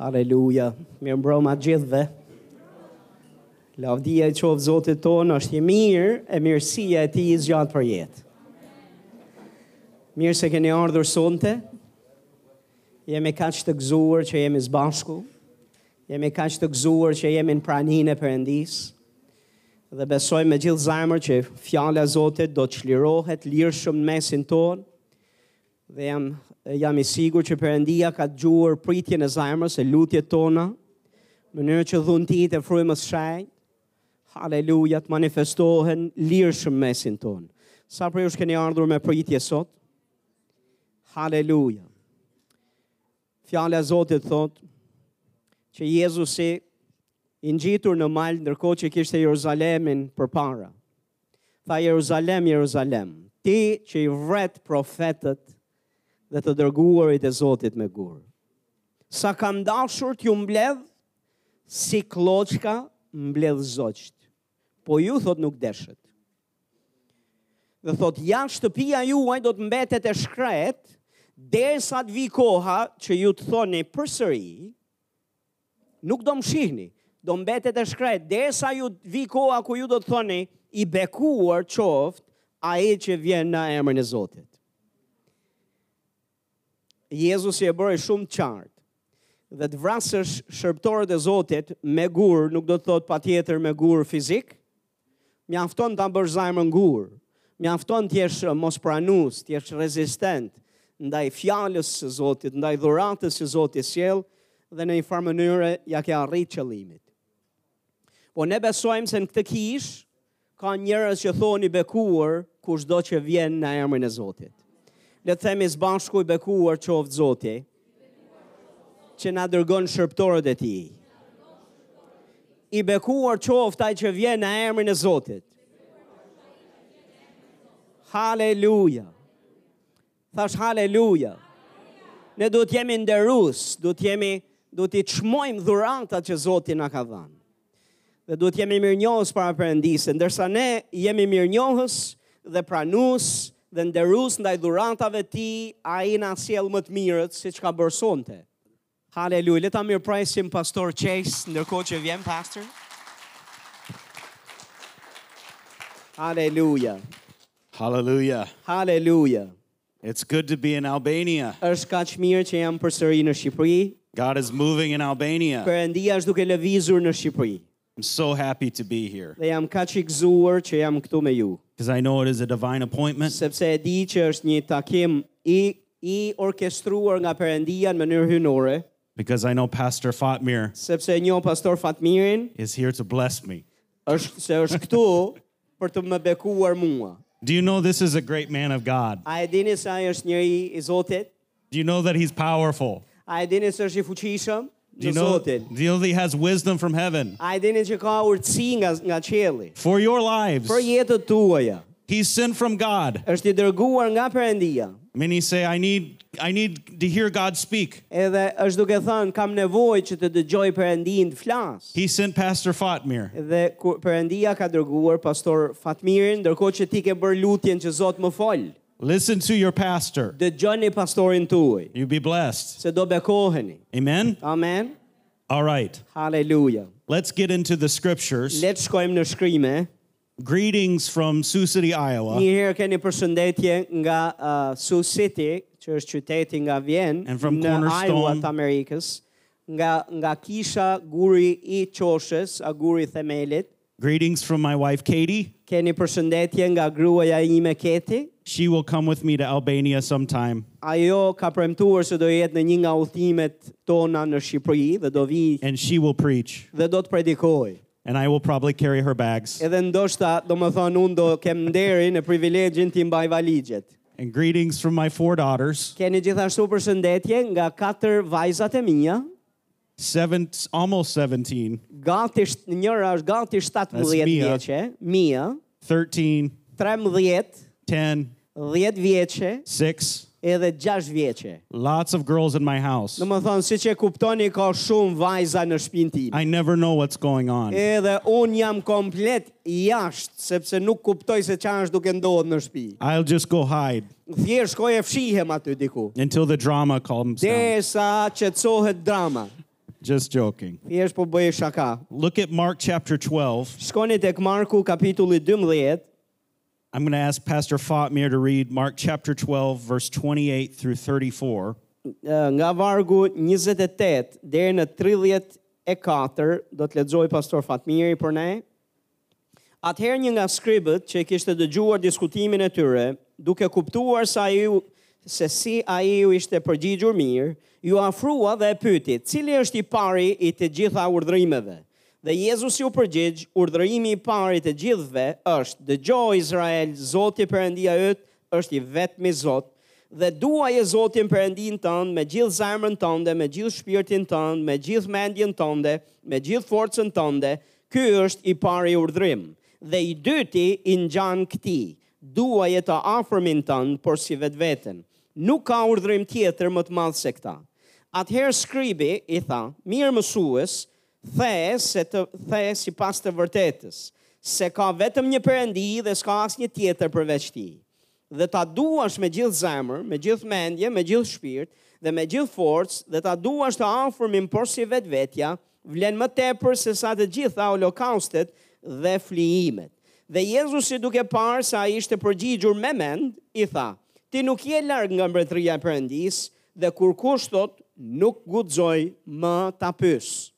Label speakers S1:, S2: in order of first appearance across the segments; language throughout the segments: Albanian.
S1: Aleluja. Mirë mbroma gjithve. Lavdia i qovë Zotit tonë është i mirë e mirësia e ti i zgjatë për jetë. Mirë se keni ardhur sonte. Jemi kaq të gëzuar që jemi zbashku. Jemi kaq të gëzuar që jemi në praninë e Perëndis. Dhe besoj me gjithë zemër që fjala e Zotit do të çlirohet lirshëm në mesin tonë dhe jam, jam i sigur që përëndia ka të gjuar pritjen e zajmës e lutjet tona, mënyrë që dhun ti të frymës shajt, haleluja të manifestohen lirshëm mesin tonë. Sa për jush keni ardhur me pritje sot? Haleluja. Fjale e Zotit thot që Jezusi i ngjitur në mal ndërkohë që kishte Jeruzalemin përpara. Tha Jeruzalem, Jeruzalem, ti që i vret profetët dhe të dërguarit e Zotit me gurë. Sa kam dashur t'ju mbledh, si kloçka mbledh zoqt, po ju thot nuk deshet. Dhe thot, jashtë shtëpia juaj do të mbetet e shkret, derisa të vi koha që ju të thoni përsëri, nuk do më shihni, do mbetet e shkret, derisa ju të vi koha ku ju do të thoni i bekuar qoftë ai që vjen në emrin e Zotit. Jezusi e bëri shumë qartë. Dhe të vrasësh shërbëtorët e Zotit me gur, nuk do të thot patjetër me gur fizik. Mjafton ta bësh zajmën gur. Mjafton të jesh mos pranues, të jesh rezistent ndaj fjalës së Zotit, ndaj dhuratës së Zotit sjell dhe në një farë mënyrë ja ke arrit qëllimit. Po ne besojmë se në këtë kish ka njerëz që thoni bekuar kushdo që vjen në emrin e Zotit le të themi së bashku i bekuar qoftë Zoti, që na dërgon shërptorët e tij. I bekuar qoftë ai që vjen në emrin e Zotit. Haleluja. Thash haleluja. Ne duhet jemi nderus, duhet jemi duhet i çmojmë dhuratat që Zoti na ka dhënë. Dhe duhet jemi mirënjohës para Perëndisë, ndërsa ne jemi mirënjohës dhe pranues dhe nderus ndaj dhurantave ti, a i na sjell më të mirët si që ka bërsonte. Haleluja, leta mirë prajsim pastor Qes, ndërkohë që vjen pastor. Haleluja,
S2: Hallelujah.
S1: haleluja.
S2: It's good to be in Albania.
S1: është ka që mirë që jam përsëri në Shqipëri,
S2: God is moving in Albania.
S1: përëndia është duke lëvizur në Shqipëri.
S2: I'm so happy to be here
S1: Dhe jam ka që i gëzuar që jam këtu me ju,
S2: because I know it is a divine appointment.
S1: sepse e di që është një takim i, i orkestruar nga përëndia në mënyrë hynore,
S2: Because I know Pastor Fatmir
S1: sepse e njoh pastor Fatmirin,
S2: is here to bless me.
S1: është se është këtu për të më bekuar mua.
S2: Do you know this is a great man of God?
S1: A e dini se ai është njëri i Zotit?
S2: Do you know that he's powerful?
S1: A e dini se është i fuqishëm
S2: Do
S1: në
S2: you know, do
S1: Zotin?
S2: you know that he has wisdom from heaven
S1: A e dini që ka urtësi nga nga qielli?
S2: for your lives?
S1: Për jetët tuaja.
S2: He's sent from God.
S1: Është i dërguar nga Perëndia.
S2: Many say, I need, I need to hear God speak.
S1: Edhe është duke thënë kam nevojë që të dëgjoj Perëndin të flas.
S2: He sent Pastor Fatmir.
S1: Dhe ku- Perëndia ka dërguar pastor Fatmirin, ndërkohë që ti ke bërë lutjen që Zot më fol.
S2: Listen to your pastor.
S1: Dëgjoni pastorin tuaj,
S2: You be blessed.
S1: se do bekoheni.
S2: Amen.
S1: Amen.
S2: All right.
S1: Haleluja.
S2: Let's get into the scriptures.
S1: Le të shkojmë në shkrime.
S2: Greetings from Sioux City, Iowa,
S1: Një herë keni përshëndetje nga uh, Sioux City, që është qyteti nga Vjen,
S2: And from
S1: në Iowa
S2: Cornerstone.
S1: të Amerikës, nga nga kisha guri i Qoshës, a guri i themelit.
S2: Greetings from my wife, Katie.
S1: Keni përshëndetje nga gruaja ime Keti.
S2: She will come with me to Albania sometime,
S1: Ajo ka premtuar se do jetë në një nga udhimet tona në Shqipëri dhe do vi
S2: and she will preach,
S1: dhe do të predikoj.
S2: and I will probably carry her bags.
S1: Edhe ndoshta, do më thonë, unë do kem nderin e privilegjin t'i mbaj valigjet.
S2: And greetings from my four daughters,
S1: Keni gjithashtu përshëndetje nga katër vajzat e mia,
S2: seven, almost 17,
S1: gati sht- njëra është gati 17
S2: That's Mia.
S1: vjeçe, Mia,
S2: 13,
S1: 13,
S2: 10,
S1: 10 vjeçe
S2: 6.
S1: edhe 6 vjeçe.
S2: Lots of girls in my house.
S1: Do më thonë, si që e kuptoni, ka shumë vajza në shtëpinë time.
S2: I never know what's going on.
S1: Edhe unë jam komplet jashtë, sepse nuk kuptoj se qa është duke ndodhë në shtëpi.
S2: I'll just go hide
S1: Thjesht shkoj e fshihem aty diku.
S2: until the drama calms down.
S1: Derisa qetësohet drama.
S2: Just joking.
S1: Thjesht po bëj shaka.
S2: Look at Mark chapter 12.
S1: Shkoni tek Marku kapitulli 12,
S2: I'm going to ask Pastor Fotmir to read Mark chapter 12, verse 28 through 34.
S1: eh, nga vargu 28 deri në 34 do të lexoj pastor Fatmiri për ne. Atëherë një nga skribët që i kishte dëgjuar diskutimin e tyre, duke kuptuar se ai u- se si ai ju ishte përgjigjur mirë, ju afrua dhe e pyeti, cili është i pari i të gjitha urdhërimeve? Dhe Jezus ju përgjigj, urdhërimi i pari i të gjithëve është: Dëgjoj Izrael, Zoti Perëndia yt është i vetmi Zot, dhe duaje Zotin Perëndin tënd me gjithë zemrën tënde, me gjithë shpirtin tënd, me gjithë mendjen tënde, me gjithë forcën tënde. Ky është i pari urdhrim. Dhe i dyti i ngjan këtij: duaje të afërmin tënd, por si vetveten. Nuk ka urdhrim tjetër më të madh se këta. Atëherë skribi i tha: "Mirë mësues, the se të the sipas të vërtetës, se ka vetëm një Perëndi dhe s'ka asnjë tjetër përveç tij." dhe ta duash me gjithë zemër, me gjithë mendje, me gjithë shpirt dhe me gjithë forcë dhe ta duash të afërmin por si vetvetja, vlen më tepër se sa të gjitha holokaustet dhe flijimet. Dhe Jezusi duke parë se ai ishte përgjigjur me mend, i tha: Ti nuk je larg nga mbretëria e Perëndis dhe kur kush thot nuk guxoj më ta pyes.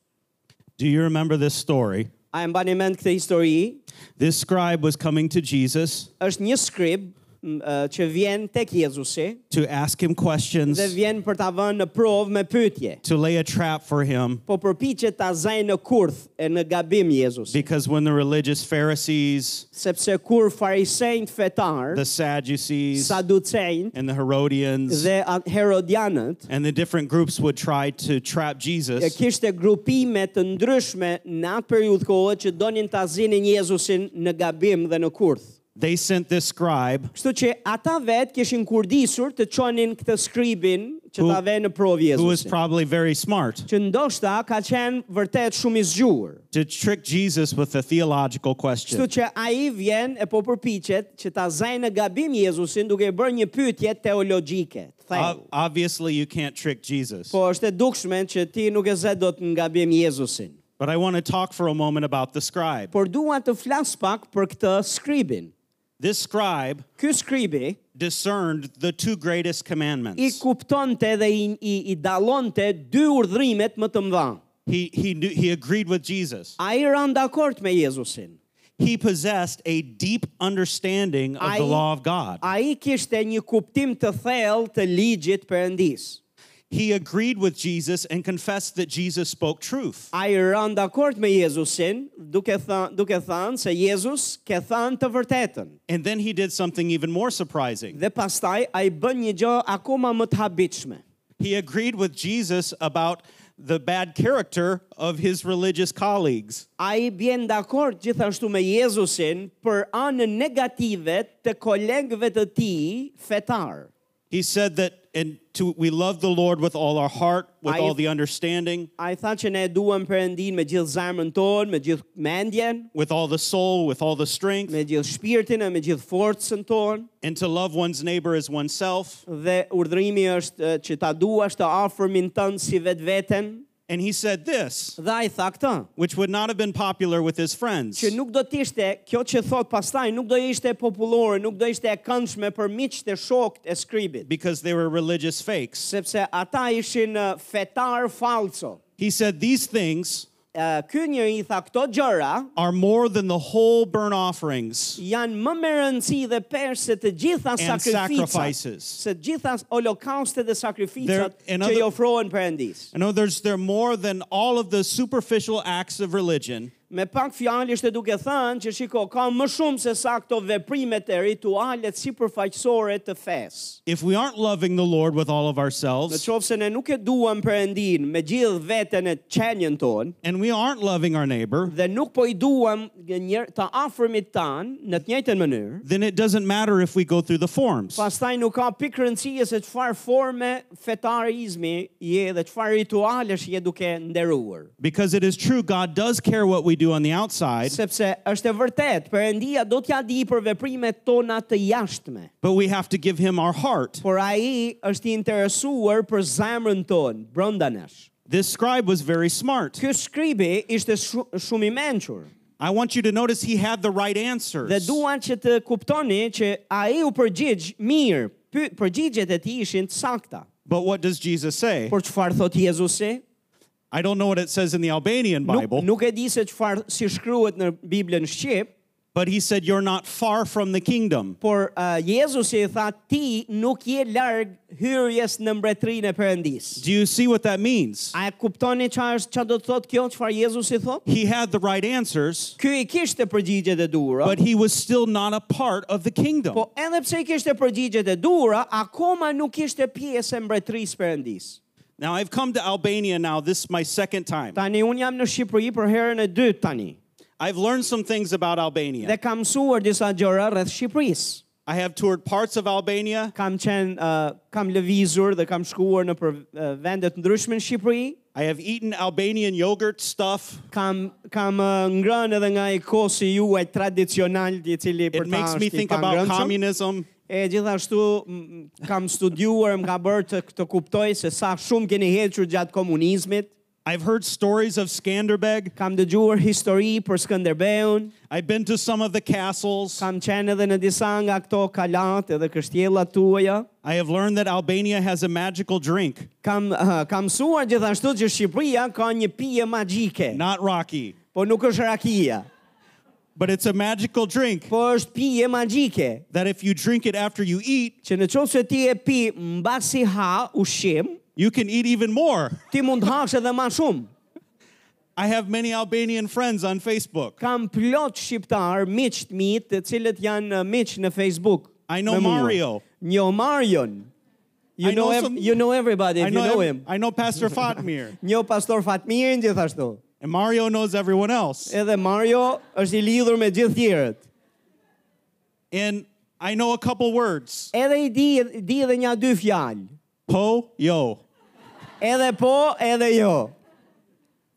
S2: Do you remember this story?
S1: A e mbani mend këtë histori?
S2: This scribe was coming to Jesus
S1: Është një skrib m, ë, që vjen tek Jezusi
S2: to ask him questions,
S1: dhe vjen për ta vënë në provë me pyetje.
S2: to lay a trap for him,
S1: po përpiqet ta zaj në kurth e në gabim Jezus.
S2: because when the religious Pharisees,
S1: Sepse kur farisejnë fetar,
S2: the Sadducees,
S1: saducejnë
S2: and the Herodians,
S1: dhe at- herodianët,
S2: and the different groups would try to trap
S1: e
S2: Jesus,
S1: kishte grupime të ndryshme në atë periudhë kohë që donin ta zinin Jezusin në gabim dhe në kurth.
S2: they sent this scribe
S1: Kështu që ata vetë kishin kurdisur të çonin këtë skribin që
S2: Who-
S1: ta vënë në provë
S2: who was
S1: Jezusin.
S2: probably very smart
S1: Që ndoshta ka qenë vërtet shumë i zgjuar.
S2: to trick Jesus with a theological
S1: Kështu
S2: question.
S1: që ai vjen e po përpiqet që ta zajë në gabim Jezusin duke i bërë një pyetje teologjike.
S2: O-
S1: Thellë.
S2: Obviously, you can't trick Jesus.
S1: Po është e dukshme që ti nuk e zë dot në gabim Jezusin.
S2: But I want to talk for a moment about the scribe.
S1: Por dua të flas pak për këtë skribin.
S2: This scribe
S1: Ky skribi
S2: discerned the two greatest
S1: i
S2: commandments.
S1: kuptonte dhe i, i, i dallonte dy urdhrimet më të mëdha.
S2: He, he, knew, he agreed with Jesus.
S1: Ai ran dakord me Jezusin.
S2: He possessed a deep understanding of
S1: I-
S2: the law of God.
S1: Ai kishte një kuptim të thellë të ligjit perëndis.
S2: He agreed with Jesus and confessed that Jesus spoke truth.
S1: a i rënë dakord me Jezusin, duke, thë, duke thënë se Jezus ke thënë të vërtetën.
S2: And then he did something even more surprising.
S1: Dhe pastaj a i bën një gjë akoma më të habitshme.
S2: He agreed with Jesus about the bad character of his religious colleagues.
S1: A i bjen dakord gjithashtu me Jezusin për anën negative të kolegëve të ti fetar.
S2: He said that and to we love the Lord with all our heart, with
S1: I-
S2: all the understanding,
S1: A i tha që ne duhem përëndin me gjithë zemrën tonë, me gjithë mendjen,
S2: with all the soul, with all the strength,
S1: me gjithë shpirtin e me gjithë forcën tonë,
S2: and to love one's neighbor as oneself.
S1: dhe urdhrimi është eh, që ta duash të afërmin tënë si vetë vetën,
S2: And he said this,
S1: dhe a i tha këtë.
S2: which would not have been popular with his friends.
S1: që nuk do të ishte, kjo që thot pastaj, nuk do ishte popullore, nuk do ishte e këndshme për miqtë e shokët e skribit,
S2: Because they were religious fakes.
S1: sepse ata ishin ë, fetar falso.
S2: He said, These things
S1: Ë, Ky njeri i tha këto gjëra
S2: are more than the whole burnt offerings
S1: janë më me rëndësi dhe pesh se të gjitha
S2: and
S1: sakrificat,
S2: sacrifices.
S1: se të gjitha holokaustet dhe sakrificat
S2: There- in
S1: që i
S2: other-
S1: ofrohen Perëndis.
S2: In other words, they're more than all of the superficial acts of religion.
S1: Me pak fjalë ishte duke thënë që shiko ka më shumë se sa këto veprimet e ritualet sipërfaqësore të fesë.
S2: If we aren't loving the Lord with all of
S1: Në
S2: ourselves,
S1: qovë se ne nuk e duam përëndin me gjithë vetën e qenjen tonë,
S2: and we aren't loving our neighbor,
S1: dhe nuk po i duam njër, të afërmit tanë në të njëjtën mënyrë,
S2: then it doesn't matter if we go through the forms.
S1: pastaj nuk ka pikë rëndësie se çfarë forme fetarizmi je dhe çfarë ritualesh je duke nderuar.
S2: Because it is true, God does care what we do on the outside,
S1: Sepse është e vërtet, Perëndia do t'ja di për veprimet tona të jashtme,
S2: but we have to give Him our heart.
S1: por ai është i interesuar për zemrën tonë brenda nesh.
S2: This scribe was very smart.
S1: Ky skribi ishte shu- shumë i mençur.
S2: I want you to notice he had the right answers.
S1: Dhe duan që të kuptoni që ai u përgjigj mirë. Py- Përgjigjet e tij ishin të sakta.
S2: But what does Jesus say?
S1: Por çfarë thot Jezusi?
S2: I don't know what it says in the Albanian
S1: Nuk,
S2: Bible,
S1: nuk e di se çfarë si shkruhet në Biblën shqip,
S2: but he said, You're not far from the kingdom.
S1: por uh, Jezusi i tha ti nuk je larg hyrjes në mbretërinë e Perëndisë.
S2: Do you see what that means?
S1: A e kuptoni çfarë është çfarë do të thotë kjo, çfarë Jezusi thot?
S2: He had the right answers,
S1: Ky i kishte përgjigjet e duhura,
S2: but he was still not a part of the kingdom.
S1: po edhe pse i kishte përgjigjet e duhura, akoma nuk ishte pjesë e mbretërisë Perëndisë.
S2: Now, I've come to Albania now. This is my second time.
S1: Tani un jam në Shqipëri për herën e dytë tani.
S2: I've learned some things about
S1: Dhe
S2: Albania.
S1: kam mësuar disa gjëra rreth Shqipërisë.
S2: I have toured parts of Albania.
S1: Kam qenë uh, kam lëvizur dhe kam shkuar në për uh, vende të ndryshme në Shqipëri.
S2: I have eaten Albanian yogurt stuff.
S1: Kam kam uh, ngrënë edhe nga ai kosi juaj tradicional i cili
S2: It
S1: për ta
S2: makes
S1: është
S2: me
S1: i
S2: think about
S1: pangrëndshëm.
S2: communism.
S1: E gjithashtu m- kam studiuar, më ka bërë të, të kuptoj se sa shumë keni hequr gjatë komunizmit.
S2: I've heard stories of Skanderbeg.
S1: Kam dëgjuar histori për Skënderbeun,
S2: I've been to some of the castles.
S1: kam qenë edhe në disa nga këto kalat edhe kështjellat tuaja.
S2: I have learned that Albania has a magical drink,
S1: Kam uh, kam mësuar gjithashtu që Shqipëria ka një pije magjike,
S2: not Rocky,
S1: po nuk është rakia,
S2: but it's a magical drink
S1: po është pije magjike.
S2: that if you drink it after you eat,
S1: Që në qovë se ti e pi mbasi ha ushqim,
S2: you can eat even more.
S1: ti mund të hash edhe ma shumë.
S2: I have many Albanian friends on Facebook.
S1: Kam plot shqiptar, miq të mi, të cilët janë uh, miq në Facebook.
S2: I know
S1: me mua.
S2: Mario.
S1: Njo Marion. You
S2: I
S1: know,
S2: know
S1: ev-
S2: some-
S1: you know everybody if
S2: I know,
S1: you know
S2: ev-
S1: him.
S2: I know Pastor Fatmir,
S1: Njo pastor Fatmirin gjithashtu.
S2: and Mario knows everyone else.
S1: Edhe Mario është i lidhur me gjithë tjerët.
S2: And I know a couple words
S1: Edhe i di, di edhe një dy fjalë.
S2: po, yo.
S1: Edhe po, edhe jo.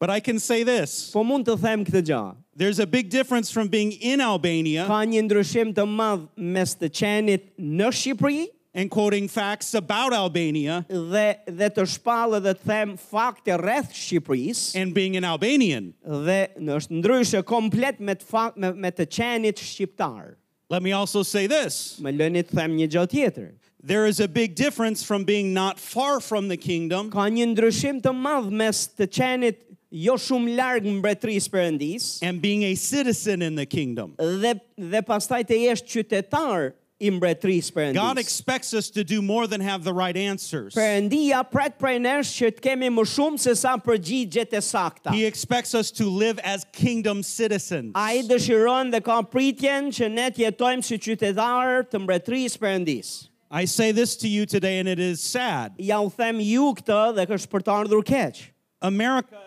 S2: But I can say this
S1: Po mund të them këtë gjë.
S2: there's a big difference from being in Albania
S1: Ka një ndryshim të madh mes të qenit në Shqipëri
S2: and quoting facts about Albania
S1: dhe dhe të shpallë dhe të them fakte rreth Shqipërisë
S2: and being an Albanian.
S1: dhe në është ndryshe komplet me të fak, me, me të qenit shqiptar.
S2: Let me also say this
S1: Më lëni të them një gjë tjetër.
S2: there is a big difference from being not far from the kingdom
S1: Ka një ndryshim të madh mes të qenit jo shumë larg mbretërisë perëndisë
S2: and being a citizen in the kingdom.
S1: dhe dhe pastaj të jesh qytetar i mbretërisë
S2: God
S1: perëndisë.
S2: expects us to do more than have the right answers.
S1: Perëndia pret prej nesh që të kemi më shumë se sa përgjigjet e sakta.
S2: He expects us to live as kingdom citizens.
S1: Ai dëshiron dhe ka pritjen që ne të jetojmë si qytetarë të mbretërisë perëndisë.
S2: I say this to you today, and it is sad.
S1: Ja u them ju këtë dhe kështë për të ardhur keq.
S2: America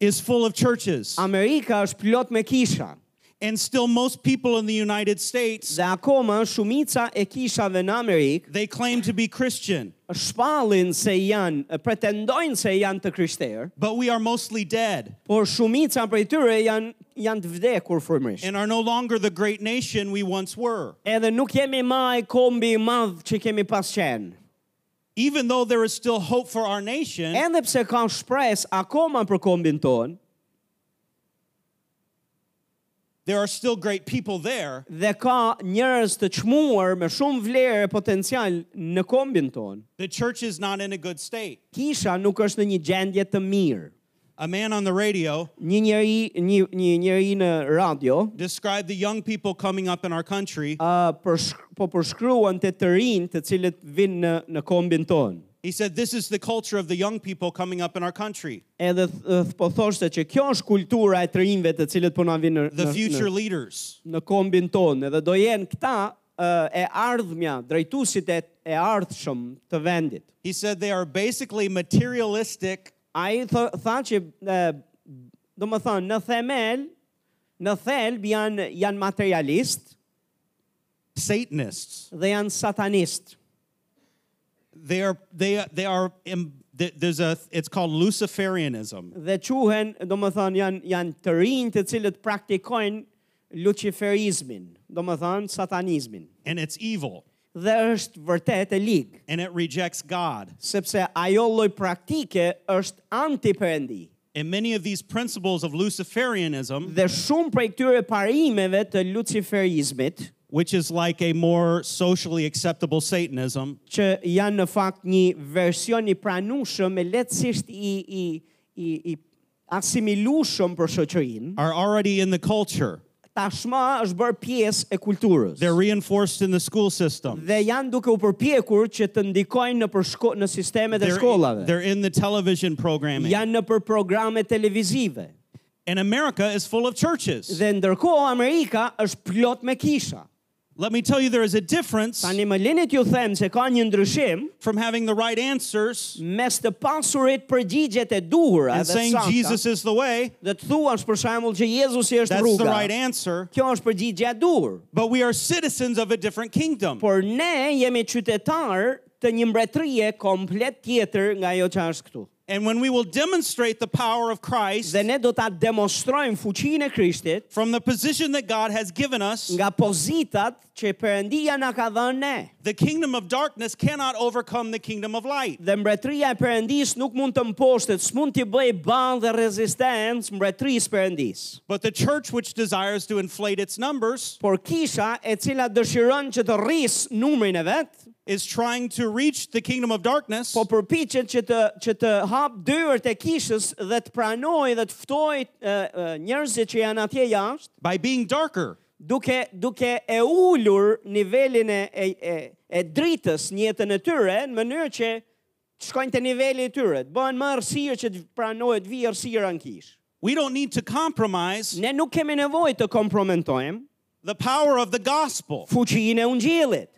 S2: is full of churches,
S1: Um, Amerika është plot me kisha
S2: and still, most people in the United States
S1: dhe akoma shumica e kishave në Amerikë
S2: they claim to be Christian,
S1: shpallin se janë, pretendojnë se janë të krishterë,
S2: but we are mostly dead
S1: por shumica prej tyre janë janë të vdekur frymërisht.
S2: and are no longer the great nation we once were.
S1: Edhe nuk jemi më ai kombi i madh që kemi pas qenë.
S2: Even though there is still hope for our nation,
S1: Edhe pse ka shpresë akoma për kombin ton
S2: there are still great people there,
S1: dhe ka njerëz të çmuar me shumë vlerë e potencial në kombin ton.
S2: the church is not in a good state.
S1: Kisha nuk është në një gjendje të mirë.
S2: A man on the radio
S1: Një njeri, një, një njeri në radio
S2: described the young people coming up in our country.
S1: uh, përshk, po përshkruan të të rinë të cilët vinë në, në kombin ton.
S2: He said, This is the culture of the young people coming up in our country,
S1: Edhe th, th, po thoshte që kjo është kultura e të rinjve të cilët po na vinë në,
S2: the future
S1: në,
S2: leaders.
S1: në kombin ton. Edhe do jenë këta uh, e ardhmja, drejtusit e, e ardhshëm të vendit.
S2: He said they are basically materialistic
S1: A i tha, tha që, e, do më thonë, në themel, në thelb janë, janë materialist
S2: Satanists.
S1: dhe janë satanist.
S2: They are, they, they are, em- th- there's a, it's called Luciferianism.
S1: Dhe quhen, do më thonë, janë, janë të rinjë të cilët praktikojnë luciferizmin, do më thonë, satanizmin.
S2: and it's evil.
S1: dhe është vërtet e ligë,
S2: and it rejects God.
S1: sepse ajo lloj praktike është antiperëndi.
S2: And many of these principles of Luciferianism,
S1: Dhe shumë prej këtyre parimeve të luciferizmit
S2: which is like a more socially acceptable Satanism,
S1: që janë në fakt një version i pranueshëm e lehtësisht i i i i asimilueshëm për shoqërinë,
S2: are already in the culture.
S1: tashmë është bërë pjesë e kulturës.
S2: They're reinforced in the school system.
S1: Dhe janë duke u përpjekur që të ndikojnë në përshko, në sistemet e
S2: They're,
S1: shkollave.
S2: they're in the television programming.
S1: Janë në për programe televizive.
S2: And America is full of churches.
S1: Dhe ndërkohë Amerika është plot me kisha.
S2: Let me tell you, there is a difference
S1: Tani më lini t'ju them se ka një ndryshim
S2: from having the right answers
S1: mes të pasurit përgjigjet e duhura
S2: and
S1: dhe të
S2: saying
S1: sakta.
S2: Jesus is the way.
S1: Dhe të thuash për shembull që Jezusi është
S2: That's the
S1: rruga.
S2: right answer.
S1: Kjo është përgjigje e duhur.
S2: But we are citizens of a different kingdom.
S1: por ne jemi qytetar të një mbretërie komplet tjetër nga ajo që është këtu.
S2: And when we will demonstrate the power of Christ
S1: Dhe ne do ta demonstrojmë fuqinë e Krishtit
S2: from the position that God has given us,
S1: nga pozitat që Perëndia na ka dhënë ne.
S2: the kingdom of darkness cannot overcome the kingdom of light.
S1: Dhe mbretëria e Perëndis nuk mund të mposhtet, s'mund t'i bëj ban dhe rezistencë mbretërisë Perëndis.
S2: But the church, which desires to inflate its numbers,
S1: Por kisha e cila dëshiron që të rris numrin e vet,
S2: is trying to reach the kingdom of darkness
S1: po përpiqet që të që të hap dyert e kishës dhe të pranojë dhe të ftojë ë, ë, njerëzit që janë atje jashtë
S2: by being darker.
S1: duke duke e ulur nivelin e e e, e dritës në jetën e tyre në mënyrë që të shkojnë te niveli i tyre, të bëhen më errësirë që të pranohet vi errësira në kishë.
S2: We don't need to compromise
S1: Ne nuk kemi nevojë të kompromentojmë
S2: the power of the gospel.
S1: fuqinë e ungjillit.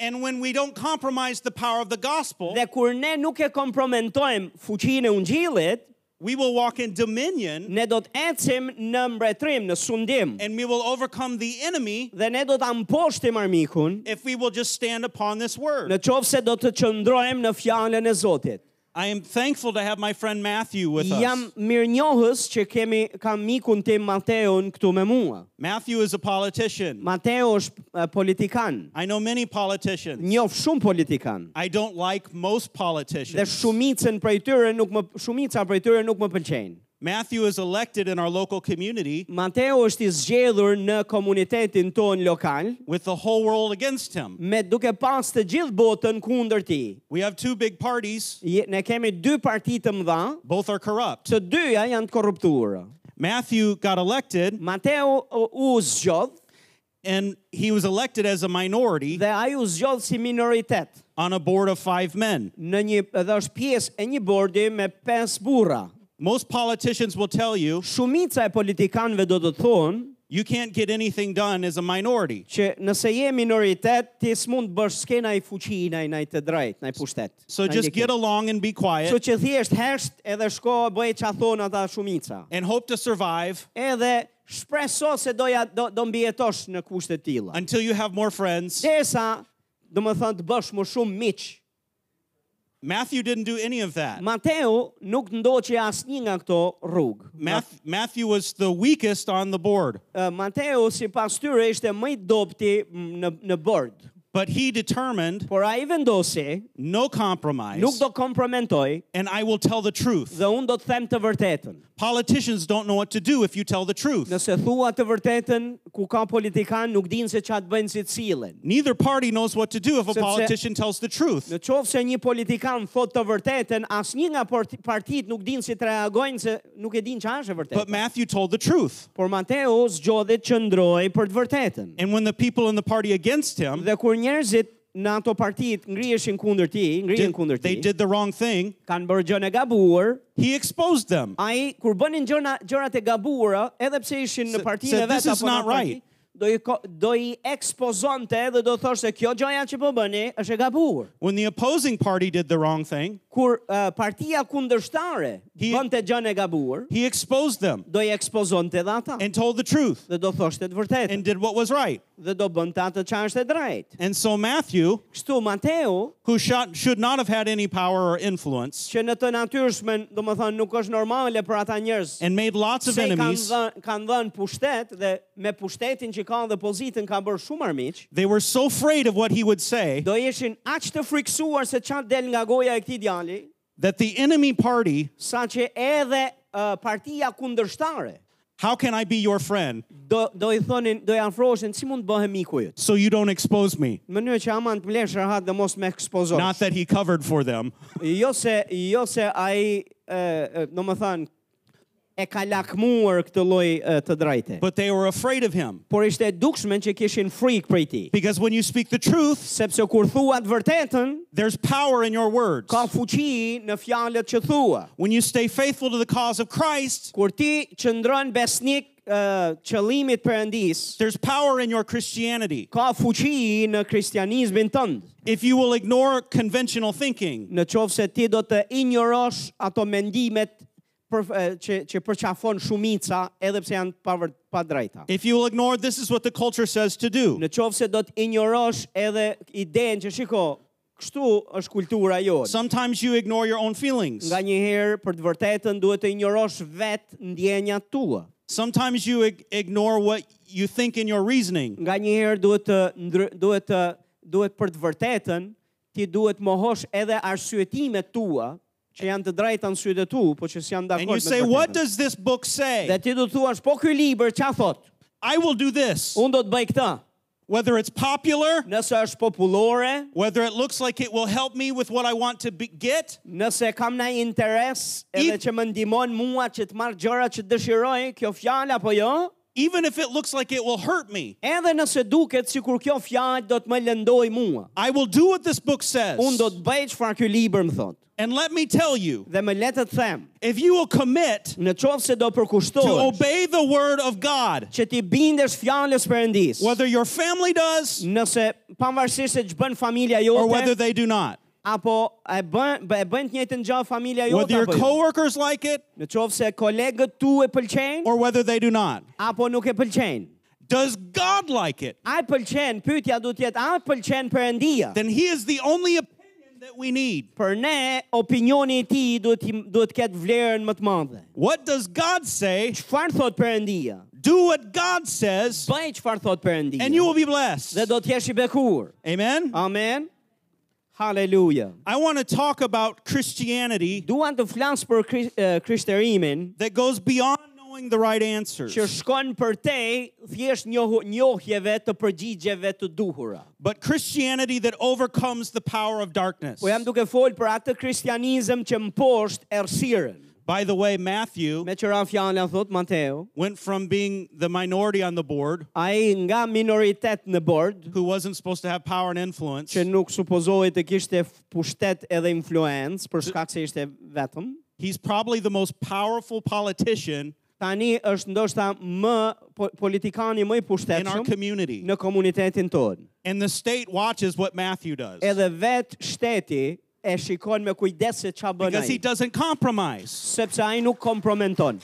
S2: And when we don't compromise the power of the gospel,
S1: Dhe kur ne nuk e kompromentojmë fuqinë e ungjillit,
S2: we will walk in dominion
S1: ne do të ecim në mbretërim, në sundim.
S2: and we will overcome the enemy
S1: Dhe ne do ta mposhtim armikun
S2: if we will just stand upon this word.
S1: në qovë se do të qëndrojmë në fjallën e Zotit.
S2: I am thankful to have my friend Matthew with
S1: Jam
S2: us.
S1: mirë njohës që kemi kam mikun tim Mateon këtu me mua.
S2: Matthew is a politician.
S1: Mateo është eh, politikan,
S2: I know many politicians.
S1: njoh shumë politikan.
S2: I don't like most
S1: Dhe
S2: politicians.
S1: shumicën prej tyre nuk më shumica prej tyre nuk më pëlqejnë.
S2: Matthew is elected in our local community
S1: Mateo është i zgjedhur në komunitetin ton lokal,
S2: with the whole world against him.
S1: me duke pas të gjithë botën kundër ti.
S2: We have two big parties,
S1: Je- Ne kemi dy parti të mëdha,
S2: both are corrupt.
S1: të dyja janë të korruptuara.
S2: Matthew got elected
S1: Mateo u- u zgjodh
S2: and he was elected as a minority
S1: dhe ai u zgjodh si minoritet
S2: on a board of 5 men.
S1: në një edhe është pjesë e një bordi me pesë burra.
S2: Most politicians will tell you
S1: Shumica e politikanëve do të thonë
S2: you can't get anything done as a minority.
S1: që nëse je minoritet, ti s'mund të bësh s'ke i fuqi, nai nai të drejtë, nai pushtet.
S2: So
S1: nai
S2: just
S1: ndikim.
S2: get along and be
S1: Kështu
S2: quiet
S1: që thjesht hesht edhe shko bëj çfarë thon ata shumica.
S2: and hope to survive
S1: Edhe shpreso se do ja do, do mbijetosh në kushte të tilla.
S2: until you have more friends.
S1: Derisa, do më thënë të bësh më shumë miq.
S2: Matthew didn't do any of that.
S1: Mateu nuk ndoqi asnjë nga këto rrugë.
S2: Math- Matthew was the weakest on the board,
S1: Ë, Mateu si pas tyre ishte më i dobti m, në, në bord.
S2: but he determined
S1: Por a i vendosi,
S2: no compromise.
S1: nuk do kompromentoj
S2: and I will tell the truth.
S1: dhe unë do të them të vërtetën.
S2: Politicians don't know what to do if you tell the truth.
S1: Nëse thua të vërtetën, ku ka politikan nuk dinë se çfarë të bëjnë si të sillen.
S2: Neither party knows what to do if a
S1: Sepse-
S2: politician tells the truth.
S1: Në qovë se një politikan thot të vërtetën, asnjë nga parti- partit nuk dinë si të reagojnë se nuk e dinë që është e
S2: But
S1: vërtetë.
S2: Matthew told the truth.
S1: Por Mateu zgjodhet që ndroj për të vërtetën.
S2: And when the people in the party against him
S1: Dhe kur njerëzit në ato partit ngrieshin kundër ti, ngrihen
S2: did,
S1: kundër
S2: they
S1: ti,
S2: did the wrong thing,
S1: kanë bërë gjën e gabuar,
S2: he exposed them.
S1: ai kur bënin gjëra gjërat e gabuara, edhe pse ishin në
S2: Se-
S1: partinë
S2: se
S1: e
S2: this
S1: vet
S2: is
S1: apo në
S2: not
S1: parti,
S2: right.
S1: do i ko- do i ekspozonte dhe do thoshte kjo gjëja që po bëni është e gabuar.
S2: When the opposing party did the wrong thing,
S1: kur uh, partia kundërshtare
S2: He-
S1: bënte gjën e gabuar,
S2: He exposed them
S1: do i ekspozonte edhe ata
S2: and told the truth
S1: dhe do thoshte të vërtetën
S2: and did what was right.
S1: dhe do bënte atë që është e drejtë.
S2: And so Matthew,
S1: Kështu Mateu,
S2: who shot, should not have had any power or influence
S1: që në të natyrshmen, do më thënë, nuk është normale për ata njerëz
S2: and made lots of
S1: se i kanë
S2: enemies,
S1: dhënë kanë dhënë pushtet dhe me pushtetin që kanë dhe pozitën kanë bërë shumë armiq,
S2: they were so afraid of what he would say
S1: do ishin aq të friksuar se çfarë del nga goja e këtij djali,
S2: that the enemy party,
S1: sa që edhe uh, partia kundërshtare
S2: how can I be your friend
S1: do do i thonin, do i afroheshin si mund të bëhem miku yt.
S2: so you don't expose me?
S1: Në mënyrë që aman të mlesh rahat dhe mos me
S2: Not
S1: ekspozosh.
S2: that he covered for them,
S1: Jo se jo se ai ë do të thënë e ka lakmuar këtë lloj e, të drejte.
S2: but they were afraid of him.
S1: Por ishte e dukshme që kishin frikë prej tij.
S2: Because when you speak the truth,
S1: Sepse kur thua të vërtetën,
S2: there's power in your words.
S1: ka fuqi në fjalët që thua.
S2: When you stay faithful to the cause of Christ,
S1: Kur ti qëndron besnik ë, qëllimit perëndis,
S2: there's power in your Christianity.
S1: ka fuqi në kristianizmin tënd.
S2: If you will ignore conventional thinking,
S1: Në qovë se ti do të injorosh ato mendimet për, ë, që, që përqafon shumica edhe pse janë pa, vër- pa drejta.
S2: if you will ignore this is what the culture says to do,
S1: Në qovë se do të injorosh edhe idenë që shiko, kështu është kultura jonë.
S2: sometimes you ignore your own feelings.
S1: Nga një herë për të vërtetën duhet të injorosh vetë ndjenjat tua.
S2: Sometimes you ig- ignore what you think in your reasoning.
S1: nga një herë duhet të ndry, duhet të duhet për të vërtetën ti duhet mohosh edhe arsyetimet tua që janë të drejta në sytë e tu, po që s'janë
S2: And
S1: dakord me
S2: you
S1: të
S2: say, What
S1: vërtetën."
S2: does this book
S1: Dhe
S2: say?
S1: ti do të thuash, po ky libër ç'a thot?
S2: I will do this.
S1: Unë do të bëj këtë.
S2: Whether it's popular,
S1: Nëse është popullore,
S2: whether it looks like it will help me with what I want to be- get,
S1: nëse kam në interes edhe
S2: If-
S1: që më ndihmon mua që të marr gjëra që dëshiroj, kjo fjalë apo jo,
S2: even if it looks like it will hurt me,
S1: edhe nëse duket sikur kjo fjalë do të më lëndoj mua.
S2: I will do what this book says.
S1: Unë do të bëj çfarë ky libër më thot.
S2: And let me tell you,
S1: Dhe më le të të them,
S2: if you will commit
S1: në qovë se do
S2: to
S1: përkushtohesh,
S2: obey the word of God,
S1: që ti bindesh fjalës Perëndis.
S2: whether your family does
S1: Nëse pavarësisht se ç'bën familja
S2: or whether
S1: jote
S2: they do not,
S1: apo e bën e bën të njëjtën gjë familja jote
S2: whether your
S1: apo jo.
S2: coworkers like it
S1: Në qovë se kolegët tu e pëlqejnë
S2: or whether they do not.
S1: apo nuk e pëlqejnë.
S2: Does God like it?
S1: A e pëlqen, pyetja duhet të jetë a e pëlqen Perëndia.
S2: Then He is the only opinion that we need.
S1: Për ne opinioni i tij duhet i- duhet të ketë vlerën më të madhe.
S2: What does God say?
S1: Çfarë thot Perëndia?
S2: Do what God says,
S1: Bëj çfarë thot Perëndia.
S2: and you will be
S1: Dhe
S2: blessed.
S1: do të jesh i bekuar.
S2: Amen.
S1: Amen. Haleluja.
S2: I want to talk about Christianity
S1: Duan të flas për kri, eh, krishterimin
S2: that goes beyond knowing the right answers,
S1: që shkon për te thjesht njohu, njohjeve të përgjigjeve të duhura.
S2: but Christianity that overcomes the power of darkness.
S1: Po jam duke fol për atë kristianizëm që mposht errësirën.
S2: By the way, Matthew
S1: Me qëra fjala thot Mateu,
S2: went from being the minority on the board
S1: ai nga minoritet në bord
S2: who wasn't supposed to have power and influence,
S1: që nuk supozohet të kishte f- pushtet edhe influencë për shkak se ishte vetëm.
S2: he's probably the most powerful politician
S1: Tani është ndoshta më po- politikani më i
S2: in our
S1: pushtetshëm
S2: community.
S1: në komunitetin tonë.
S2: And the state watches what Matthew does
S1: Edhe vetë shteti e shikon me kujdes se ç'a bën
S2: because he
S1: ai,
S2: doesn't compromise
S1: sepse ai nuk kompromenton.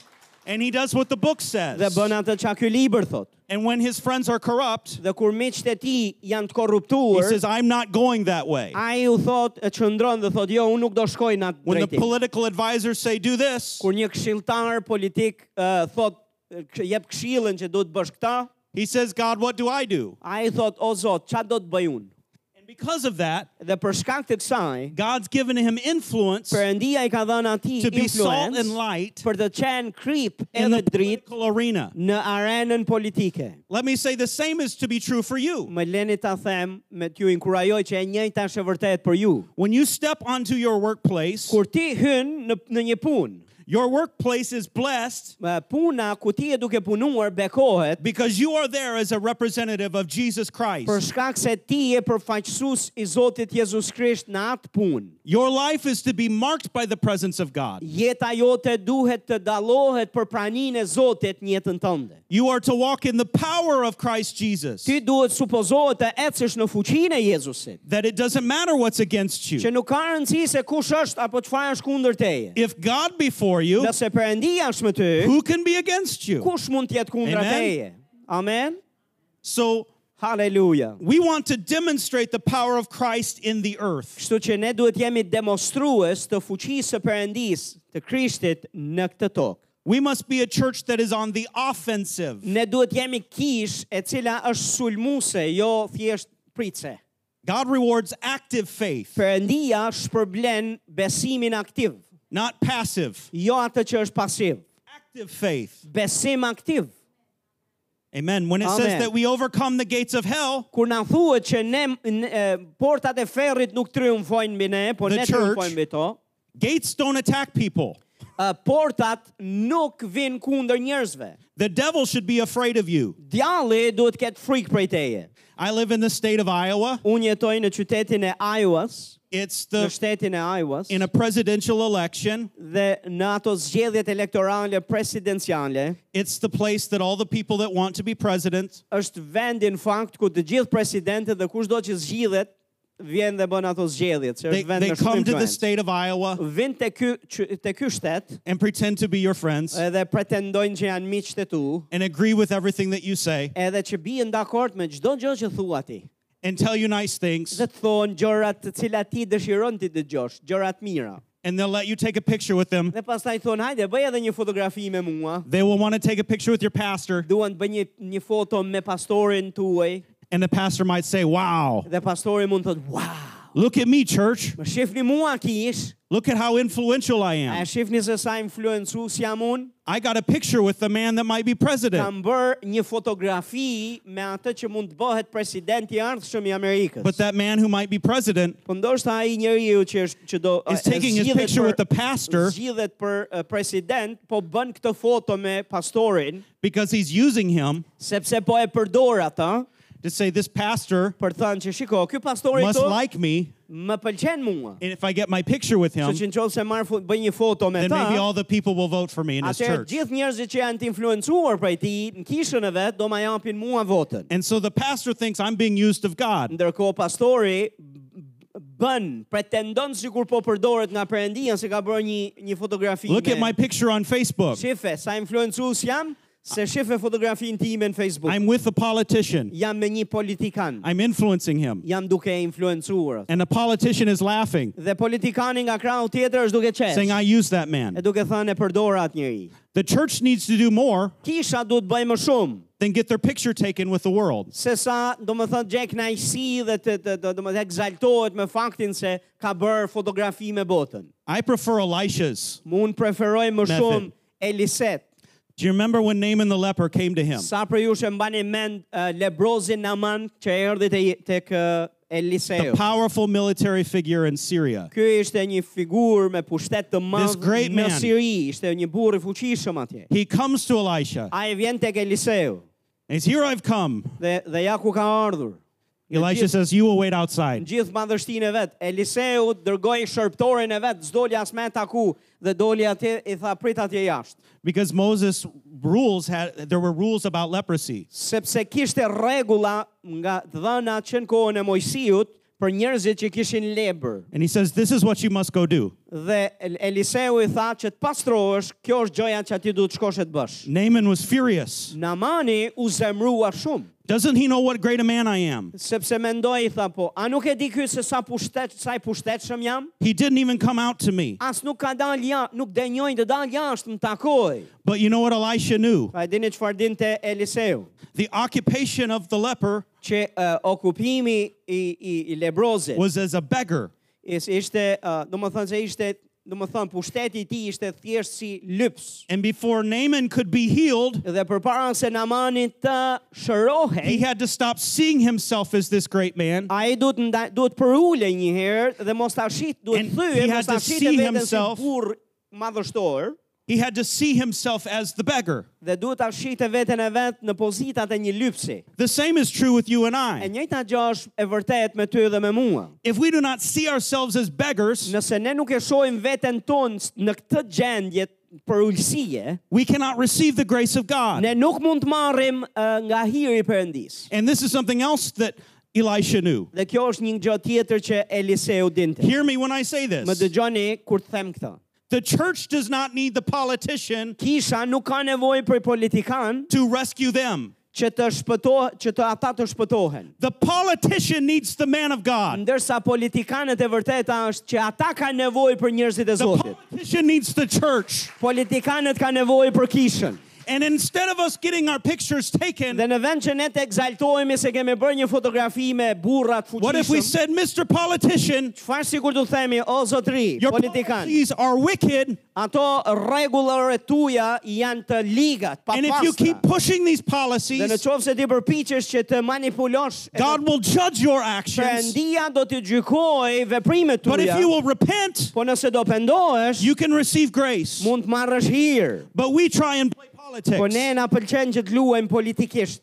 S2: and he does what the book
S1: dhe
S2: says.
S1: bën atë çka ky libër thot.
S2: And when his friends are corrupt,
S1: Dhe kur miqtë e tij janë të
S2: he
S1: korruptuar,
S2: says, I'm not going that way.
S1: ai u thot e çndron dhe thot jo, unë nuk do shkoj në atë
S2: When the
S1: drejtim.
S2: political advisors say, do this,
S1: Kur një këshilltar politik uh, thot e, k- jep këshillën që duhet bësh këtë,
S2: he says, God, what do I do?
S1: ai thot o Zot, ç'a do të bëj unë?
S2: And because of that,
S1: Dhe për shkak të kësaj,
S2: God's given him influence to
S1: Perëndia i ka dhënë atij
S2: be salt and
S1: influencë
S2: light
S1: për të qenë krip
S2: in
S1: edhe
S2: the
S1: dritë
S2: political arena.
S1: në arenën politike.
S2: Let me say the same is to be true for you.
S1: Më leni ta them, me t'ju inkurajoj që e njëjta është e vërtet për ju.
S2: When you step onto your workplace,
S1: Kur ti hyn në, në një punë,
S2: Your workplace is blessed
S1: Më Puna ku ti je duke punuar bekohet
S2: because you are there as a representative of Jesus
S1: për
S2: Christ.
S1: shkak se ti je përfaqësues i Zotit Jezus Krisht në atë punë.
S2: Your life is to be marked by the presence of God.
S1: Jeta jote duhet të dallohet për praninë e Zotit në jetën tënde.
S2: You are to walk in the power of Christ Jesus.
S1: Ti duhet supozohet të ecësh në fuqinë e Jezusit,
S2: That it doesn't matter what's against
S1: që
S2: you.
S1: nuk ka rëndësi se kush është apo çfarë është kundër teje.
S2: If God be for you,
S1: Nëse Perëndia është me ty,
S2: who can be against you?
S1: kush mund të jetë kundër
S2: Amen.
S1: teje? Amen.
S2: So
S1: Halleluja.
S2: we want to demonstrate the power of Christ in the earth.
S1: Kështu që ne duhet jemi demonstrues të fuqisë së Perëndis, të Krishtit në këtë tokë.
S2: We must be a church that is on the offensive.
S1: Ne duhet jemi kish e cila është sulmuese, jo thjesht pritse.
S2: God rewards active faith,
S1: Perëndia shpërblen besimin aktiv,
S2: not passive.
S1: jo atë që është pasiv.
S2: Active faith.
S1: Besim aktiv.
S2: Amen. When it
S1: Amen.
S2: says that we overcome the gates of hell,
S1: Kur na thuhet që ne n, e, portat e ferrit nuk triumfojnë mbi ne, por
S2: The
S1: ne
S2: church-
S1: triumfojnë mbi to.
S2: gates don't attack people.
S1: e, portat nuk vijnë kundër njerëzve.
S2: The devil should be afraid of you.
S1: Djalli duhet ketë frikë prej teje.
S2: I live in the state of Iowa.
S1: Unë jetoj në qytetin e Iowas,
S2: It's
S1: në
S2: the
S1: shtetin e Iowas,
S2: in a presidential election,
S1: dhe në ato zgjedhjet elektorale presidenciale,
S2: it's the place that all the people that want to be president
S1: është vendi në fakt ku të gjithë presidentët dhe kushdo që zgjidhet vjen dhe bën ato zgjedhjet, se
S2: they,
S1: është vend
S2: they
S1: në shumë
S2: come to the
S1: influencë.
S2: state of Iowa
S1: Vin te ky qy- te ky shtet
S2: and pretend to be your friends
S1: edhe pretendojnë që janë miq të tu,
S2: and agree with everything that you say
S1: edhe që bien dakord me çdo gjë që thua ti.
S2: and tell you nice things
S1: Dhe të thonë gjërat të cilat ti dëshiron ti dëgjosh, gjërat mira.
S2: and they'll let you take a picture with them.
S1: Dhe pastaj thonë, hajde, bëj edhe një fotografi me mua.
S2: They will want to take a picture with your pastor
S1: Duan të bëj një, një foto me pastorin tuaj.
S2: and the pastor might say, "Wow,
S1: Dhe pastori mund të thotë, wow,
S2: look at me, church.
S1: më shifni mua kish,
S2: Look at how influential I
S1: a e
S2: am.
S1: shifni se sa influencues jam unë,
S2: I got a picture with the man that might be president."
S1: kam bërë një fotografi me atë që mund të bëhet presidenti i ardhshëm i Amerikës.
S2: But that man who might be president
S1: po ndoshta ai njeriu që është që do
S2: is
S1: e
S2: taking his
S1: zgjidhet
S2: picture
S1: për-
S2: with the pastor
S1: zgjidhet për e, president, po bën këtë foto me pastorin,
S2: because he's using him
S1: sepse po e përdor atë
S2: to say this pastor
S1: për thënë që shiko, ky pastori
S2: must
S1: këtu
S2: like me
S1: më pëlqen mua.
S2: and if I get my picture with him
S1: Kështu që nëse marr fo- bëj një foto me
S2: then
S1: ta,
S2: maybe all the people will vote for me in his
S1: Atëherë
S2: church.
S1: gjithë njerëzit që janë të influencuar prej ti në kishën e vet do ma japin mua votën.
S2: And so the pastor thinks I'm being used of God.
S1: Ndërkohë pastori b- bën, pretendon sikur po përdoret nga Perëndia se ka bërë një një fotografi.
S2: Look at my
S1: me-
S2: picture on Facebook.
S1: Shife, sa influencues jam, se shife fotografinë time në Facebook.
S2: I'm with a politician.
S1: jam me një politikan.
S2: I'm influencing him.
S1: jam duke e influencuar.
S2: And the politician is laughing,
S1: Dhe politikani nga krau tjetër është duke qesh.
S2: saying I use that
S1: E
S2: man.
S1: duke thënë e përdora atë njëri.
S2: The church needs to do more
S1: Kisha duhet bëj më shumë.
S2: than get their picture taken with the world.
S1: se sa, do më thënë, gjek në dhe të, të, të do më thënë, egzaltohet me faktin se ka bërë fotografi me botën.
S2: I prefer Elisha's.
S1: Më unë preferoj më
S2: Method.
S1: shumë Eliset.
S2: Do you remember when Naaman the leper came to him?
S1: Sa për ju shë mbani mend uh, lebrozin në që e erdi të, të kë
S2: The
S1: Eliseu.
S2: powerful military figure in Syria.
S1: Ky ishte një figur me pushtet të
S2: This
S1: madhë
S2: great
S1: në
S2: man.
S1: Siri, ishte një burë i fuqishëm atje.
S2: He comes to Elisha.
S1: A e vjen tek Eliseu
S2: And he's here I've come.
S1: dhe, dhe ja ku ka ardhur.
S2: Elisha says, You will wait outside.
S1: Në gjithë madhështinë e vet, Eliseu dërgoi shërptorin e vet, s'doli as me taku dhe doli atje i tha prit atje jashtë,
S2: Because Moses rules had there were rules about leprosy.
S1: sepse kishte rregulla nga të dhëna që në kohën e Mojsiut për njerëzit që kishin lebër.
S2: And he says, This is what you must go do.
S1: Dhe El- Eliseu i tha që të pastrohesh, kjo është gjoja që ti duhet shkosh e të bësh.
S2: Naaman was furious.
S1: Namani u zemrua shumë,
S2: Doesn't he know what great a man I am?
S1: sepse mendoi i tha po, a nuk e di ky se sa pushtet, sa i pushtetshëm jam?
S2: He didn't even come out to me.
S1: As nuk ka dalë ja, nuk denjojnë të dalë jashtë më takoj.
S2: But you know what Elisha knew?
S1: Pa e dini çfarë dinte Eliseu?
S2: The occupation of the leper
S1: që uh, okupimi i, i, i lebrozit
S2: was as a beggar.
S1: is, ishte, uh, do më thënë se ishte, do më thënë, pushteti i ti ishte thjesht si lyps.
S2: And before Naaman could be healed,
S1: Dhe për para se Namani të
S2: he
S1: shërohej,
S2: had to stop seeing himself as this great man.
S1: a i duhet, nda, duhet për ule një herë dhe mos të ashit, duhet
S2: And
S1: thyje,
S2: he
S1: mos
S2: had
S1: të
S2: to
S1: ashit e vetën
S2: see
S1: si
S2: himself.
S1: burr madhështor,
S2: He had to see himself as the beggar.
S1: dhe duhet ta shite veten e vet në pozitat e një lypsi.
S2: The same is true with you and
S1: E
S2: I.
S1: njëjta gjë është e vërtet me ty dhe me mua.
S2: If we do not see ourselves as beggars,
S1: Nëse ne nuk e shohim veten tonë s- në këtë gjendje për ulësie,
S2: we cannot receive the grace of God.
S1: ne nuk mund të marrim ë, nga hiri i Perëndis.
S2: And this is something else that Elisha knew.
S1: Dhe kjo është një gjë tjetër që Eliseu dinte.
S2: Hear me when I say
S1: Më
S2: this.
S1: dëgjoni kur të them këtë.
S2: The church does not need the politician
S1: Kisha nuk ka nevojë për politikan
S2: to rescue them.
S1: që të shpëtohen, që të ata të shpëtohen.
S2: The politician needs the man of God.
S1: Ndërsa politikanët e vërteta është që ata kanë nevojë për njerëzit e
S2: The po-
S1: Zotit.
S2: politician needs the church.
S1: Politikanët kanë nevojë për kishën.
S2: And instead of us getting our pictures
S1: Dhe
S2: taken,
S1: në vend që ne të egzaltohemi se kemi bërë një fotografi me burrat
S2: what if we
S1: fuqishëm,
S2: said, Mr. Politician,
S1: çfarë sikur të themi, o zotri,
S2: your
S1: politikan,
S2: policies are wicked,
S1: ato rregullore tuaja janë të ligat, pa
S2: and if you keep
S1: pastra.
S2: pushing these
S1: Dhe në
S2: policies,
S1: qovë se ti përpiqesh që të manipulosh, e
S2: God will judge your actions.
S1: Perëndia do të gjykojë veprimet
S2: But if
S1: tuaja.
S2: you will repent,
S1: Po nëse do pendohesh,
S2: you can receive grace.
S1: mund të marrësh hir.
S2: But we try and play
S1: Po
S2: politics.
S1: ne na pëlqen që të luajmë politikisht.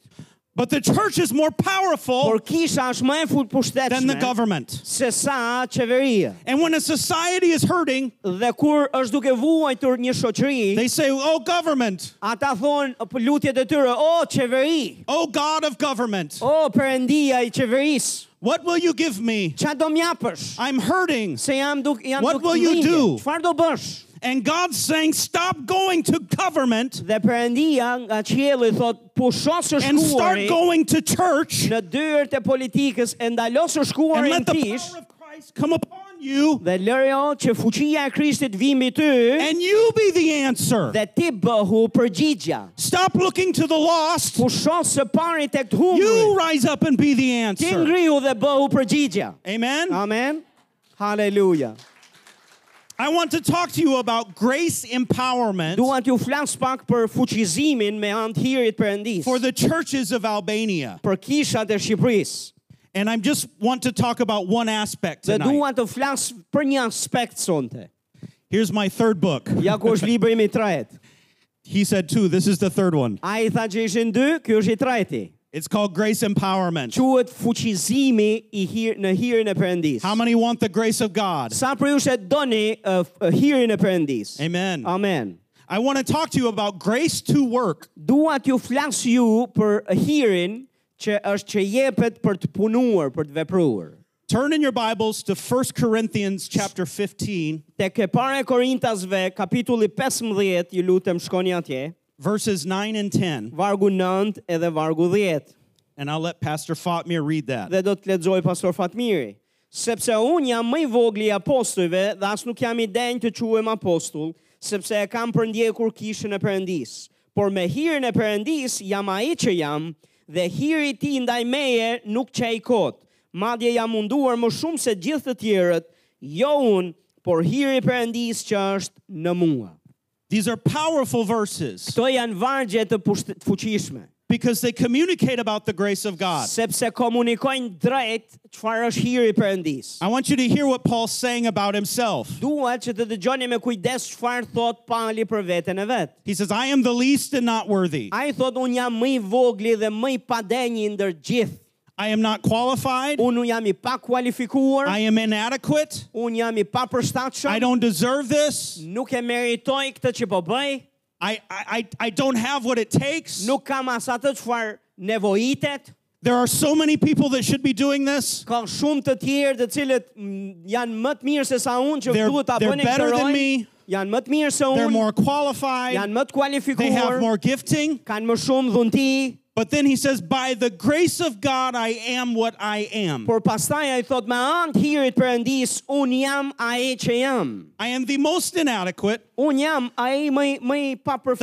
S2: But the church is more powerful
S1: Por kisha është më e futë
S2: than the
S1: pushtetshme
S2: government.
S1: se sa qeveria.
S2: And when a society is hurting,
S1: Dhe kur është duke vuajtur një shoqëri,
S2: they say, Oh, government,
S1: ata thonë për lutjet e tyre, o qeveri,
S2: oh, God of government,
S1: o perëndia i qeverisë,
S2: what will you give me?
S1: ç'a do mjapësh?
S2: I'm hurting.
S1: Se jam duk jam
S2: What
S1: duk
S2: will you
S1: lindje.
S2: do?
S1: Çfarë do bësh?
S2: And God's saying, Stop going to government
S1: Dhe perëndia nga qielli thot, pusho së
S2: and start
S1: shkuari
S2: going to church
S1: në dyert e politikës e ndalo së
S2: and
S1: shkuarin
S2: let the
S1: tish
S2: power of Christ come upon you
S1: dhe lëre o që fuqia e Krishtit vi mbi ty
S2: and you be the answer.
S1: dhe ti bëhu përgjigja.
S2: Stop looking to the lost.
S1: Pusho së pari tek të
S2: You
S1: humri.
S2: rise up and be the
S1: Ti
S2: answer.
S1: ngrihu dhe bëhu përgjigja.
S2: Amen.
S1: Amen. Haleluja.
S2: I want to talk to you about grace empowerment
S1: Dua t'ju flas pak për fuqizimin me anë të hirit Perëndis.
S2: for the churches of Albania.
S1: për kishat e Shqipërisë.
S2: And I just want to talk about one aspect
S1: Dhe
S2: tonight.
S1: dua të flas për një aspekt sonte.
S2: Here's my third book.
S1: Ja ku është libri im i tretë.
S2: He said two. This is the third one.
S1: Ai tha që ishin dy, ky është i treti.
S2: It's called Grace Empowerment.
S1: Quhet fuqizimi i hir në hirin e Perëndis.
S2: How many want the grace of God?
S1: Sa për ju se doni uh, f- uh, hirin e Perëndis.
S2: Amen.
S1: Amen.
S2: I want to talk to you about grace to work.
S1: Dua t'ju flas ju për hirin që është që jepet për të punuar, për të vepruar.
S2: Turn in your Bibles to 1 Corinthians chapter 15,
S1: Tek e para e Korintasve, kapitulli 15, ju lutem shkoni atje,
S2: verses 9 and 10.
S1: vargu 9 edhe vargu 10.
S2: And I'll let Pastor Fatmir read that.
S1: Dhe do të lexoj pastor Fatmiri, sepse unë jam më i vogli i apostujve dhe as nuk jam i denjë të quhem apostull, sepse e kam përndjekur kishën e Perëndis. Por me hirën e Perëndis jam ai që jam dhe hiri i tij ndaj meje nuk çaj kot. Madje jam munduar më shumë se gjithë të tjerët, jo unë, por hiri i Perëndis që është në mua.
S2: These are powerful verses.
S1: Këto janë vargje të pusht- të fuqishme,
S2: because they communicate about the grace of God.
S1: sepse komunikojnë drejt çfarë është hiri i Perëndis.
S2: I want you to hear what Paul's saying about himself.
S1: Dua që të dëgjoni me kujdes çfarë thot Pauli për veten e vet.
S2: He says, I am the least and not worthy.
S1: Ai thot un jam më i vogli dhe më i padenjë ndër gjithë.
S2: I am not qualified.
S1: Unë jam i pa kualifikuar,
S2: I am inadequate.
S1: unë jam i pa
S2: I
S1: përshtatshëm,
S2: don't deserve this.
S1: nuk e meritoj këtë që po bëj,
S2: I, I, I, I don't have what it takes.
S1: nuk kam as atë çfarë nevojitet.
S2: There are so many people that should be doing this.
S1: Ka shumë të tjerë të cilët mm, janë më të mirë se sa unë që
S2: They're-
S1: duhet ta
S2: they're
S1: bëni këtë
S2: better than
S1: rol.
S2: me.
S1: Janë më të mirë se
S2: They're
S1: unë,
S2: more qualified.
S1: janë më të
S2: They have
S1: kualifikuar,
S2: more gifting.
S1: kanë më shumë dhunti,
S2: But then he says, By the grace of God, I am what I am.
S1: Por pastaj ai thot me anë të hirit Perëndis, un jam ai që jam.
S2: I am the most inadequate,
S1: Un jam ai më i- më i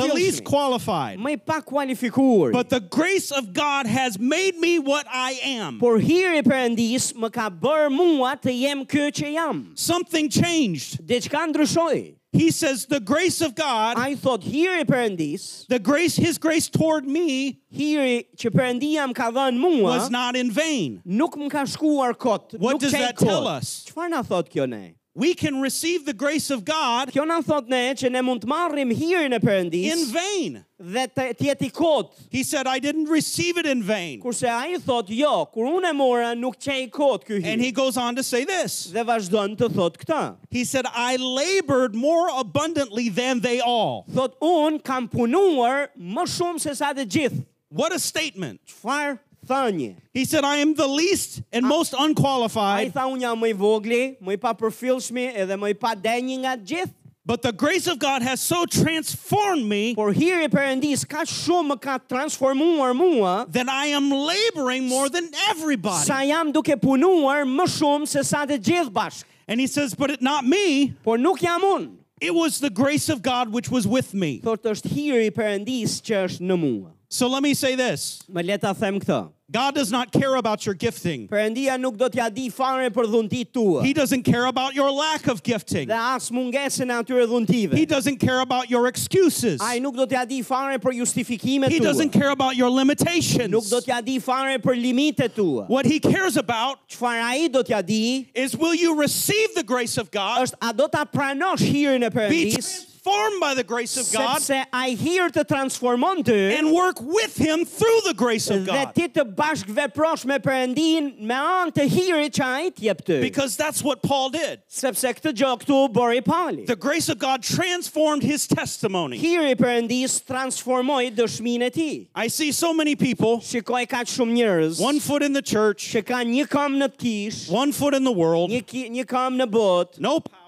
S2: the least
S1: papërfillshëm,
S2: qualified.
S1: më i pa kualifikuar.
S2: But the grace of God has made me what I am.
S1: Por hiri i Perëndis më ka bërë mua të jem ky që jam.
S2: Something changed.
S1: Diçka ndryshoi.
S2: He says, The grace of God,
S1: Ai thot hiri i Perëndis,
S2: the grace, His grace toward me
S1: hiri që Perëndia më ka dhënë mua,
S2: was not in vain.
S1: nuk më ka shkuar kot,
S2: What
S1: nuk
S2: does
S1: qej
S2: that
S1: kot.
S2: tell us?
S1: Çfarë na thot kjo ne?
S2: we can receive the grace of God
S1: Kjo na thot ne që ne mund të marrim hirin e
S2: in
S1: Perëndis
S2: vain.
S1: dhe të të jeti kot.
S2: He said, I didn't receive it in vain.
S1: Kurse ai thot, jo, kur unë e mora nuk çej kot ky
S2: And
S1: hir.
S2: he goes on to say this
S1: Dhe vazhdon të thot këtë.
S2: He said, I labored more abundantly than they all.
S1: Thot unë kam punuar më shumë se sa të gjithë.
S2: What a statement.
S1: Çfarë thënie?
S2: He said, I am the least and most
S1: Ai
S2: unqualified,
S1: tha unë jam më i vogli, më i papërfillshmi edhe më i pa denjë nga të gjithë.
S2: but the grace of God has so transformed me
S1: Por hiri i Perëndis ka shumë më ka transformuar mua
S2: that I am laboring more than everybody.
S1: sa jam duke punuar më shumë se sa të gjithë bashkë.
S2: And he says, But it not me,
S1: Por nuk jam unë.
S2: it was the grace of God which was with me.
S1: Thot është hiri i Perëndis që është në mua.
S2: So let me say this
S1: Më le ta them këtë.
S2: God does not care about your gifting,
S1: Perëndia nuk do t'ja di fare për dhuntit tua.
S2: He doesn't care about your lack of gifting,
S1: Dhe as mungesën e atyre
S2: He
S1: dhuntive.
S2: doesn't care about your excuses,
S1: Ai nuk do t'ja di fare për justifikimet
S2: He doesn't
S1: tua.
S2: care about your
S1: Nuk
S2: limitations.
S1: do t'ja di fare për limitet tua.
S2: What He cares about
S1: Çfarë ai do t'ja di
S2: is will you receive the grace of God,
S1: është a do ta pranosh hirin e
S2: be
S1: Perëndis,
S2: transformed by the grace of God,
S1: sepse ai hir të transformon ty
S2: and work with Him through the grace of
S1: dhe
S2: God.
S1: ti të bashkëveprosh me Perëndin me anë të hirit që ai t'jep ty.
S2: Because that's what Paul did.
S1: Sepse këtë gjë këtu bëri Pali.
S2: The grace of God transformed his testimony.
S1: Hiri i Perëndis transformoi dëshminë e tij.
S2: I see so many people,
S1: Shikoj kaq shumë njerëz
S2: one foot in the church,
S1: që kanë një kam në të kish,
S2: one foot in the world,
S1: një ki, një kam në botë
S2: no power,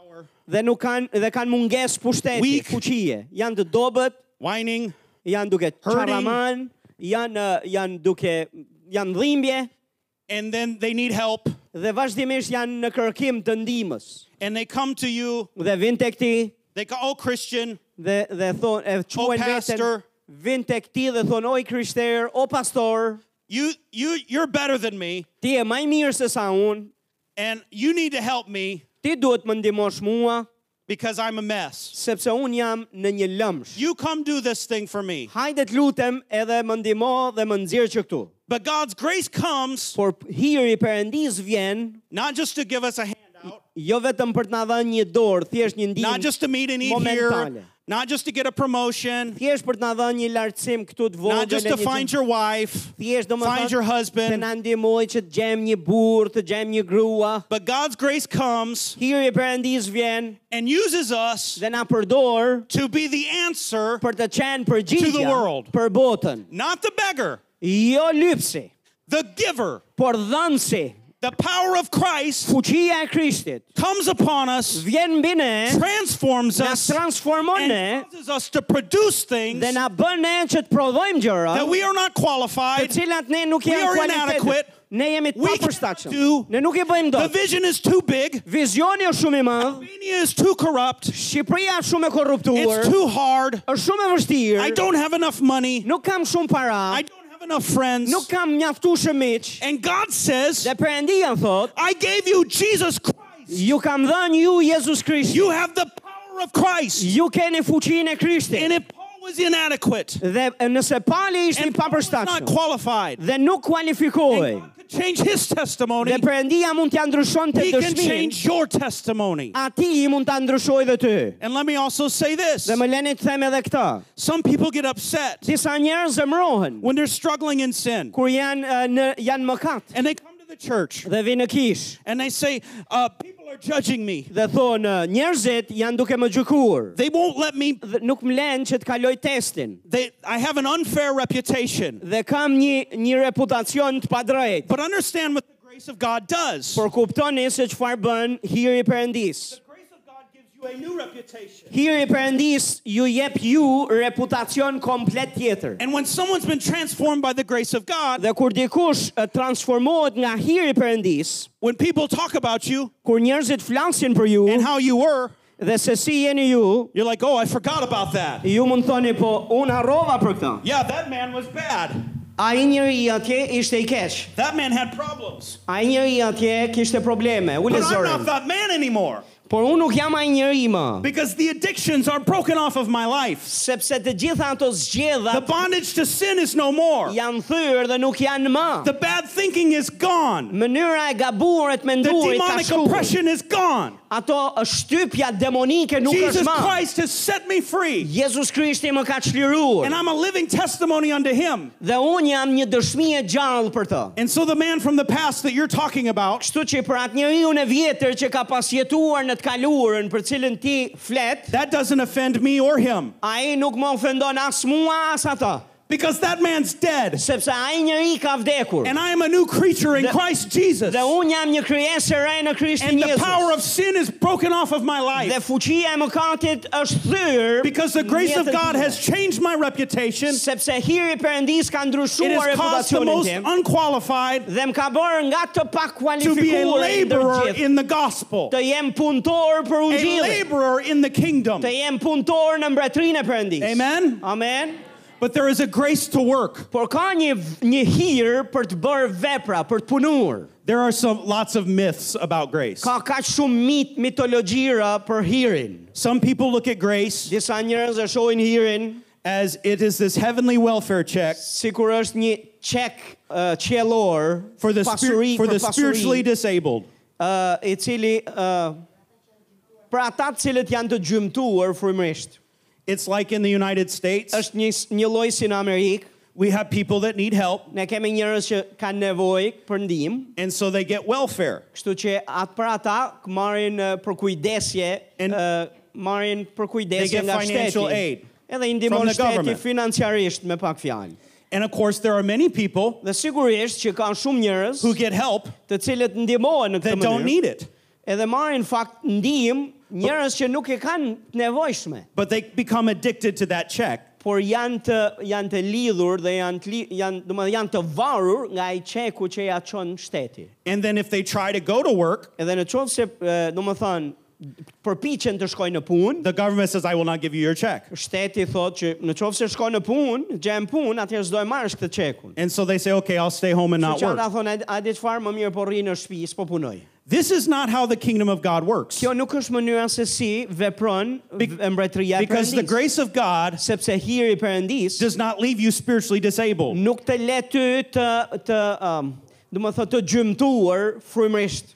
S1: dhe nuk kanë dhe kanë mungesë pushteti,
S2: Weak.
S1: fuqie. Janë të dobët,
S2: whining,
S1: janë duke
S2: Hurting.
S1: çarraman, janë ë, janë duke janë dhimbje
S2: and then they need help,
S1: dhe vazhdimisht janë në kërkim të ndihmës.
S2: and they come to you.
S1: Dhe vin tek ti
S2: They go, oh, Christian,
S1: dhe dhe thon e quajnë veten
S2: pastor.
S1: vin tek ti dhe thon oj krishter, o pastor,
S2: you, you, you're better than me,
S1: ti je më i mirë se sa unë.
S2: and you need to help me
S1: Ti duhet më ndihmosh mua
S2: because I'm a mess.
S1: sepse un jam në një lëmsh.
S2: You come do this thing for me.
S1: Hajde të lutem edhe më ndihmo dhe më nxjerr që këtu.
S2: But God's grace comes
S1: Por hiri i Perëndis vjen
S2: not just to give us a handout,
S1: jo vetëm për të na dhënë një dorë, thjesht një
S2: not
S1: ndihmë,
S2: just to meet and eat here,
S1: Momentale.
S2: not just to get a promotion,
S1: thjesht për të na dhënë një lartësim këtu të vogël.
S2: not just
S1: e
S2: to
S1: një
S2: find
S1: gjë-
S2: your wife,
S1: thjesht
S2: find
S1: domethënë të
S2: your husband.
S1: na ndihmoj që të gjem një burr, të gjem një grua.
S2: But God's grace comes
S1: Hiri i Perëndis vjen
S2: and uses us
S1: dhe na përdor
S2: to be the answer,
S1: për të qenë përgjigje
S2: world.
S1: për botën.
S2: not the beggar,
S1: Jo lypsi,
S2: the giver.
S1: por dhënësi,
S2: The power of Christ
S1: fuqia e Krishtit
S2: comes upon us,
S1: vjen mbi ne,
S2: transforms
S1: na
S2: us,
S1: transformon ne
S2: and causes us to produce things
S1: dhe na bën ne që të prodhojmë gjëra
S2: that we are not
S1: të
S2: qualified.
S1: cilat ne nuk
S2: We
S1: jemi
S2: are inadequate.
S1: kualitetet. Ne jemi të
S2: We
S1: papërshtatshëm.
S2: cannot do-
S1: Ne nuk e bëjmë
S2: The
S1: dot.
S2: vision is too big.
S1: Vizioni është shumë i madh.
S2: Albania is too corrupt.
S1: Shqipëria është shumë e korruptuar.
S2: It's too hard.
S1: Është shumë e
S2: I
S1: vështirë.
S2: don't have enough money.
S1: Nuk kam shumë para.
S2: I don't have enough friends.
S1: Nuk kam mjaftueshëm miq.
S2: And God says,
S1: Dhe Perëndia më thot,
S2: I gave you Jesus Christ.
S1: ju kam dhënë ju Jezus Krishtin.
S2: You have the power of Christ.
S1: Ju keni fuqinë e
S2: And
S1: Krishtit.
S2: if Paul was inadequate
S1: Dhe nëse Pali ishte i
S2: and Paul was not
S1: papërshtatshëm
S2: qualified,
S1: dhe nuk kualifikoi,
S2: God could change his
S1: dhe
S2: testimony.
S1: Perëndia mund t'ja ndryshonte
S2: He can
S1: dëshminë,
S2: change your testimony.
S1: ati i mund ta ndryshojë dhe ty.
S2: And let me also say this
S1: Dhe më leni të them edhe këtë.
S2: some people get upset
S1: Disa njerëz zemrohen
S2: when they're struggling in sin
S1: kur janë eh, në janë mëkat
S2: and they come to the church
S1: dhe vinë në kish
S2: and they say, uh, People are judging me.
S1: dhe thonë eh, njerëzit janë duke më gjykuar.
S2: They won't let me,
S1: Dhe nuk më lenë që të kaloj testin
S2: they, I have an unfair reputation.
S1: dhe kam një një reputacion të padrejtë.
S2: But understand what the grace of God does. The
S1: Por kuptoni se çfarë bën hiri i Perëndis.
S2: grace of God gives you a new reputation.
S1: Hiri i Perëndis ju jep ju reputacion komplet tjetër.
S2: And when someone's been transformed by the grace of God,
S1: Dhe kur dikush eh, transformohet nga hiri i Perëndis,
S2: when people talk about you
S1: kur njerëzit flasin për ju
S2: and how you were,
S1: dhe se si jeni ju,
S2: you're like, oh, I forgot about that.
S1: Ju mund thoni po unë harrova për këtë.
S2: Yeah, that man was bad.
S1: Ai njeri atje ishte i keq.
S2: That man had problems.
S1: Ai njeri atje kishte probleme, u
S2: But I'm not
S1: lezorën.
S2: that man anymore
S1: Por unë nuk jam ai njeri më,
S2: because the addictions are broken off of my life.
S1: sepse të gjitha ato
S2: The
S1: zgjedha
S2: bondage to sin is no more.
S1: janë thyrë dhe nuk janë më.
S2: The bad thinking is gone.
S1: Mënyra e gabuar e të
S2: The
S1: menduarit ka
S2: demonic
S1: shkuar.
S2: oppression is gone.
S1: Ato është shtypja demonike nuk
S2: Jesus
S1: është ma.
S2: Christ has set me free,
S1: Jezus Krishti më ka çliruar
S2: and I'm a living testimony unto him.
S1: dhe unë jam një dëshmi e gjallë për të.
S2: And so the man from the past that you're talking about,
S1: Kështu që për atë njeriu në vjetër që ka pasjetuar në të kaluarën për cilën ti flet,
S2: that doesn't offend me or him
S1: ai nuk më ofendon as mua as ata,
S2: because that man's dead.
S1: sepse ai njeriu ka vdekur.
S2: And I am a new creature in Christ Jesus.
S1: Dhe unë jam një krijesë e re në
S2: And
S1: Krishtin
S2: the power
S1: Jezus.
S2: of sin is broken off of my
S1: Dhe
S2: life
S1: fuqia e mëkatit është thyrë
S2: because the grace of
S1: në jetën
S2: God
S1: time.
S2: has changed my reputation.
S1: sepse hiri i Perëndis ka
S2: It
S1: ndryshuar
S2: has caused the
S1: reputacionin
S2: most
S1: tim
S2: unqualified
S1: dhe më ka bërë nga të
S2: to be a
S1: pakualifikuar e
S2: laborer
S1: ndërgjithë.
S2: in the gospel,
S1: Të jem punëtor për
S2: a
S1: ungjillin,
S2: laborer in the kingdom.
S1: të jem punëtor në mbretërinë e Perëndis.
S2: Amen?
S1: Amen.
S2: But there is a grace to work.
S1: Por ka një një hir për të bërë vepra, për të punuar.
S2: There are some lots of myths about grace.
S1: Ka kaq shumë mit, mitologjira për hirin.
S2: Some people look at grace
S1: Disa njerëz e shohin hirin
S2: as it is this heavenly welfare check
S1: sikur është një çek uh, qiellor
S2: for the
S1: pasuri
S2: spirit for the
S1: pasuri,
S2: spiritually disabled.
S1: ë, i cili ë, për ata të cilët janë të gjymtuar frymërisht.
S2: It's like in the United States,
S1: Është një një lloj si në Amerikë,
S2: we have people that need help
S1: ne kemi njerëz që kanë nevojë për ndihmë,
S2: and so they get welfare.
S1: kështu që atë për ata k- marrin ë, për kujdesje,
S2: And-
S1: ë, marrin për
S2: They
S1: kujdesje
S2: get
S1: nga shteti.
S2: financial aid
S1: edhe i
S2: from
S1: ndihmon
S2: the
S1: shteti
S2: government.
S1: financiarisht me pak fjalë.
S2: And of course there are many people
S1: Dhe sigurisht që kanë shumë njerëz
S2: who get help
S1: të cilët ndihmohen në këtë
S2: that don't
S1: mënyrë,
S2: need it,
S1: edhe marrin fakt ndihmë njerëz që nuk e kanë të nevojshme.
S2: but they become addicted to that check.
S1: por janë të janë të lidhur dhe janë të li, janë domethënë janë të varur nga ai çeku që ja çon shteti.
S2: And then if they try to go to work,
S1: Edhe në qovë se e, domethënë përpiqen të shkojnë në punë,
S2: the government says I will not give you your check.
S1: shteti thotë që në qovë se shkojnë në punë, gjem punë, atëherë s'do e marrësh këtë çekun.
S2: And so they say, "Okay, I'll stay home and not
S1: Që ata
S2: work."
S1: thonë, a di çfarë më mirë po rri në shtëpi, s'po punoj.
S2: This is not how the kingdom of God works.
S1: Kjo nuk është mënyra se si vepron
S2: Be-
S1: v- mbretëria e
S2: Because the
S1: Perëndis,
S2: grace of God
S1: sepse hiri i Perëndis
S2: does not leave you spiritually disabled.
S1: nuk të le ty të të um, domethënë të gjymtuar frymërisht.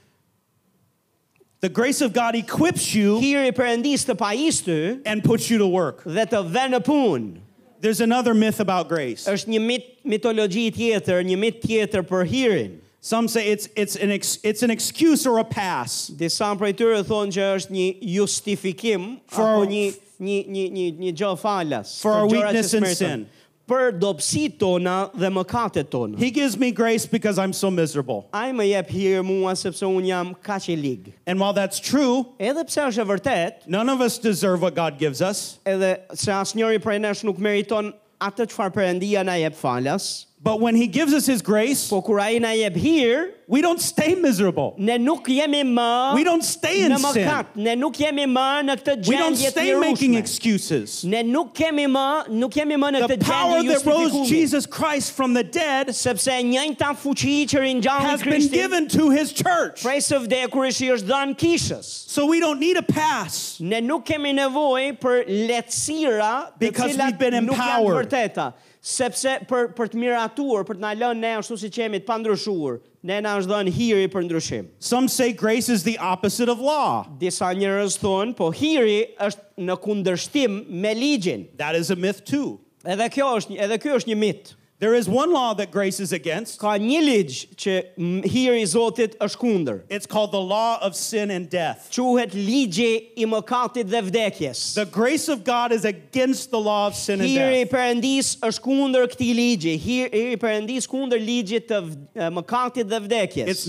S2: The grace of God equips you
S1: hiri përëndis të pajis ty
S2: and puts you to work.
S1: dhe të dhe në punë.
S2: There's another myth about grace.
S1: është një mit, mitologji tjetër, një mit tjetër për hirin.
S2: Some say it's it's an ex, it's an excuse or a pass
S1: Disa prej tyre thonë që është një justifikim
S2: For
S1: apo
S2: our-
S1: një një një një një gjë falas
S2: For our
S1: për gjërat që
S2: weakness and
S1: smerton.
S2: sin.
S1: Për dobësitë tona dhe mëkatet tona.
S2: He gives me grace because I'm so miserable.
S1: Ai më jep hir mua sepse un jam kaq i lig.
S2: And while that's true,
S1: Edhe pse është e vërtet,
S2: none of us deserve what God gives us,
S1: edhe se asnjëri prej nesh nuk meriton atë çfarë Perëndia na jep falas,
S2: but when he gives us his grace,
S1: po kur ai na jep hir,
S2: we don't stay miserable.
S1: Ne nuk jemi më
S2: We don't stay in
S1: në
S2: sin.
S1: mëkat, ne nuk jemi më në këtë
S2: We don't
S1: gjendje të
S2: stay making
S1: rrushme.
S2: excuses.
S1: Ne nuk kemi më, nuk jemi më në
S2: The
S1: këtë
S2: power
S1: gjendje
S2: that rose
S1: justifikumi,
S2: Jesus Christ from the dead
S1: sepse njëjta fuqi që ringjalli
S2: has been
S1: Krishtin
S2: given to his church.
S1: prej së vdekurit i është dhënë kishës.
S2: So we don't need a pass.
S1: Ne nuk kemi nevojë për lehtësira të
S2: Because we've
S1: cilat
S2: been
S1: nuk janë
S2: empowered.
S1: vërteta, sepse për për të miratuar, për të na lënë ne ashtu siç jemi të pandryshuar, ne na është dhënë hiri për ndryshim.
S2: Some say grace is the opposite of law.
S1: Disa njerëz thonë, po hiri është në kundërshtim me ligjin.
S2: That is a myth too.
S1: Edhe kjo është edhe ky është një mit.
S2: There is one law that grace is against.
S1: Ka një ligj që m- hiri i Zotit është kundër.
S2: It's called the law of sin and death.
S1: Quhet ligji i mëkatit dhe vdekjes.
S2: The grace of God is against the law of sin and
S1: Hiri i
S2: death.
S1: Perëndis është kundër këtij ligji. Hiri i Perëndis kundër ligjit të vd- e, mëkatit dhe
S2: It's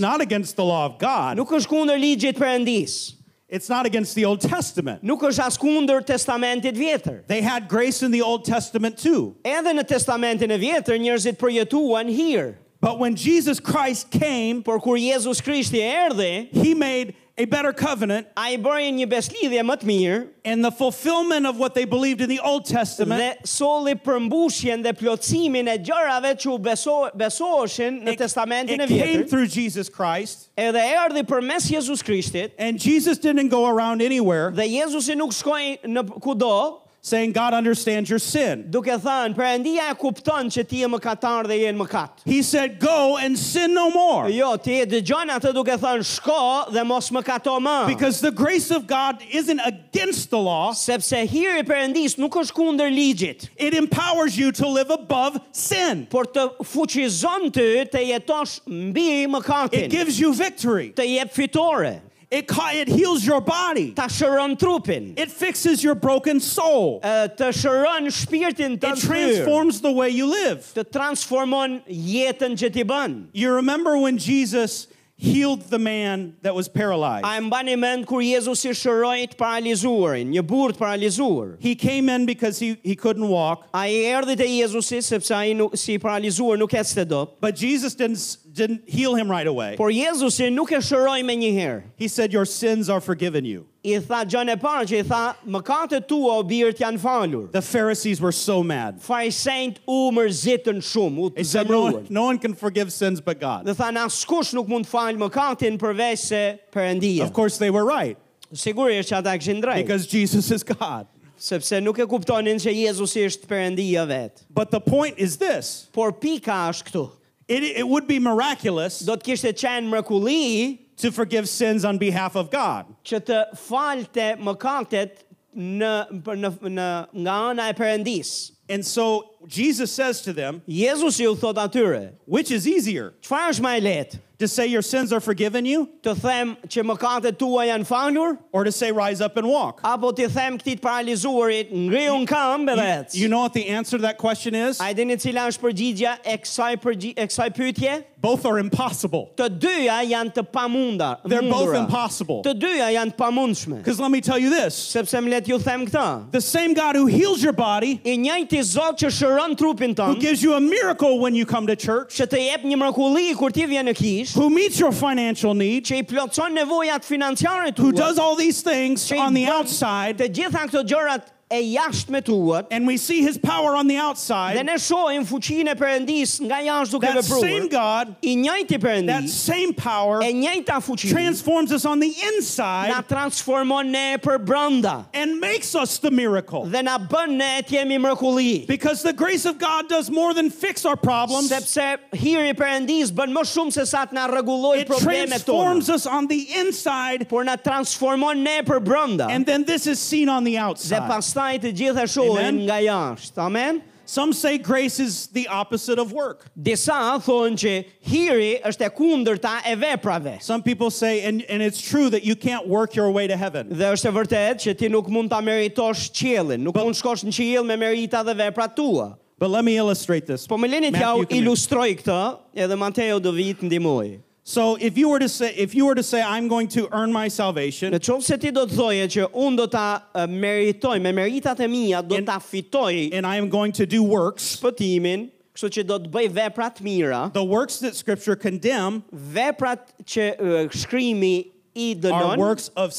S1: vdekjes.
S2: not against the law of God.
S1: Nuk është kundër ligjit Perëndis.
S2: It's not against the Old Testament.
S1: Nuk është as kundër Testamentit vjetër.
S2: They had grace in the Old Testament too.
S1: Edhe në Testamentin e vjetër njerëzit përjetuan hir.
S2: But when Jesus Christ came,
S1: Por kur Jezus Krishti erdhi,
S2: he made a better covenant,
S1: a i bëri një beslidhje më të mirë
S2: and the fulfillment of what they believed in the Old
S1: dhe
S2: Testament
S1: solli përmbushjen dhe plotësimin e gjërave që u beso, besoheshin në
S2: it-
S1: testamentin e
S2: it came
S1: vjetër.
S2: through Jesus Christ.
S1: Edhe erdhi përmes Jezus Krishtit
S2: And Jesus didn't go around anywhere
S1: dhe Jezusi nuk shkoi në kudo
S2: saying, God understands your sin.
S1: duke thënë, Perëndia e kupton që ti je mëkatar dhe je në mëkat.
S2: He said, Go and sin no more.
S1: Jo, ti e dëgjon atë duke thënë, shko dhe mos mëkato më.
S2: Because the grace of God isn't against the law,
S1: sepse hiri i Perëndis nuk është kundër ligjit,
S2: it empowers you to live above sin.
S1: por të fuqizon ty të jetosh mbi
S2: It
S1: mëkatin,
S2: gives you victory,
S1: të jep fitore,
S2: it, ca- it heals your body,
S1: ta shëron trupin,
S2: it fixes your broken soul,
S1: ë, të shëron shpirtin të
S2: it transforms the way you live.
S1: të transformon jetën që ti bën.
S2: You remember when Jesus healed the man that was
S1: A
S2: paralyzed?
S1: e mbani mend kur Jezusi shëroi të paralizuarin, një burr të paralizuar.
S2: He came in because he, he couldn't walk,
S1: Ai erdhi te Jezusi sepse ai nuk si i paralizuar nuk ecte dot.
S2: but Jesus didn't, s- didn't heal him right away.
S1: Por Jezusi nuk e shëroi me një herë.
S2: He said, Your sins are forgiven you.
S1: I tha gjën e parë që i tha, mëkatet tua o birt janë falur.
S2: The Pharisees were so mad.
S1: farisejt u mërzitën shumë, u
S2: He
S1: të
S2: said, no one,
S1: zemruan.
S2: no one can forgive sins but God.
S1: Dhe thanë askush nuk mund falë mëkatin përveç se Perëndia.
S2: Of course, they were right
S1: Sigurisht që ata kishin drejt,
S2: because Jesus is God.
S1: sepse nuk e kuptonin se Jezusi është Perëndia vet.
S2: But the point is this
S1: Por pika është këtu.
S2: it, it would be miraculous
S1: Do të kishte qenë mrekulli
S2: to forgive sins on behalf of God.
S1: që të falte mëkatet në, për- në, në nga ana e Perëndis.
S2: And so Jesus says to them,
S1: Jezusi u thot atyre,
S2: Which is easier,
S1: çfarë është më e lehtë?
S2: to say your sins are forgiven you
S1: Të them që mëkatet tua janë falur
S2: or to say rise up and walk?
S1: apo ti them këtij të paralizuarit ngriu në këmbë dhe ec?
S2: You know what the answer to that question is?
S1: A e dini cila është përgjigja e kësaj përgji- e kësaj pyetje?
S2: Both are impossible.
S1: Të dyja janë të pamunda.
S2: They're both
S1: mundura.
S2: impossible.
S1: Të dyja janë të pamundshme.
S2: Because let me tell you this
S1: Sepse më let ju them këtë.
S2: the same God who heals your body,
S1: I njëjti Zot që shëron trupin
S2: who
S1: tënd,
S2: gives you a miracle when you come to church,
S1: që të jep një mrekulli kur ti vjen në kish,
S2: who meets your financial need,
S1: që i plotson nevojat financiare
S2: who
S1: tua,
S2: does all these things
S1: Shame
S2: on the
S1: God.
S2: outside,
S1: të gjitha këto gjërat e jashtme tuat,
S2: and we see his power on the
S1: dhe
S2: outside,
S1: ne shohim fuqinë e Perëndis nga jashtë duke
S2: that same
S1: vepruar.
S2: God,
S1: I njëjti
S2: that
S1: Perëndi,
S2: same power
S1: e njëjta fuqi,
S2: transforms us on the
S1: na
S2: inside
S1: transformon ne për brenda.
S2: and makes us the miracle.
S1: dhe na bën ne të jemi mrekulli.
S2: Because the grace of God does more than fix our problems,
S1: Sepse hiri i Perëndis bën më shumë se sa të na rregulloj
S2: it
S1: problemet tona,
S2: transforms us on the inside,
S1: por na transformon ne për brenda.
S2: and then this is seen on the
S1: Dhe
S2: outside.
S1: pastaj të gjitha shohin
S2: Amen.
S1: nga jashtë. Amen.
S2: Some say grace is the opposite of work.
S1: Disa thonë që hiri është e kundërta e veprave.
S2: Some people say, and, and it's true that you can't work your way to heaven.
S1: Dhe është e vërtetë që ti nuk mund ta meritosh qiellin, nuk
S2: Po-
S1: mund shkosh në qiell me merita dhe veprat tua.
S2: But let me illustrate this.
S1: Po më lini t'ja
S2: Matthew, come here.
S1: ilustroj këtë, edhe Mateo do vi të ndihmoj.
S2: So if you were to say if you were to say I'm going to earn my salvation
S1: Në qovë se ti do të thoje që unë do ta eh, meritoj, me meritat e mia do
S2: In-
S1: ta fitoj
S2: and I am going to do works,
S1: shpëtimin, kështu që do të bëj vepra të mira,
S2: the works that scripture condemn
S1: veprat që eh, shkrimi i
S2: are
S1: dënon
S2: works of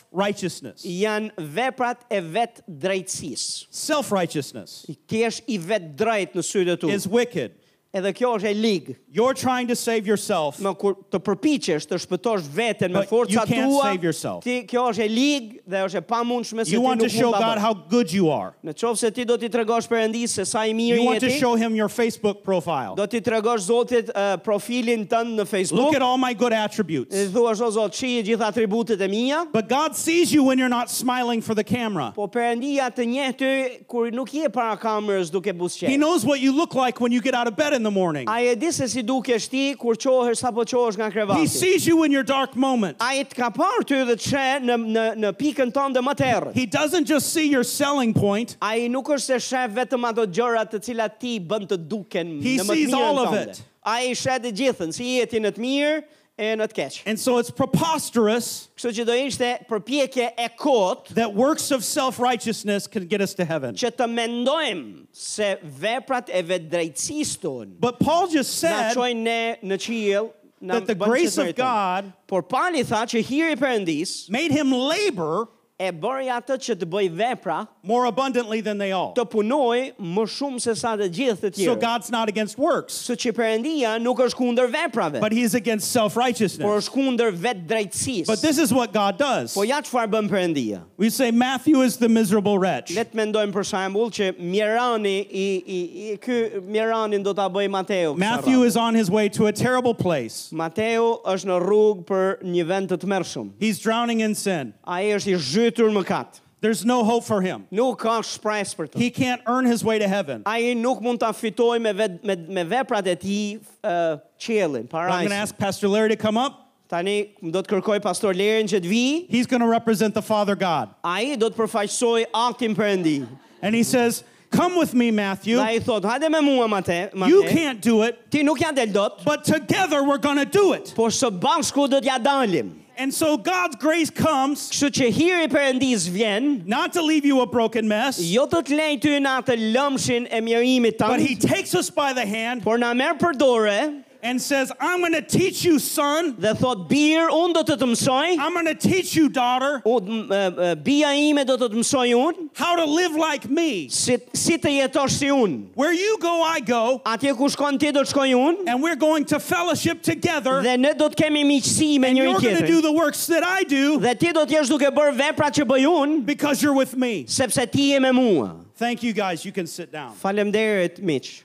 S2: self-righteousness.
S1: janë veprat e vetë drejtësisë.
S2: Self-righteousness
S1: Ti je i vetë drejt në sytë tu.
S2: is wicked.
S1: Edhe kjo është e ligë.
S2: You're trying to save yourself.
S1: Më kur të përpiqesh të shpëtosh veten me
S2: But
S1: forca
S2: you can't
S1: tua,
S2: save yourself.
S1: ti kjo është e ligë dhe është e pamundshme se
S2: You
S1: ti
S2: want to
S1: nuk
S2: show
S1: mund ta
S2: God
S1: bësh.
S2: how good you are.
S1: Në qovë se ti do t'i tregosh Perëndisë se sa i mirë
S2: You want to
S1: jeti,
S2: show him your Facebook profile.
S1: Do t'i tregosh Zotit eh, profilin tënd në Facebook.
S2: Look at all my good attributes.
S1: Dhe thua "O Zot, shih gjithë atributet e mia."
S2: But God sees you when you're not smiling for the camera.
S1: Po Perëndia të njeh ty kur nuk je para kamerës duke
S2: He
S1: buzqeq.
S2: knows what you look like when you get out of bed in the morning.
S1: Ai e di se si dukesh ti kur qohesh sapo qohesh nga
S2: He
S1: krevati.
S2: sees you in your dark moment.
S1: Ai të ka parë ty dhe të sheh në në në pikën tënde më tërë.
S2: He doesn't just see your selling point,
S1: Ai nuk është se sheh vetëm ato gjëra të cilat ti bën të duken
S2: He
S1: në më të
S2: sees all
S1: mirën
S2: of
S1: tënde.
S2: it.
S1: Ai sheh të gjithën, si jeti në të mirë e në të keq.
S2: and so it's preposterous
S1: Kështu që do ishte përpjekje e kotë
S2: that works of self righteousness can get us to heaven.
S1: që të mendojmë se veprat e vetëdrejtësisë tonë
S2: But Paul just
S1: na
S2: said
S1: çojnë ne në qiell, na
S2: that the
S1: bën që
S2: grace
S1: të
S2: of
S1: meritojmë.
S2: God
S1: Por Pali tha që hiri i Perëndis
S2: made him labor
S1: e bëri atë që të bëj vepra,
S2: more abundantly than they all.
S1: të punoj më shumë se sa të gjithë të
S2: So
S1: tjerë.
S2: God's not against works,
S1: Kështu që Perëndia nuk është kundër veprave,
S2: but He's against self
S1: por
S2: righteousness.
S1: është kundër vetëdrejtësisë.
S2: But this is what God does.
S1: Po ja çfarë bën Perëndia?
S2: We say Matthew is the miserable wretch.
S1: Le të mendojmë për shembull që Mirani i i, i ky Miranin do ta bëj Mateu. kësa
S2: Matthew
S1: radhë.
S2: is on his way to a terrible place.
S1: Mateu është në rrugë për një vend të tmerrshëm.
S2: He's drowning in sin.
S1: Ai është i zhytur në kat.
S2: There's no hope for him.
S1: Nuk ka shpresë për të.
S2: He can't earn his way to heaven.
S1: Ai nuk mund ta fitojë me, vet- me me veprat e tij uh, qiellin,
S2: I'm going to
S1: parajsin.
S2: ask Pastor Larry to come up.
S1: Tani do të kërkoj pastor Lerin që të vi,
S2: He's going to represent the Father God.
S1: ai do të përfaqësoj aktin Perëndi.
S2: And he says, Come with me, Matthew.
S1: Dhe ai thot, hajde me mua Mate,
S2: You
S1: Mate.
S2: can't do it,
S1: Ti nuk ja del dot,
S2: but together we're going to do it.
S1: po së bashku do t'ja dalim.
S2: And so God's grace comes
S1: Kështu që hiri i Perëndis vjen,
S2: not to leave you a broken mess,
S1: jo të të lejë ty në atë lëmshin e mjerimit
S2: but
S1: tanë,
S2: He takes us by the hand
S1: por na merr për dorë
S2: and says, I'm going to teach you, son.
S1: dhe thot bir, unë do të të mësoj.
S2: I'm going to teach you, daughter,
S1: U, m- e, e, bia ime do të të mësoj unë,
S2: how to live like me.
S1: si, si të jetosh si unë.
S2: Where you go, I go,
S1: Atje ku shkon ti do të shkoj unë,
S2: and we're going to fellowship together.
S1: dhe ne do të kemi miqësi me njëri
S2: You're going to
S1: tjetrin.
S2: do the works that I do
S1: Dhe ti do të jesh duke bërë veprat që bëj unë,
S2: because you're with me.
S1: sepse ti je me mua.
S2: Thank you, guys. You can sit down.
S1: Faleminderit miq.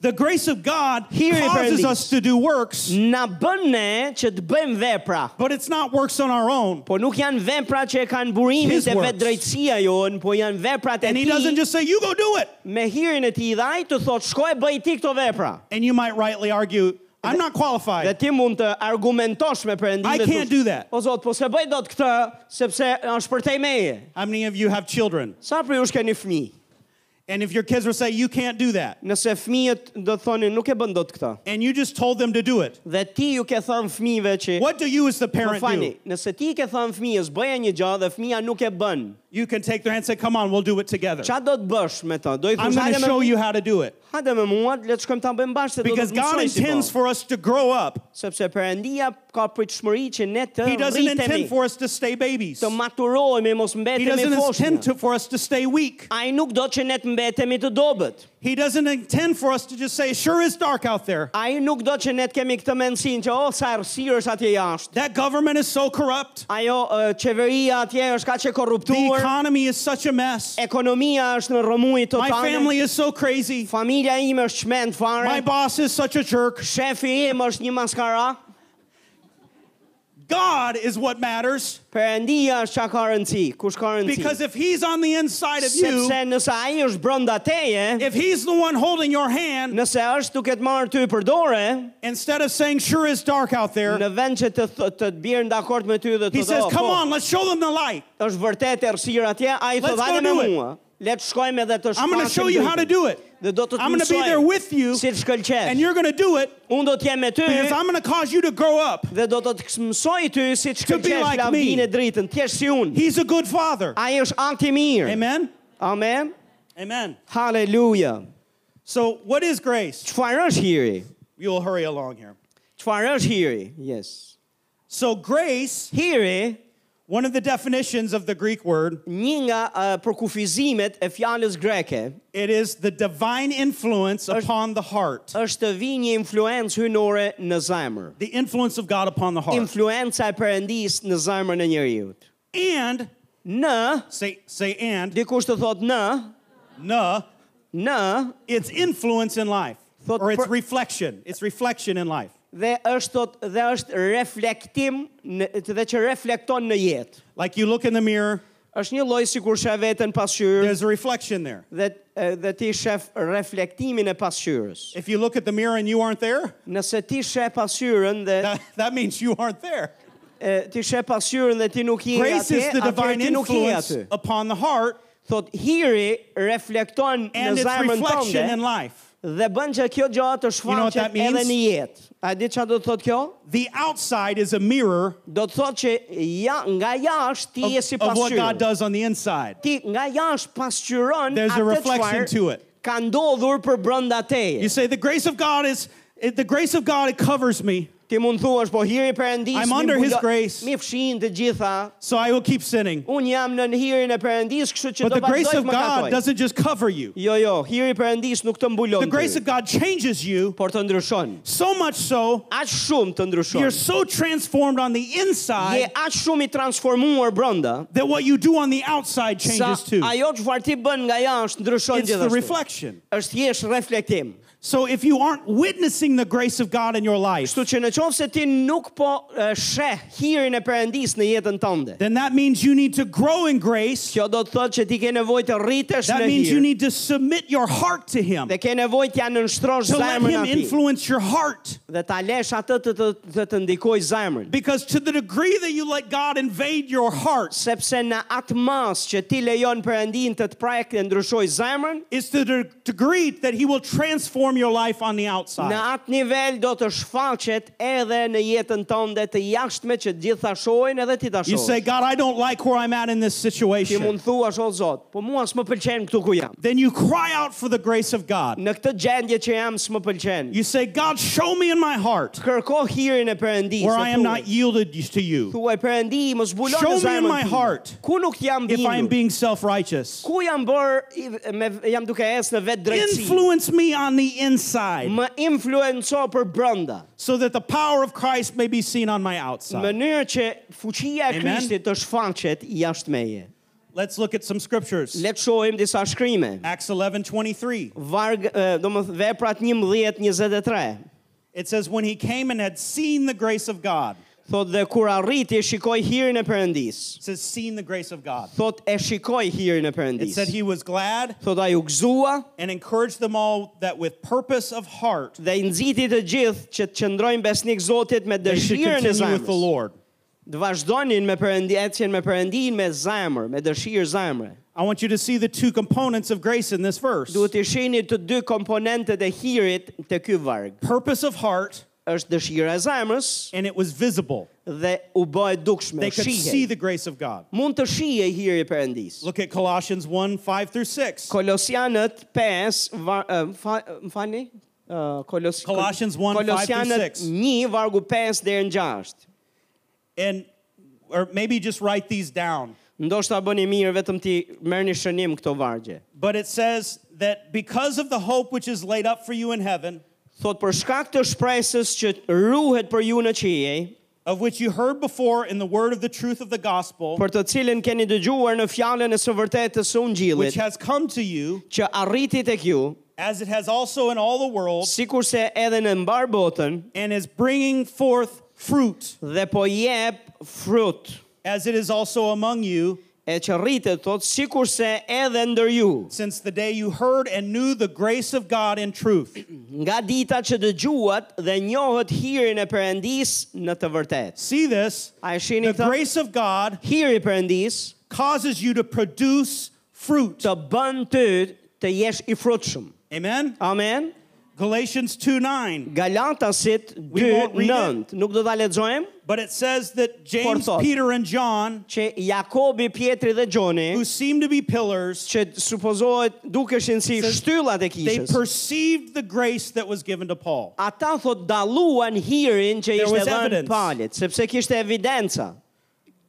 S2: The grace of God
S1: Here it
S2: causes
S1: is.
S2: us to do works,
S1: Na bën ne që të bëjmë vepra,
S2: but it's not works on our own.
S1: por nuk janë vepra që e kanë burimin
S2: His
S1: e
S2: works.
S1: vetë drejtësia jon, po janë veprat e
S2: And He doesn't
S1: tij
S2: just say, You go do it.
S1: me hirin e tij dhe ai të thotë shko e bëj ti këto vepra.
S2: And you might rightly argue, I'm not
S1: Dhe
S2: qualified.
S1: ti mund të argumentosh me Perëndin.
S2: I
S1: dhe thosh,
S2: can't do that.
S1: O Zot, po se bëj dot këtë sepse është përtej meje.
S2: How many of you have children?
S1: Sa për ju keni fëmijë?
S2: And if your kids were say, You can't do that,
S1: Nëse fëmijët do të thonin nuk e bën dot këtë.
S2: and you just told them to do it,
S1: Dhe ti ju ke thënë fëmijëve që
S2: what do you as the
S1: Më
S2: parent
S1: fani,
S2: do?
S1: nëse ti ke thënë fëmijës bëja një gjë dhe fëmia nuk e bën,
S2: You can take their hand and say, Come on, we'll do it together.
S1: ç'a do të bësh me të? Do i thosh
S2: I'm
S1: hajde
S2: going to
S1: me
S2: show you how to do it.
S1: hajde me mua, le të shkojmë ta bëjmë bashkë se do të
S2: Because
S1: të
S2: God
S1: mësoj si
S2: intends
S1: po.
S2: for us to grow up.
S1: Sepse Perëndia ka pritshmëri që ne të
S2: He doesn't
S1: rritemi,
S2: intend for us to stay babies.
S1: të maturohemi, mos
S2: He
S1: mbetemi
S2: doesn't intend
S1: foshë.
S2: to, for us to stay weak.
S1: Ai nuk do që ne të mbetemi të dobët.
S2: He doesn't intend for us to just say, sure is dark out there.
S1: Ai nuk do që ne të kemi këtë mendësinë që oh sa errësirë është atje jashtë.
S2: That government is so corrupt.
S1: Ajo ë, qeveria atje është kaq e
S2: The
S1: korruptuar,
S2: economy is such a mess.
S1: ekonomia është në rrëmuj
S2: My
S1: total.
S2: family is so crazy.
S1: Familja ime është çmend fare.
S2: My boss is such a jerk.
S1: Shefi im është një maskara,
S2: God is what matters
S1: Perëndia është çka ka rëndësi, kush ka
S2: because
S1: rëndësi?
S2: if He's on the inside of you,
S1: Sepse nëse ai është brenda teje,
S2: if He's the one holding your hand,
S1: nëse është duke të marrë ty për dorë,
S2: instead of saying, sure is dark out there,
S1: në vend që të th- të të bjerë dakord me ty dhe të
S2: He says,
S1: "Oh,
S2: come
S1: po,
S2: on, let's show them the light.
S1: është vërtet errësira atje, ai
S2: Let's
S1: thotë hajde me
S2: go do it."
S1: mua. Le të shkojmë edhe të
S2: I'm going to show you how to do it.
S1: Dhe do të të
S2: I'm going to be
S1: mësoj
S2: there with you,
S1: si të shkëlqesh.
S2: and you're going to do it
S1: Unë do të jem me ty
S2: because I'm going to cause you to grow up.
S1: dhe do të të kës- mësoj ty si të
S2: To be
S1: shkëlqesh
S2: like
S1: lavdinë
S2: me.
S1: e dritën, të jesh si unë.
S2: He's a good father.
S1: Ai është anti mirë.
S2: Amen?
S1: Amen.
S2: Amen.
S1: Halleluja.
S2: So, what is grace?
S1: Çfarë është hiri?
S2: You'll hurry along here.
S1: Çfarë është hiri? Yes.
S2: So, grace,
S1: Hiri,
S2: one of the definitions of the Greek word,
S1: një nga uh, përkufizimet e fjalës greke,
S2: it is the divine influence upon the heart.
S1: është të vi një influencë hynore në zemër.
S2: The influence of God upon the heart.
S1: Influenca e Perëndis në zemrën e njeriu.
S2: And,
S1: Në,
S2: say, say and,
S1: dikush të thot në,
S2: na,
S1: në
S2: it's influence in life.
S1: Thot
S2: Or it's
S1: per-
S2: reflection. It's reflection in life.
S1: dhe është thot dhe është reflektim në, dhe që reflekton në jetë.
S2: Like you look in the mirror,
S1: Është një lloj sikur sheh veten pas shyrë
S2: there's a reflection there.
S1: dhe e, dhe ti shef reflektimin e pasqyrës.
S2: If you look at the mirror and you aren't there,
S1: Nëse ti sheh pasqyrën dhe
S2: that, that means you aren't there.
S1: e, ti sheh pasqyrën dhe ti nuk je
S2: Grace
S1: atje,
S2: is the
S1: atëherë
S2: divine
S1: ti nuk je
S2: influence
S1: aty.
S2: upon the heart
S1: Thot hiri reflekton në
S2: and its
S1: zemrën
S2: reflection in
S1: tënde
S2: life.
S1: dhe bën që kjo gjë të
S2: know what
S1: shfaqet
S2: that means?
S1: edhe në jetë. A di çfarë do të thotë kjo?
S2: The outside is a mirror
S1: Do të thotë që ja, nga jashtë ti
S2: of,
S1: je si
S2: of what God
S1: pasqyrë.
S2: does on the inside.
S1: Ti nga jashtë pasqyron
S2: There's a
S1: atë
S2: reflection
S1: çfarë
S2: to it.
S1: ka ndodhur për brenda
S2: You
S1: teje.
S2: say the grace of God is it- the grace of God it covers me.
S1: Ti mund thuash, po hiri Perëndis.
S2: I'm
S1: mi
S2: under His
S1: mbulo-
S2: grace.
S1: Mi fshin të gjitha.
S2: so I will keep sinning.
S1: Unë jam në hirin e Perëndis, kështu që
S2: Oh, But
S1: do
S2: the grace
S1: vazhdoj
S2: of
S1: të më
S2: God
S1: katoj.
S2: doesn't just cover you.
S1: Jo, jo, hiri Perëndis nuk të mbulon.
S2: The grace
S1: ty,
S2: of God changes you
S1: por të ndryshon.
S2: so much so
S1: Aq shumë të ndryshon.
S2: you're so transformed on the
S1: Je
S2: inside
S1: aq shumë i transformuar brenda.
S2: that what you do on the outside
S1: Sa
S2: changes too.
S1: ajo çfarë ti bën nga jashtë ndryshon
S2: It's the
S1: gjithashtu.
S2: reflection.
S1: Është thjesht reflektim.
S2: So if you aren't witnessing the grace of God in your life,
S1: Kështu që në qovë se ti nuk po e, sheh hirin e përëndis në jetën tënde,
S2: then that means you need to grow in grace.
S1: kjo do të thotë që ti ke nevoj të rritesh
S2: That
S1: në
S2: means you
S1: hirë,
S2: need to submit your heart to Him,
S1: dhe ke nevoj të janë nështrosh
S2: to let
S1: zemrën
S2: Him
S1: ati,
S2: influence your heart.
S1: dhe ta lesh atë të të, të, të ndikoj zemrën.
S2: Because to the degree that you let God invade your heart,
S1: Sepse në atë mas që ti lejon përëndin të të prajkë dhe ndryshoj zemrën,
S2: it's to the degree that He will transform your life on the
S1: në
S2: outside.
S1: atë nivel do të shfaqet edhe në jetën tënde të jashtme që gjitha shojnë edhe ti ta
S2: You say,
S1: shohësh.
S2: God, I don't like where I'm at in this
S1: Ti mund
S2: situation.
S1: thua o Zot, po mua s'më pëlqen këtu ku jam.
S2: Then you cry out for the grace of God.
S1: Në këtë gjendje që jam s'më pëlqen.
S2: You say, God, show me in my heart
S1: kërko hirin e Perëndisë.
S2: where
S1: dhe
S2: I am
S1: thuaj,
S2: not yielded to you,
S1: Thuaj Perëndi, mos zbulon
S2: Show
S1: në
S2: me
S1: zemrën
S2: in my
S1: time.
S2: heart
S1: Ku nuk jam
S2: if I am
S1: bindur?
S2: being self righteous.
S1: Ku jam bër i- me jam duke ecë në vetë drejtësi.
S2: Influence me on the inside
S1: Më influenco për brenda,
S2: so that the power of Christ may be seen on my
S1: në
S2: outside.
S1: mënyrë që fuqia e
S2: Amen.
S1: Krishtit të shfaqet jashtë meje.
S2: Let's look at some scriptures.
S1: Le të shohim disa shkrime.
S2: Acts 11 23.
S1: Varg, eh, do më th- veprat 11:23.
S2: It says, When he came and had seen the grace of God,
S1: Thot dhe kur arriti shikoi hirin e Perëndis.
S2: it says, seen the grace of God.
S1: Thot e shikoi hirin e
S2: It said
S1: Perëndis.
S2: he was glad
S1: Thot ai u gëzua
S2: and encouraged them all that with purpose of heart
S1: dhe i nxiti të gjithë që të qëndrojnë besnik Zotit me
S2: they should
S1: dëshirën e
S2: continue with the
S1: zemrës.
S2: Lord.
S1: Të vazhdonin me përëndi, ecjen me përëndin me zemër, me dëshirë zemre.
S2: I want you to see the two components of grace in this verse
S1: Duhet të shihni të dy komponentet e hirit të ky varg.
S2: purpose of heart,
S1: Është dëshira e zemrës
S2: and it was visible.
S1: dhe u bë e dukshme,
S2: They could see
S1: shihej.
S2: the grace of God.
S1: Mund të shihej hiri i përëndis.
S2: Look at Colossians 1 5 through 6.
S1: Kolosianët 5, var, uh, fa, më falni? Uh, Kolos,
S2: Colossians 1, 5 through
S1: Kolosianët
S2: 6.
S1: 1, vargu 5 deri në 6.
S2: And or maybe just write these down.
S1: Ndoshta bëni mirë vetëm ti merrni shënim këto vargje.
S2: But it says that because of the hope which is laid up for you in heaven,
S1: Thot për shkak të shpresës që ruhet për ju në qiej,
S2: of which you heard before in the word of the truth of the gospel,
S1: për të cilën keni dëgjuar në fjalën e së vërtetës së
S2: which
S1: ungjillit,
S2: has come to you,
S1: që arriti tek ju,
S2: as it has also in all the world,
S1: sikurse edhe në mbar botën
S2: and is bringing forth fruit,
S1: dhe po jep frut,
S2: as it is also among you,
S1: e që rritet thot sikurse edhe ndër ju,
S2: since the day you heard and knew the grace of God in truth.
S1: nga dita që dëgjuat dhe njohët hirin e Perëndis në të vërtetë.
S2: See this.
S1: A e shihni
S2: The
S1: këtë?
S2: grace of God
S1: Hiri i Perëndis
S2: causes you to produce fruit.
S1: të bën ty të jesh i frutshëm.
S2: Amen.
S1: Amen.
S2: Galatians 2 9.
S1: Galatasit
S2: We won't read
S1: 2:9. Nuk do ta lexojmë,
S2: But it says that James,
S1: thought.
S2: Peter, and John,
S1: që Jakobi, Pietri dhe Gjoni,
S2: who seem to be pillars,
S1: që supozohet dukeshin si
S2: Says
S1: shtyllat e
S2: they
S1: kishës.
S2: perceived the grace that was given to Paul.
S1: Ata thot dalluan hirin që
S2: There
S1: ishte
S2: was
S1: dhënë
S2: evidence.
S1: palit, sepse kishte evidenca.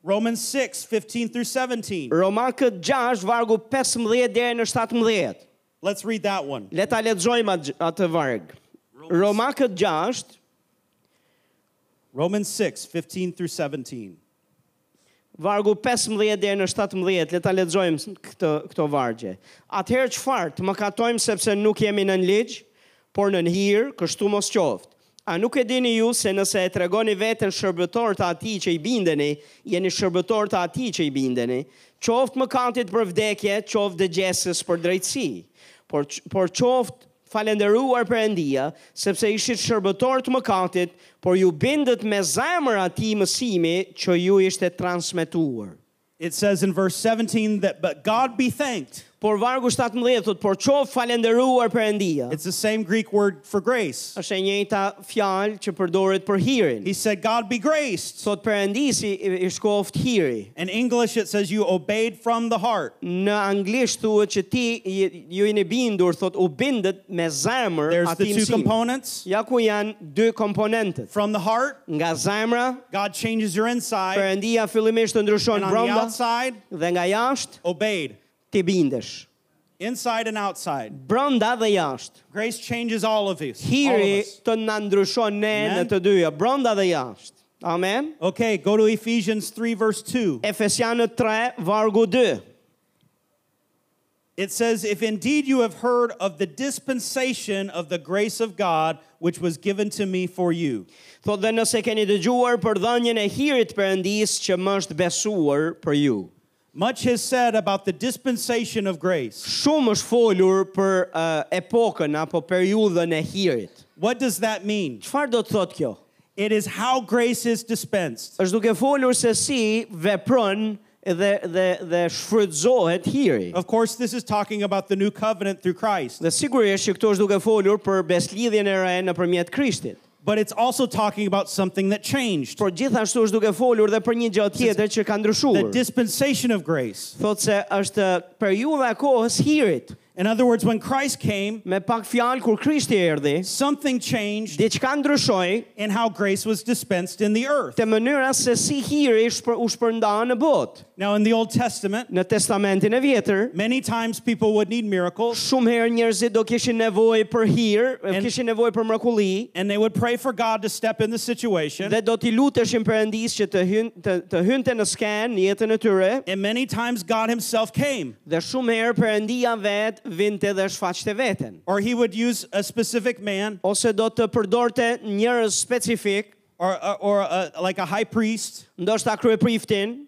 S2: Romans 6 15 through 17.
S1: Romakët 6 vargu 15 deri në 17.
S2: Let's read that one.
S1: Le ta lexojmë atë- atë varg. Romakët 6
S2: Romans 6 15 through 17.
S1: vargu 15 deri në 17, le ta lexojmë s- këtë këto vargje. Atëherë çfarë? Të mëkatojmë sepse nuk jemi nën ligj, por nën hir, kështu mos qoftë. A nuk e dini ju se nëse e tregoni veten shërbëtor të atij që i bindeni, jeni shërbëtor të atij që i bindeni, qoftë mëkatit për vdekje, qoftë dëgjesës për drejtësi. Por q- por qoftë falenderuar Perëndia, sepse ishit shërbëtor të mëkatit, por ju bindët me zemër atij mësimi që ju ishte transmetuar.
S2: It says in verse 17 that, but God be thanked
S1: Por vargu 17 thot, por qof falenderuar Perëndia.
S2: It's the same Greek word for grace.
S1: Është e njëjta fjalë që përdoret për hirin.
S2: He said, God be graced.
S1: Thot Perëndisi i- i shkoft hiri.
S2: In English, it says you obeyed from the heart.
S1: Në anglisht thuhet që ti je- ju jeni bindur, thot u bindet me zemër
S2: There's
S1: atij
S2: the two
S1: mësim.
S2: components
S1: Ja ku janë dy komponentët.
S2: from the heart,
S1: Nga zemra,
S2: God changes your inside,
S1: Perëndia fillimisht të ndryshon
S2: and on the
S1: brenda
S2: outside,
S1: dhe nga jashtë
S2: obeyed.
S1: ti bindesh.
S2: Inside and outside.
S1: Brenda dhe jashtë.
S2: Grace changes all of us. all of
S1: Hiri
S2: us.
S1: të na ndryshon ne në
S2: Amen.
S1: të dyja, brenda dhe jashtë. Amen.
S2: Okay, go to Ephesians 3, verse 2.
S1: Efesianët 3 vargu 2.
S2: It says, If indeed you have heard of the dispensation of the grace of God, which was given to me for you.
S1: Thot dhe nëse keni dëgjuar për dhënien e hirit Perëndis që më është besuar për ju.
S2: Much is said about the dispensation of grace.
S1: Shumë është folur për uh, epokën apo periudhën e hirit.
S2: What does that mean?
S1: Çfarë do të thotë kjo?
S2: It is how grace is dispensed.
S1: Është duke folur se si vepron dhe dhe dhe shfrytëzohet hiri.
S2: Of course, this is talking about the new covenant through Christ,
S1: Dhe sigurisht që këtu është duke folur për beslidhjen e re nëpërmjet Krishtit.
S2: but it's also talking about something that changed
S1: Por gjithashtu është duke folur dhe për një gjë tjetër që ka
S2: the
S1: ndryshuar.
S2: dispensation of grace.
S1: Thotë se është periudha e kohës hirit.
S2: In other words, when Christ came,
S1: Me pak fjalë kur Krishti erdhi,
S2: something changed
S1: diçka ndryshoi
S2: in how grace was dispensed in the earth.
S1: te mënyra se si hiri shpër, u shpërnda në botë.
S2: Now, in the Old Testament,
S1: Në Testamentin e Vjetër,
S2: many times people would need miracles
S1: shumë herë njerëzit do kishin nevojë për hir,
S2: And-
S1: kishin nevojë për mrekulli
S2: and they would pray for God to step in the situation.
S1: dhe do t'i luteshin Perëndis që të hyn të, të hynte në sken në jetën e tyre
S2: And many times God himself came,
S1: dhe shumë herë Perëndia vet vinte dhe shfaqte veten.
S2: or he would use a specific man
S1: Ose do të përdorte njerëz specifik,
S2: or, or, or a, like a high priest
S1: ndoshta kryepriftin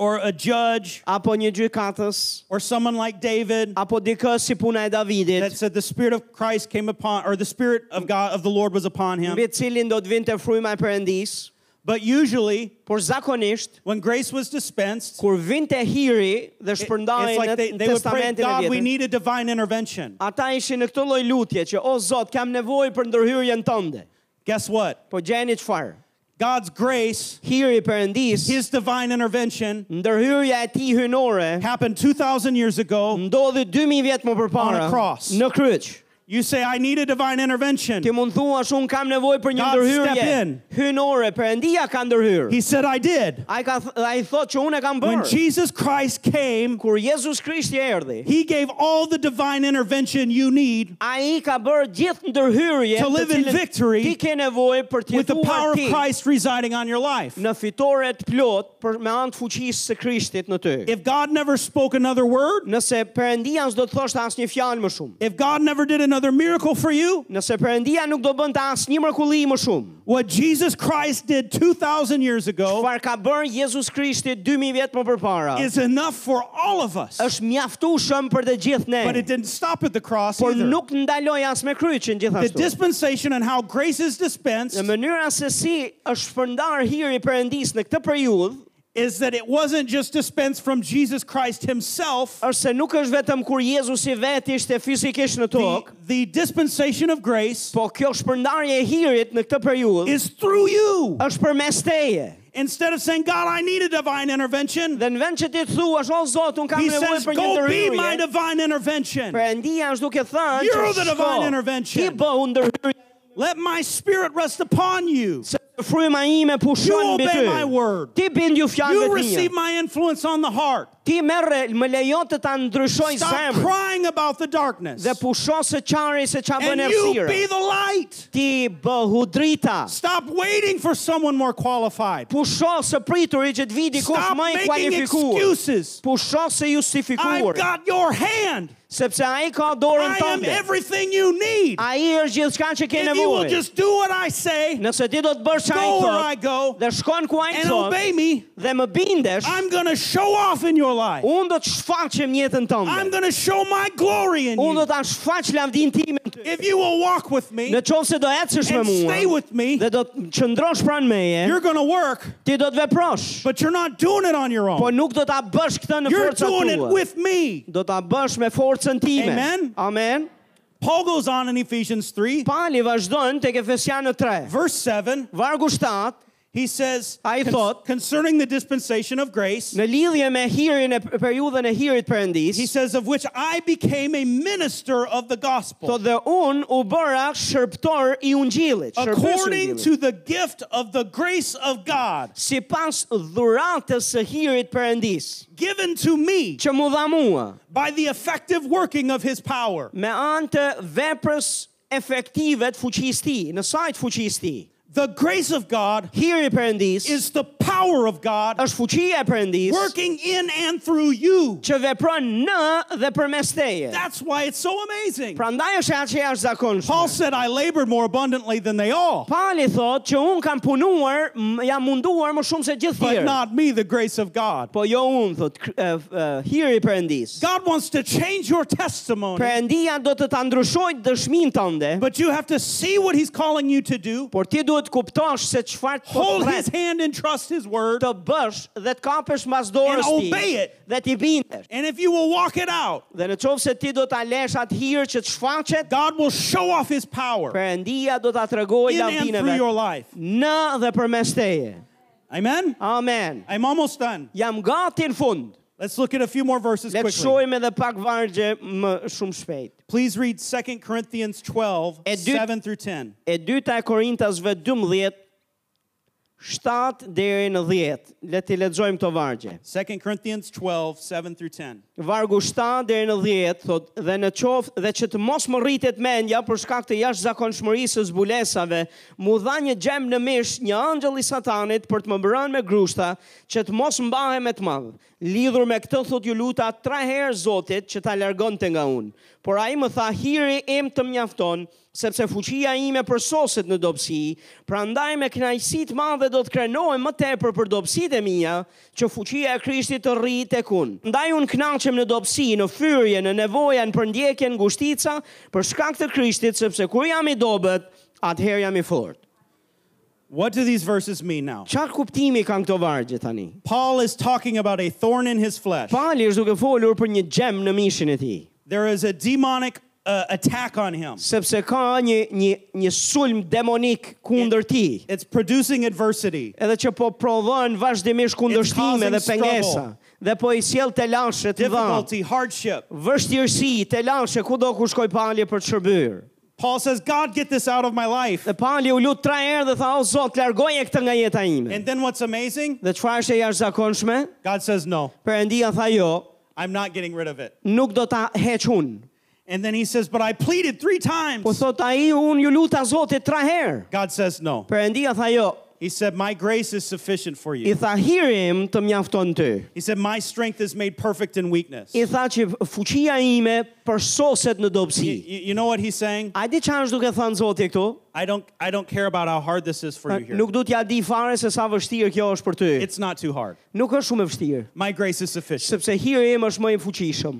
S2: or a judge
S1: apo një gjykatës
S2: or someone like David
S1: apo dikë si puna e Davidit.
S2: that said the spirit of Christ came upon or the spirit of God of the Lord was upon him.
S1: mbi cilin do të vinte fryma e Perëndis,
S2: But usually
S1: por zakonisht
S2: when grace was dispensed,
S1: kur vinte hiri dhe
S2: it-
S1: shpërndaje
S2: it's like they,
S1: në
S2: they would pray,
S1: testamentin
S2: God,
S1: e
S2: we
S1: vjetër.
S2: need a divine intervention.
S1: Ata ishin në këtë lloj lutje që o Zot, kam nevojë për ndërhyrjen tënde.
S2: Guess what?
S1: Po gjeni çfarë?
S2: God's grace,
S1: Hiri i Perëndis,
S2: his divine intervention
S1: ndërhyrja e tij hynore
S2: happened 2,000 years ago.
S1: ndodhi 2000 vjet më përpara
S2: On a cross.
S1: në kryq.
S2: You say, I need a divine intervention.
S1: Ti mund thuash un kam nevojë për një
S2: God, step
S1: ndërhyrje
S2: in.
S1: hynore, Perëndia ka ndërhyr.
S2: He said, I did.
S1: Ai ka th- ai thotë që unë e kam
S2: When
S1: bërë.
S2: Jesus Christ came,
S1: Kur Jezus Krishti erdhi,
S2: he gave all the divine intervention you need
S1: A i ka bërë gjithë ndërhyrje
S2: To
S1: të
S2: live in
S1: cilën
S2: victory
S1: Ti ke nevojë për të
S2: with the power
S1: jetuar
S2: of
S1: ti
S2: Christ residing on your life.
S1: në fitore të plot për me anë të fuqisë së Krishtit në ty.
S2: If God never spoke another word,
S1: Nëse Perëndia s'do të thoshte asnjë fjalë më shumë,
S2: if God never did another miracle for you,
S1: nëse Perëndia nuk do bënte asnjë mrekulli më shumë,
S2: what Jesus Christ did 2,000 years ago
S1: çfarë ka bërë Jezus Krishti 2000 vjet më përpara,
S2: is enough for all of us.
S1: është mjaftueshëm për të gjithë ne.
S2: But it didn't stop at the cross
S1: Por
S2: either.
S1: nuk ndaloi as me kryqin
S2: The
S1: gjithashtu.
S2: dispensation and how grace is dispensed
S1: Në mënyrën se si është shpërndar hiri i Perëndis në këtë periudhë,
S2: is that it wasn't just dispensed from Jesus Christ himself.
S1: është se nuk është vetëm kur Jezusi vetë ishte fizikisht në
S2: The,
S1: tokë,
S2: the dispensation of grace
S1: Po kjo shpërndarje e hirit në këtë periudhë
S2: is through you.
S1: është për mes teje.
S2: Instead of saying, God, I need a divine intervention,
S1: Dhe në vend që ti të thuash, o Zot, unë kam
S2: he
S1: nevojë
S2: says,
S1: për një
S2: Go be my
S1: ndërhyrje.
S2: divine intervention.
S1: Perëndia është duke thënë,
S2: You're
S1: që
S2: the divine
S1: shko,
S2: intervention."
S1: ti bëhu ndërhyrje
S2: Let my spirit rest upon you.
S1: se fryma ime pushon
S2: You
S1: mbi
S2: obey
S1: ty.
S2: my word.
S1: Ti bind ju
S2: You
S1: fjalëve të
S2: receive my influence on the heart.
S1: Ti merre, më lejo të ta ndryshoj
S2: Stop
S1: zemrën
S2: crying about the darkness.
S1: dhe pusho se çari se ç'a bën
S2: And you
S1: errësira.
S2: be the light.
S1: Ti bëhu drita.
S2: Stop waiting for someone more qualified.
S1: Pusho së prituri që të vi dikush
S2: Stop
S1: më i
S2: making
S1: kualifikuar.
S2: excuses.
S1: Pusho se
S2: I've
S1: justifikuar.
S2: got your hand.
S1: sepse ai ka dorën
S2: I am
S1: tënde.
S2: everything you need.
S1: Ai është gjithçka që ke
S2: If you will
S1: nevojë.
S2: just do what I say
S1: Nëse ti do të bësh çka ai
S2: Go where I
S1: thot
S2: go
S1: dhe shkon ku ai
S2: and
S1: thot
S2: obey me,
S1: dhe më bindesh,
S2: I'm going to show off in your life.
S1: unë do të shfaqem në jetën
S2: I'm
S1: tënde.
S2: going to show my glory in
S1: Unë do
S2: you.
S1: ta shfaq lavdin time në ty.
S2: If you will walk with me
S1: Në qovë se do ecësh me
S2: and stay
S1: mua
S2: with me,
S1: dhe do të qëndrosh pranë meje,
S2: you're going to work,
S1: ti do të veprosh,
S2: but you're not doing it on your
S1: po
S2: own.
S1: nuk do ta bësh këtë në
S2: You're
S1: forca
S2: doing it
S1: tua.
S2: with me.
S1: Do ta bësh me forcën time.
S2: Amen?
S1: Amen.
S2: Paul goes on in Ephesians 3,
S1: Pali vazhdojnë tek Efesianë 3.
S2: verse 7.
S1: Vargu 7
S2: He says,
S1: I thought-
S2: concerning the dispensation of grace,
S1: në lidhje me hirin e periudhën e hirit
S2: he
S1: perëndis,
S2: says, of which I became a minister of the gospel
S1: thotë dhe un u bëra shërptor i ungjillit, shërbës
S2: according
S1: ungjillit.
S2: to the gift of the grace of God
S1: Sipas dhuratës së hirit perëndis,
S2: given to me
S1: që mu dha mua
S2: by the effective working of his power.
S1: me anë të veprës efektive të fuqisë ti, në sajt fuqisë ti.
S2: The grace of God
S1: Hiri i Perëndis
S2: is the power of God
S1: është fuqia e Perëndis
S2: working in and through you.
S1: që vepron në dhe përmes teje.
S2: That's why it's so amazing.
S1: Prandaj është atë që është zakonshme.
S2: Paul said, I labored more abundantly than they all,
S1: Pali thot që unë kam punuar, m- jam munduar më shumë se gjithë
S2: but
S1: tjerë.
S2: not me, the grace of God.
S1: Po jo unë, thot, kr- e, f- e, hiri i Perëndis.
S2: God wants to change your testimony,
S1: Perëndia do të ta ndryshoj dëshmin tënde,
S2: but you have to see what he's calling you to do,
S1: por ti duhet kuptosh se çfarë po të
S2: hold his
S1: pret
S2: hand and trust his word,
S1: të bësh dhe të kapesh mas dorës
S2: And
S1: ti
S2: obey it.
S1: dhe ti bindesh.
S2: and if you will walk it out,
S1: Dhe në qovë se ti do t'a lesh atë hirë që të shfaqet,
S2: God will show off his power
S1: përëndia do t'a tregoj
S2: in and through
S1: lavdineve
S2: your life.
S1: në dhe për mes teje.
S2: Amen?
S1: Amen.
S2: I'm almost done.
S1: Jam gati në fund.
S2: Let's look at a few more verses
S1: Le të
S2: quickly.
S1: shojmë edhe pak vargje më shumë shpejt.
S2: Please read 2 Corinthians 12,
S1: E dyt-
S2: 7 through 10.
S1: E dyta e Korintasve 12, 7 deri në 10. Le t'i lexojmë këto vargje.
S2: 2 Corinthians 12, 7 through 10.
S1: Vargu 7 deri në 10 thot dhe në qoftë dhe që të mos më rritet mendja për shkak të jashtëzakonshmërisë së zbulesave, mu dha një gjem në mish një angjëll i Satanit për të më bërën me grushta që të mos mbahem me të madh. Lidhur me këtë thot ju luta tre herë Zotit që ta largonte nga unë. Por ai më tha hiri im të mjafton sepse fuqia ime përsoset në dobësi, prandaj me kënaqësi të madhe do të krenohem më tepër për dobësitë e mia, që fuqia e Krishtit të rri tek unë. Ndaj unë kënaqem në dobësi, në fyrje, në nevoja, në përndjekje, në ngushtica, për shkak të Krishtit, sepse kur jam i dobët, atëherë jam i fortë.
S2: What do these verses mean now?
S1: Çfarë kuptimi kanë këto vargje tani?
S2: Paul is talking about a thorn in his flesh.
S1: Pali është duke folur për një gjem në mishin e tij,
S2: There is a demonic uh, attack on him.
S1: sepse ka një një një sulm demonik kundër tij.
S2: It's producing adversity.
S1: edhe që po prodhojnë vazhdimisht kundërshtime
S2: causing
S1: dhe pengesa dhe po i sjell të lashe të dha
S2: difficulty, hardship.
S1: vështirësi të lashe kudo ku shkoj palje për të shërbyr
S2: Paul says, God, get this out of my life.
S1: dhe palje u lut tre herë dhe tha o Zot largoje këtë nga jeta ime
S2: And then what's amazing?
S1: dhe çfarë është e jashtëzakonshme
S2: God says, No,
S1: Perëndia tha jo
S2: I'm not getting rid of it.
S1: nuk do ta heq unë
S2: And then he says, But I pleaded three
S1: po
S2: times.
S1: thot ai unë ju luta Zotit tre herë
S2: God says, No.
S1: Perëndia tha jo
S2: He said, My grace is sufficient for
S1: i
S2: you.
S1: tha hirim të mjafton ty
S2: He said, My strength is made perfect in weakness.
S1: i
S2: You,
S1: tha që fuqia ime përsoset në dobësi
S2: you know what he's saying?
S1: a di çfarë është duke thënë Zoti këtu
S2: I don't, I don't care about how hard this is for you here.
S1: Pra, Nuk du t'ja di fare se sa vështirë kjo është për ty.
S2: It's not too hard.
S1: Nuk është shumë e vështirë,
S2: My grace is sufficient.
S1: sepse hiri im është më i fuqishëm.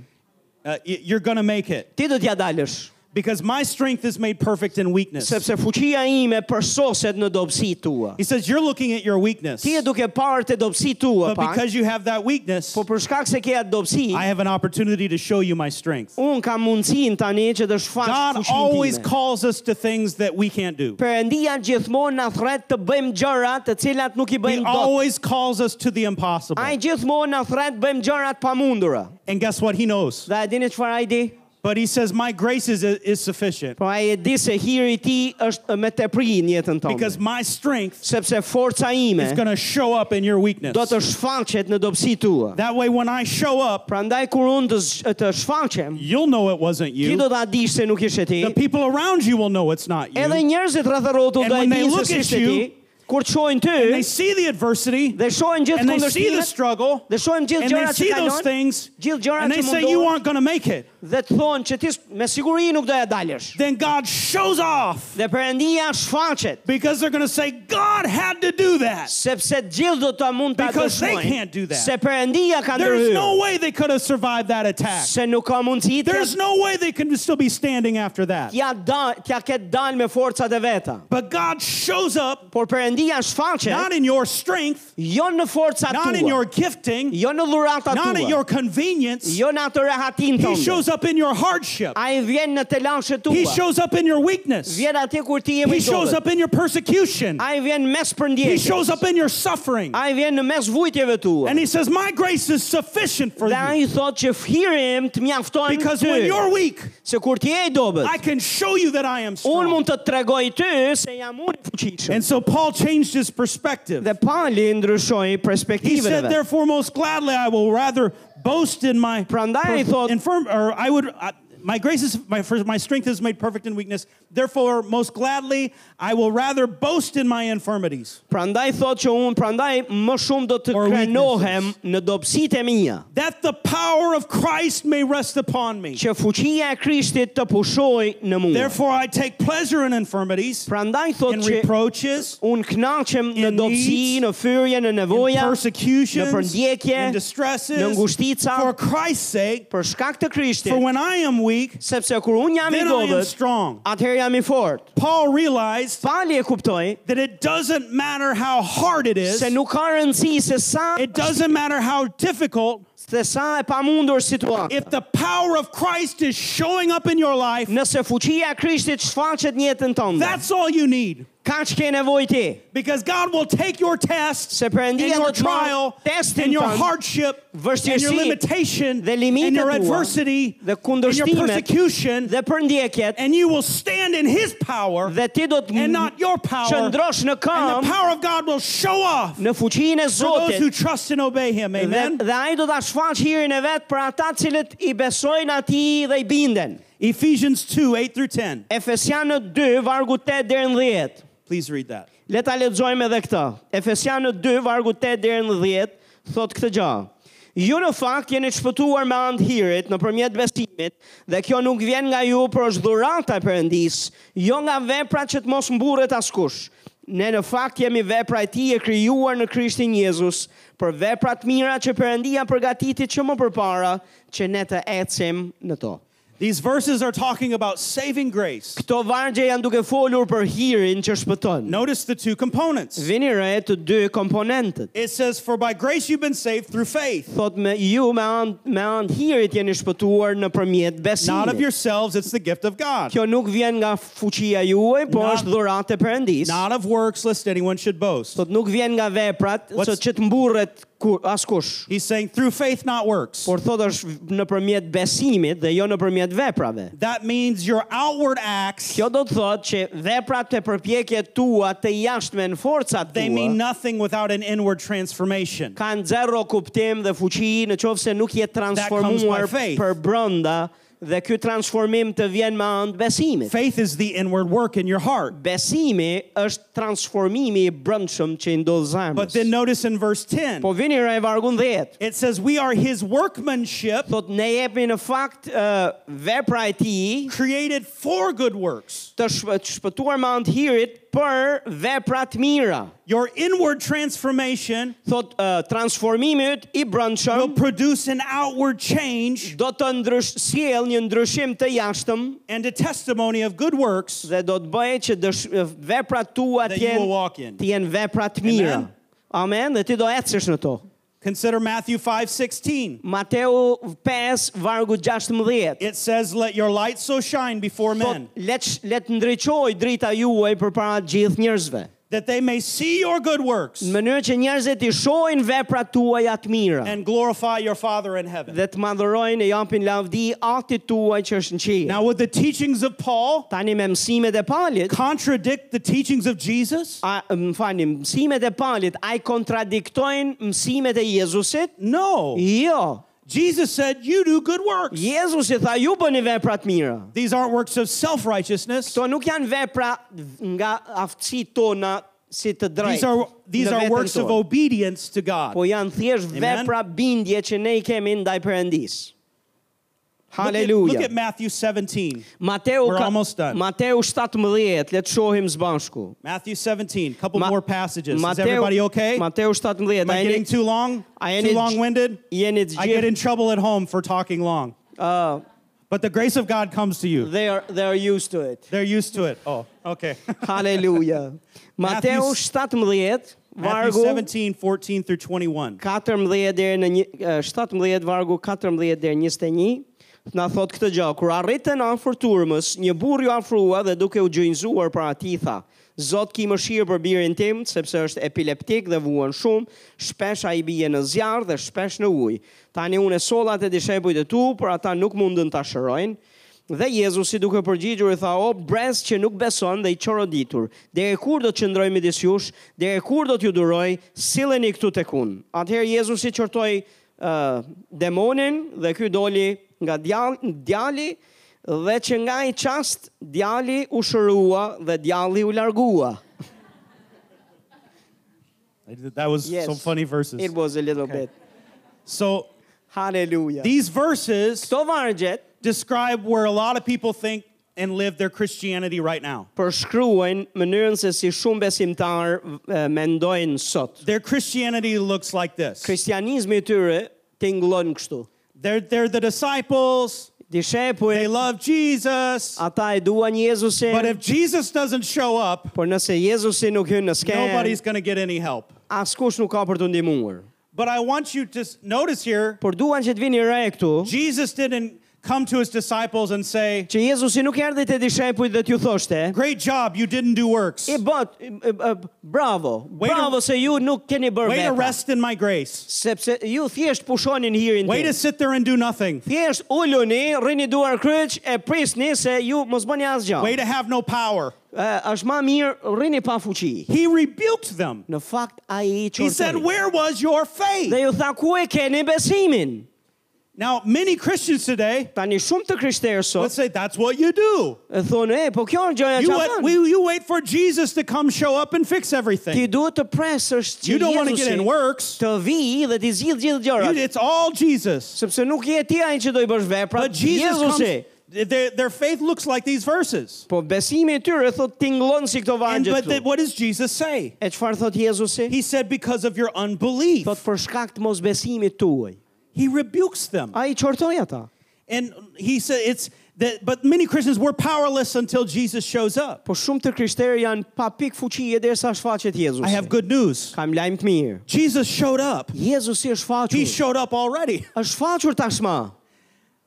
S2: Uh, y- you're going to make it
S1: Ti do t'ja dalësh,
S2: because my strength is made perfect in weakness.
S1: sepse fuqia ime përsoset në dobësitë tua.
S2: He says, You're looking at your weakness.
S1: Ti e duke parë të dobësitë tua
S2: But
S1: pak,
S2: because you have that weakness,
S1: po për shkak se ke atë dobësi,
S2: I have an opportunity to show you my strength.
S1: unë kam mundësin tani që të shfaq
S2: God always
S1: fuqinë time.
S2: calls us to things that we can't do.
S1: Perëndia gjithmonë na thret të bëjmë gjëra të cilat nuk i
S2: He
S1: bëjmë dot.
S2: always calls us to the impossible.
S1: Ai gjithmonë na thret të bëjmë gjëra të pamundura.
S2: And guess what? He knows.
S1: Dhe e dini çfarë ai di?
S2: But he says, My grace is, is sufficient
S1: Po ai e di se hiri i tij është me tepri në jetën tonë.
S2: because my strength
S1: sepse forca ime
S2: is going to show up in your weakness.
S1: do të shfaqet në dobësi tua.
S2: That way, when I show up,
S1: Prandaj kur unë të, zh- të shfaqem,
S2: you'll know it wasn't
S1: ti
S2: you.
S1: do ta dish se nuk ishe ti.
S2: The people around you will know it's not
S1: Edhe
S2: you.
S1: njerëzit rreth e rrotull
S2: And
S1: do e
S2: when they
S1: dinë
S2: look
S1: se
S2: at
S1: ishte ti.
S2: you,
S1: kur të shohin ty
S2: They see the adversity
S1: dhe shohin gjithë
S2: and they see the
S1: kundërshtimet
S2: struggle
S1: dhe shohin gjithë
S2: and they
S1: gjërat që
S2: see those
S1: kalon
S2: things
S1: gjithë gjërat
S2: and they
S1: që
S2: say, You
S1: mundohen
S2: aren't going to make it.
S1: dhe të thonë që ti s- me siguri nuk do ja dalësh.
S2: Then God shows off
S1: Dhe Perëndia shfaqet
S2: because they're going to say, God had to do that.
S1: sepse të gjithë do ta mund ta
S2: Because they
S1: dëshmojnë.
S2: can't do that.
S1: Se Perëndia ka
S2: There's
S1: ndërhyrë.
S2: no way they could have survived that attack.
S1: se nuk ka mundësi të
S2: There's no way they can still be standing after that.
S1: t'ja da, t'ja ketë dalë me forcat e veta.
S2: But God shows up
S1: Por Perëndia shfaqet
S2: not in your strength,
S1: jo në forcat
S2: not in your
S1: tua,
S2: gifting,
S1: jo në dhuratat
S2: not in
S1: tua,
S2: your convenience.
S1: jo në atë rehatin
S2: He
S1: tënde.
S2: shows up in your hardship.
S1: Ai vjen në telashet
S2: He
S1: tua.
S2: shows up in your weakness.
S1: Vjen atje kur ti je me
S2: He shows up in your persecution.
S1: Ai vjen mes
S2: He shows
S1: përndjekjes.
S2: up in your suffering.
S1: Ai vjen në mes vujtjeve tua.
S2: And he says, My grace is sufficient for
S1: Dhe
S2: you.
S1: ai thotë që fhirim të mjaftojnë
S2: Because
S1: ty.
S2: when you're weak,
S1: Se kur ti je i dobët,
S2: I can show you that I am
S1: unë
S2: strong.
S1: mund të të tregoj ty se jam unë i fuqishëm.
S2: And so Paul changed his perspective.
S1: Dhe Pali ndryshoi
S2: He
S1: perspektivën e
S2: said,
S1: vet.
S2: "Therefore, most gladly, I will rather boast in my
S1: Prandaj ai thot-
S2: infirm, or I would I, my grace is my for my strength is made perfect in weakness. Therefore, most gladly, I will rather boast in my infirmities.
S1: Prandaj thotë që unë prandaj më shumë do të
S2: Or
S1: krenohem në dobësitë e mia,
S2: That the power of Christ may rest upon me.
S1: që fuqia e Krishtit të pushoj në mua.
S2: Therefore, I take pleasure in infirmities,
S1: Prandaj
S2: in
S1: thotë që
S2: reproaches,
S1: unë knaqem në
S2: in
S1: dobësi,
S2: needs,
S1: në fyrje, në
S2: in
S1: nevoja, në
S2: persecutions,
S1: përndjekje,
S2: in distresses,
S1: në ngushtica.
S2: for Christ's sake.
S1: për shkak të
S2: For
S1: Krishtit,
S2: when I am weak,
S1: sepse kur unë jam i
S2: then I am
S1: dobët,
S2: strong.
S1: atëherë jam i fortë.
S2: Paul realized
S1: Pali e kuptoi
S2: that it doesn't matter how hard it is.
S1: se nuk ka rëndësi se sa
S2: It doesn't matter how difficult.
S1: se sa e pamundur situata.
S2: If the power of Christ is showing up in your life,
S1: Nëse fuqia e Krishtit shfaqet në jetën tënde,
S2: that's all you need.
S1: kaq ke nevojë ti.
S2: Because God will take your tests
S1: Se
S2: and
S1: Perëndia do
S2: your
S1: të marrë
S2: trial
S1: testin
S2: and your
S1: tënd
S2: hardship and your
S1: vështirësitë
S2: limitation
S1: dhe limitet
S2: and your
S1: tua
S2: adversity
S1: dhe
S2: and your
S1: kundërshtimet
S2: persecution
S1: dhe përndjekjet
S2: and you will stand in His power
S1: dhe ti do të
S2: and not your power. And
S1: qëndrosh në
S2: the
S1: këmbë
S2: power of God will show off
S1: në fuqinë e
S2: for those who
S1: Zotit
S2: trust and obey Him.
S1: dhe,
S2: Amen.
S1: dhe ai do ta shfaq hirin e vet për ata të cilët i besojnë atij dhe i binden.
S2: Ephesians 2 8 through 10.
S1: Efesianët 2 vargu 8 deri në 10.
S2: Please read that.
S1: Le ta lexojmë edhe këtë. Efesianët 2 vargu 8 deri në 10 thot këtë gjë. Ju në fakt jeni të shpëtuar me anë të hirit nëpërmjet besimit dhe kjo nuk vjen nga ju, por është dhurata e Perëndis, jo nga veprat që të mos mburret askush. Ne në fakt jemi vepra e tij e krijuar në Krishtin Jezus për vepra të mira që Perëndia përgatiti që më përpara që ne të ecim në to.
S2: These verses are talking about saving grace.
S1: Këto vargje janë duke folur për hirin që shpëton.
S2: Notice the two components.
S1: Vini re të dy komponentët.
S2: It says, For by grace you've been saved through faith,
S1: thot me ju me anë me anë hirit jeni shpëtuar nëpërmjet
S2: not of
S1: besimit.
S2: yourselves, it's the gift of God.
S1: Kjo nuk vjen nga fuqia juaj, por
S2: Not-
S1: është dhuratë e Perëndis.
S2: Not of works, lest anyone should boast.
S1: Thot nuk vjen nga veprat,
S2: What's-
S1: sot që të mburret ku- askush.
S2: He's saying, Through faith, not works.
S1: Por thot është nëpërmjet besimit dhe jo nëpërmjet veprave.
S2: That means your outward acts,
S1: Kjo do të thotë që veprat e përpjekjet tua të jashtme në forcat
S2: they mean
S1: tua
S2: nothing without an inward transformation.
S1: kanë zero kuptim dhe fuqi në qoftë se nuk je
S2: comes by
S1: transformuar
S2: faith.
S1: për brenda dhe ky transformim të vjen me anë besimit.
S2: Faith is the inward work in your heart.
S1: Besimi është transformimi i brëndshëm që i ndodh
S2: But then
S1: zemrës.
S2: notice in verse 10,
S1: Po vini re vargun 10.
S2: it says, We are his workmanship,
S1: Thot ne jepni në fakt uh, vepra e tij
S2: created for good works.
S1: të shp- të shpëtuar me anë të hirit për vepra të mira.
S2: Your inward transformation
S1: Thot uh, transformimi yt i
S2: will
S1: brëndshëm
S2: produce an outward change
S1: do të ndrysh sjell një ndryshim të jashtëm
S2: and a testimony of good works.
S1: dhe do të bëjë që dësh, veprat tua
S2: That
S1: të
S2: you
S1: jenë
S2: will walk in.
S1: të jenë vepra të mira.
S2: Amen.
S1: Amen, dhe ti do ecësh në to.
S2: Consider Matthew 5:16.
S1: Mateu 5 vargu 16.
S2: It says, "Let your light so shine before men,
S1: Thot, Po, let sh- let ndriçoj drita juaj përpara të gjithë njerëzve.
S2: that they may see your good works
S1: Në mënyrë që njerëzit i shohin veprat tuaja të mira
S2: and glorify your Father in heaven."
S1: dhe të madhërojnë e japin lavdi atit tuaj që është në qiell.
S2: Now, would the teachings of Paul
S1: Tani me mësimet e Palit,
S2: contradict the teachings of Jesus?
S1: a, më falni, mësimet e Palit ai kontradiktojnë mësimet e Jezusit?
S2: No.
S1: Jo.
S2: Jesus said, "You do good works."
S1: Jezusi tha ju bëni vepra të mira.
S2: These aren't works of self-righteousness.
S1: Kto nuk janë vepra nga aftësitë tona si të
S2: These
S1: drejtë.
S2: are these
S1: në
S2: are
S1: veten
S2: works of
S1: tonë.
S2: obedience to God.
S1: po janë thjesht
S2: Amen.
S1: vepra bindje që ne i kemi ndaj Perëndis.
S2: Look at- Look
S1: Haleluja.
S2: at Matthew 17.
S1: Mateu
S2: We're
S1: ka,
S2: almost done.
S1: Mateu 17, le të shohim së bashku.
S2: Matthew 17. Couple
S1: Ma-
S2: more passages. Is
S1: Mateu-
S2: everybody okay?
S1: Mateu 17.
S2: Am I
S1: a jeni-
S2: getting too long?
S1: a
S2: Too
S1: jeni-
S2: long-winded?
S1: jeni të
S2: I get
S1: gjithë-
S2: in trouble at home for talking long.
S1: Uh,
S2: But the grace of God comes to you.
S1: they are they are used to it.
S2: They're used to it. Oh, okay.
S1: Haleluja. Mateu
S2: Matthew-
S1: 17
S2: Matthew
S1: vargu
S2: 17, 14 through 21.
S1: 14 deri në një- eh, 17 vargu 14 deri 21 na thot këtë gjë kur arritën afër turmës një burr ju afrua dhe duke u gjynjëzuar para tij tha Zot ki mëshirë për birin tim, sepse është epileptik dhe vuan shumë, shpesh a i bie në zjarë dhe shpesh në ujë. Tani unë e solat e dishepujt e tu, por ata nuk mundën ta shërojnë. Dhe Jezusi duke përgjigjur i tha, o brez që nuk beson dhe i qoroditur, deri kur do të qëndroj midis jush, deri kur do t'ju duroj, silleni këtu tek unë. Atëherë Jezusi qortoi uh, demonin dhe ky doli nga djali, djali dhe që nga i qast djali u shërua dhe djali u largua.
S2: That was
S1: Yes.
S2: some funny verses.
S1: It was a little bit.
S2: So
S1: Hallelujah.
S2: these verses
S1: Këto vargjet
S2: describe where a lot of people think and live their Christianity right now.
S1: përshkruajnë mënyrën se si shumë besimtar eh, mendojnë sot.
S2: Their Christianity looks like this.
S1: Kristianizmi i tyre tingëllon kështu.
S2: They're, they're the disciples. They
S1: Dishepuj,
S2: love Jesus.
S1: ata e duan
S2: But
S1: Jezusin,
S2: if Jesus doesn't show up,
S1: por nëse Jezusi nuk hyn në skenë,
S2: nobody's going to get any help.
S1: askush nuk ka për të ndihmuar.
S2: But I want you to s- notice here
S1: Por duan që të vini re këtu,
S2: Jesus didn't come to his disciples and say,
S1: që Jezusi nuk erdhi te dishepujt dhe t'ju thoshte,
S2: Great job, you didn't do works.
S1: i bot, i- i- i- bravo,
S2: Way to-
S1: bravo se ju nuk keni bërë
S2: Way to
S1: veta,
S2: rest in my grace.
S1: sepse ju thjesht pushonin hirin
S2: Way
S1: tim.
S2: to sit there and do nothing.
S1: Thjesht uluni, rrini duar kryq, e prisni se ju mos bëni asgjë.
S2: Way to have no power.
S1: Ë, Është më mirë rrini pa fuqi.
S2: He rebuked them.
S1: Në fakt ai i
S2: He said,
S1: qortoi.
S2: Where was your
S1: Dhe
S2: faith?
S1: ju tha ku e keni besimin?
S2: Now, many Christians today
S1: Tani shumë të krishterë sot
S2: would say, That's what you do.
S1: e thonë, e, po kjo është gjëja
S2: You
S1: që
S2: wait,
S1: thënë.
S2: we- you wait for Jesus to come show up and fix
S1: Ti
S2: everything.
S1: duhet të presësh që
S2: You don't want to get in
S1: Jezusi
S2: works.
S1: të vi dhe ti zgjidh gjithë
S2: You-
S1: gjërat.
S2: It's all Jesus.
S1: Sepse nuk je ti ai që do i bësh veprat,
S2: But Jesus
S1: Jezusi.
S2: comes, their, their faith looks like these verses.
S1: Po besimi i tyre thot tingëllon si këto
S2: And
S1: vargje
S2: but the-
S1: këtu.
S2: what does Jesus say?
S1: E çfarë thot Jezusi?
S2: He said, because of your unbelief.
S1: Thot për shkak të mosbesimit tuaj.
S2: He rebukes them.
S1: Ai qortoi ata.
S2: And he said it's that but many Christians were powerless until Jesus shows up.
S1: Po shumë të krishterë janë pa pik fuqie derisa shfaqet Jezusi.
S2: I have good news.
S1: Kam lajm të mirë.
S2: Jesus showed up.
S1: Jezusi është
S2: He
S1: faqur.
S2: showed up already.
S1: Është faqur tashmë.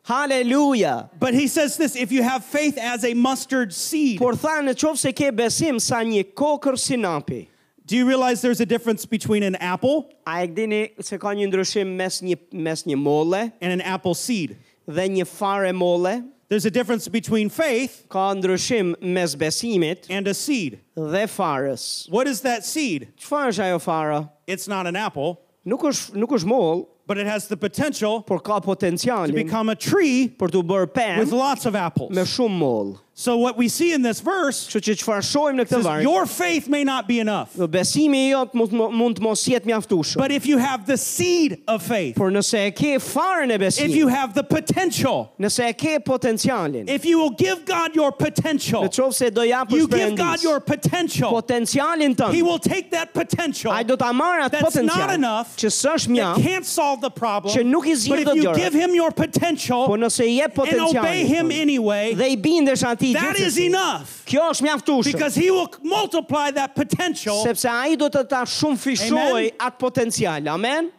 S1: Haleluja.
S2: But he says this if you have faith as a mustard seed.
S1: Por tha në qovë se ke besim sa një kokër sinapi.
S2: Do you realize there's a difference between an apple
S1: A e këdini se ka një ndryshim mes një, mes një mole
S2: and an apple seed?
S1: dhe një fare mole?
S2: There's a difference between faith
S1: Ka ndryshim mes besimit
S2: and a seed.
S1: dhe farës.
S2: What is that seed?
S1: Qëfar është ajo fara?
S2: It's not an apple,
S1: Nuk është, nuk është mol,
S2: but it has the potential
S1: por ka potencialin
S2: become a tree
S1: për të bërë pemë
S2: with lots of
S1: me
S2: apples.
S1: shumë mol.
S2: So what we see in this verse
S1: Kështu që qëfar shojmë në këtë
S2: is
S1: varë,
S2: your faith may not be enough,
S1: besimi i jotë mund, mund të mos jetë mjaftushëm.
S2: but if you have the seed of faith,
S1: Por nëse e ke farën e
S2: if you
S1: besimit,
S2: have the potential,
S1: nëse e ke potencialin,
S2: if you will give God your potential,
S1: Në qovë se do japësh
S2: you give God your potential,
S1: potencialin
S2: He
S1: tënë,
S2: will take that potential
S1: ai do ta marrë atë
S2: That's not
S1: potencial
S2: enough.
S1: që s'është
S2: that
S1: mjaft,
S2: can't solve the problem,
S1: që nuk i
S2: but
S1: zgjidh
S2: if
S1: dot
S2: you
S1: gjërat.
S2: give Him your
S1: po
S2: potential
S1: nëse i jep
S2: and obey Him
S1: potencialin tënë,
S2: anyway,
S1: dhe i bindesh atij
S2: that is
S1: gjithsesi,
S2: enough
S1: kjo është mjaftueshme,
S2: because He will multiply that potential
S1: sepse ai do të ta shumëfishoj
S2: Amen.
S1: atë potencial. Amen.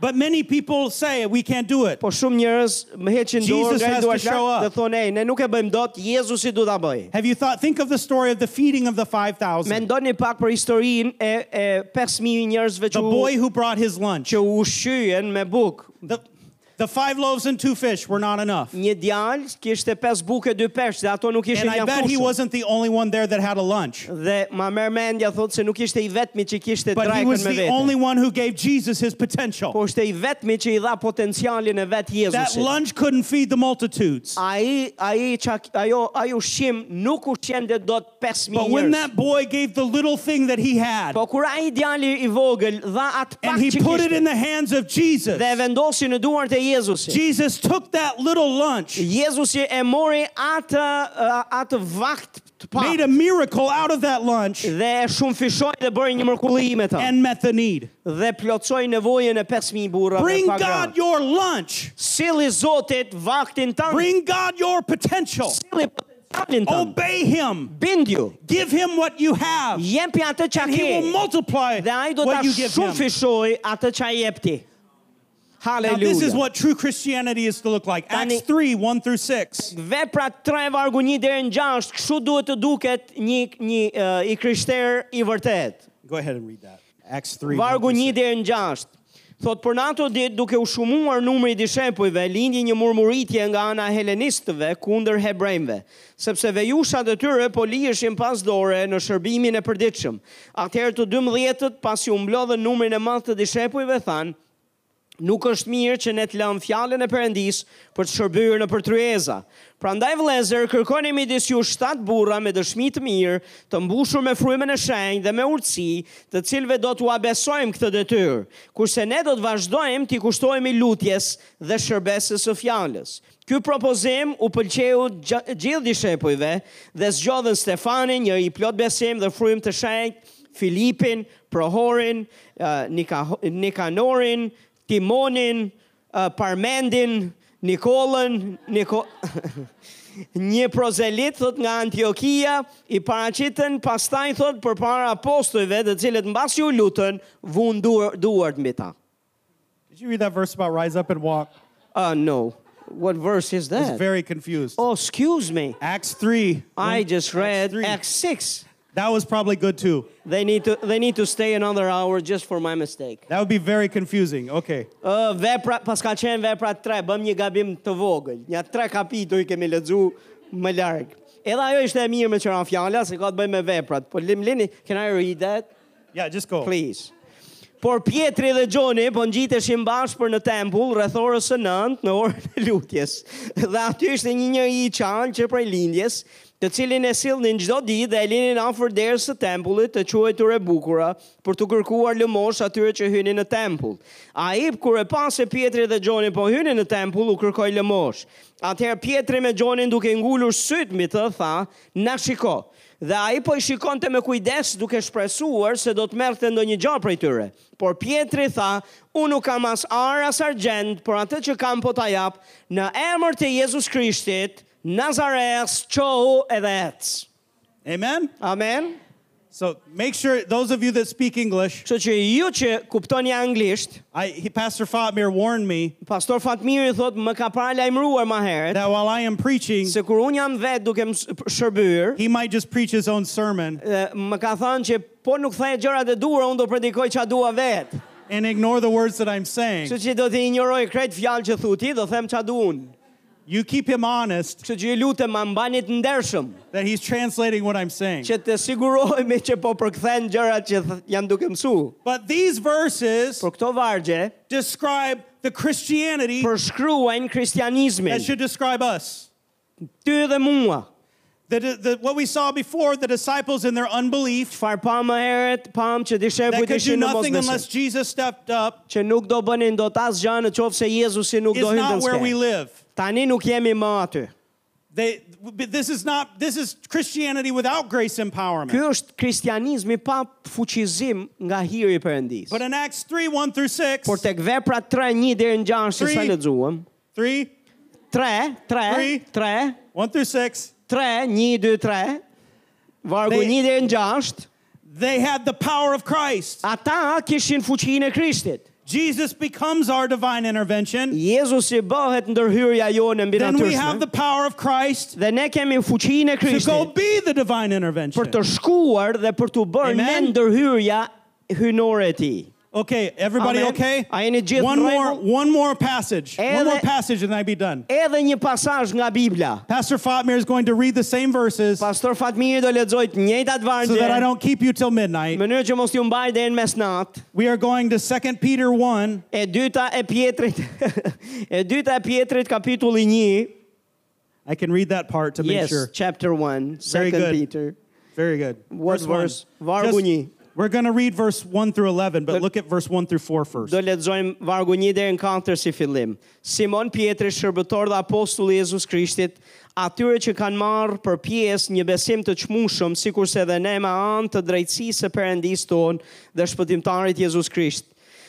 S2: But many people say we can't do it.
S1: Po shumë njerëz më heqin dorë
S2: Jesus
S1: nga
S2: has to
S1: duar
S2: show up.
S1: lart dhe thonë, "Ej, ne nuk e bëjmë dot, Jezusi do ta bëjë."
S2: Have you thought? Think of the story of the feeding of the 5,000.
S1: Mendoni pak për historinë e, e 5000 njerëzve që
S2: The
S1: u,
S2: boy who brought his lunch.
S1: që u ushqyen me bukë.
S2: The, The five loaves and two fish were not enough.
S1: Një djalë kishte pesë bukë dy peshq dhe ato nuk ishin
S2: And I
S1: janë
S2: bet he
S1: fushën.
S2: wasn't the only one there that had a lunch.
S1: Dhe ma merr mendja thotë se nuk ishte i vetmi që kishte
S2: But he
S1: trajkën
S2: was
S1: me
S2: the
S1: vete.
S2: only one who gave Jesus his potential.
S1: Po ishte i vetmi që i dha potencialin e vet
S2: That
S1: Jezusit.
S2: lunch couldn't feed the multitudes.
S1: Ah, Ai ai çak ajo ai ushqim nuk ushqente dot 5000
S2: But when
S1: njerëz.
S2: that boy gave the little thing that he had
S1: Po kur ai djali i vogël dha atë pak
S2: and he
S1: që
S2: put it
S1: kishte
S2: in the hands of
S1: dhe e
S2: Jesus,
S1: vendosi në duart e Jezusit.
S2: Jesus took that little lunch,
S1: Jezusi e mori atë uh, atë vakt të
S2: made
S1: parë
S2: a miracle out of that lunch,
S1: dhe e shumë fishoj dhe bëri një mërkulli me ta
S2: and met the need.
S1: dhe plotsoj nevojën e 5.000 burrave
S2: Bring
S1: pa
S2: God
S1: gra.
S2: your lunch.
S1: Sili Zotit vaktin tanë,
S2: Bring God your potential.
S1: sili potencialin tanë,
S2: Obey Him.
S1: bindju,
S2: Give Him what you have.
S1: jepi atë që
S2: And He
S1: ke
S2: will multiply
S1: dhe ai do ta
S2: what you give
S1: shumë
S2: Him.
S1: fishoj atë që ai jep ti.
S2: Now, this is
S1: Haleluja.
S2: what true Christianity is to look like. Acts
S1: Tani-
S2: 3 1 through 6.
S1: Vepra 3 vargu 1 deri në 6, kështu duhet të duket një një uh, i krishter i vërtet.
S2: Go ahead and read that. Acts 3.
S1: Vargu
S2: 1 through
S1: 1 deri
S2: 6.
S1: në 6. Thot për në ato ditë duke u shumuar numri i dishepujve, lindi një murmuritje nga ana e helenistëve kundër hebrejve, sepse vejushat e tyre po lijeshin pas dore në shërbimin e përditshëm. Atëherë të 12-të pasi u mblodhën numrin e madh të dishepujve than, Nuk është mirë që ne të lëmë fjalën e Perëndis për të shërbyer në përtryeza. Prandaj vëllezër, kërkoni midis ju 7 burra me dëshmi të mirë, të mbushur me frymën e shenjtë dhe me urtësi, të cilëve do t'u abesojmë këtë detyrë, kurse ne do të vazhdojmë t'i kushtohemi lutjes dhe shërbesës së fjalës. Ky propozim u pëlqeu gja- gjithë dishepujve dhe zgjodhën Stefanin, një i plot besim dhe frymë të shenjtë, Filipin, Prohorin, eh, Nika, Nikanorin, Timonin, eh, Parmendin, Nikolën, Niko... një prozelit thot nga Antiokia i paraqitën pastaj thot përpara apostujve të cilët mbasi u lutën vun duar, duart mbi ta.
S2: Did you read that verse about rise up and walk?
S1: Ah no. What verse is
S2: I was
S1: that?
S2: very confused.
S1: Oh, excuse me.
S2: Acts 3.
S1: I just read
S2: three.
S1: Acts 6.
S2: That was probably good too.
S1: They need to they need to stay another hour just for my mistake.
S2: That would be very confusing. Okay.
S1: Ë vepra, pas ka qenë vepra 3, bëm një gabim të vogël. Një tre kapituj kemi lexu më larg. Edhe ajo ishte e mirë me qëra fjala, se ka të bëjë me veprat. Po lim lini, can I read that?
S2: Yeah, just go.
S1: Please. Por Pietri dhe Gjoni po ngjiteshin bashkë për në tempull rreth orës së 9 në orën e lutjes. Dhe aty ishte një njeri i qanë që prej lindjes, të cilin e sillnin çdo ditë dhe e linin afër derës së tempullit të quajtur e bukura për të kërkuar lëmosh atyre që hynin në tempull. Ai kur e pa se Pietri dhe Gjoni po hynin në tempull u kërkoi lëmosh. Atëherë Pietri me Gjonin duke ngulur syt mbi të tha, "Na shiko." Dhe ai po i shikonte me kujdes duke shpresuar se do të merrte ndonjë gjë prej tyre. Por Pietri tha, unë nuk kam as ar as argjend, por atë që kam po ta jap në emër të Jezus Krishtit, Nazareas, qohu edhe ec.
S2: Amen.
S1: Amen.
S2: So make sure those of you that speak English,
S1: Kështu që ju që kuptoni anglisht,
S2: I, he, Pastor Fatmir warned me
S1: pastor Fatmiri thot më ka paralajmëruar më herët
S2: that while I am preaching,
S1: se kur un jam vet duke më s- shërbyer,
S2: he might just preach his own sermon
S1: e, më ka thënë që po nuk thaj gjërat e duhura, unë do predikoj ç'a dua vetë.
S2: and ignore the words that I'm saying.
S1: Kështu që do të injoroj krejt fjalë që thu ti, do them ç'a duun.
S2: You keep him honest
S1: Kështu që ju lutem ma mbani të ndershëm,
S2: that he's translating what I'm saying.
S1: që të sigurohemi që po përkthen gjërat që th- jam duke mësu.
S2: But these verses
S1: Por këto vargje
S2: describe the Christianity
S1: përshkruajnë kristianizmin.
S2: that should describe us.
S1: Ty dhe mua,
S2: The, the, what we saw before, the disciples in their unbelief,
S1: çfarë pa më herët, pam që
S2: that
S1: dishepujt
S2: could do
S1: ishin në
S2: nothing unless
S1: mosbesim,
S2: Jesus stepped up,
S1: që nuk do bënin dot asgjë në qoftë se Jezusi nuk
S2: is
S1: do hynte
S2: not
S1: në
S2: where we
S1: skenë.
S2: live.
S1: Tani nuk jemi më aty.
S2: They, this is not. This is Christianity without grace
S1: Ky
S2: empowerment.
S1: është kristianizmi pa fuqizim nga hiri i Perëndis.
S2: But in Acts three one through six,
S1: Por tek vepra 3:1 deri në 6 që sa
S2: Three.
S1: lexuam,
S2: three
S1: 3 3
S2: Three.
S1: 3
S2: one through six,
S1: 3, 1, 2, 3, vargu
S2: They-
S1: 1 deri në 6,
S2: they had the power of Christ.
S1: ata kishin fuqinë e Krishtit.
S2: Jesus becomes our divine intervention.
S1: Jezusi bëhet ndërhyrja jone mbi
S2: Then we have
S1: natyrshme.
S2: the power of Christ
S1: Dhe ne kemi fuqinë e
S2: to go
S1: Krishtit
S2: be the divine
S1: për
S2: intervention.
S1: të shkuar dhe për të bërë ne
S2: Amen.
S1: ndërhyrja hynore e tij.
S2: Okay, everybody
S1: Amen.
S2: okay?
S1: A jeni gjithë
S2: one
S1: në
S2: more,
S1: rregull?
S2: one more passage.
S1: Edhe-
S2: One more passage and I be done.
S1: Edhe një pasazh nga Bibla.
S2: Pastor Fatmir is going to read the same verses so
S1: Pastor Fatmiri do lexoj të njëjtat vargje.
S2: that I don't keep you till midnight.
S1: Në mënyrë që mos ju mbaj deri në mesnat.
S2: We are going to 2 Peter 1
S1: E dyta e Pietrit. e dyta e Pietrit kapitulli 1.
S2: I can read that part to make
S1: Yes,
S2: sure.
S1: chapter 1,
S2: Very
S1: 2
S2: good.
S1: Peter.
S2: Very good.
S1: What verse?
S2: one.
S1: Vargu një.
S2: we're going to read verse 1 through 11, but look at verse 1 through 4 first.
S1: Do lexojmë vargu 1 deri në 4 si fillim. Simon Pietri, shërbëtor dhe apostulli i Jezus Krishtit, atyre që kanë marrë për pjesë një besim të çmueshëm, sikurse edhe ne me anë të drejtësisë së Perëndis ton dhe shpëtimtarit Jezus Krisht.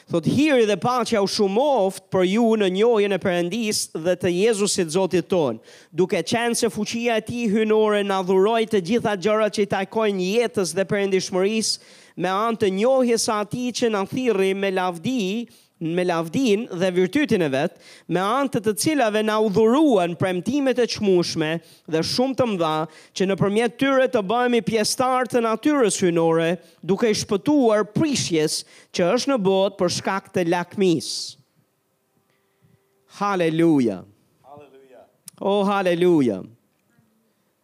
S1: Thot hiri dhe paqja u shumoft për ju në njohjen e Perëndis dhe të Jezusit Zotit ton, duke qenë se fuqia e tij hynore na dhuroi të gjitha gjërat që i takojnë jetës dhe perëndishmërisë me anë të njohjes së atij që na thirrri me lavdi, me lavdin dhe virtytin e vet, me anë të të cilave na udhuruan premtimet e çmueshme dhe shumë të mëdha që nëpërmjet tyre të bëhemi pjesëtar të natyrës hynore, duke i shpëtuar prishjes që është në botë për shkak të lakmisë. Haleluja. Oh, haleluja.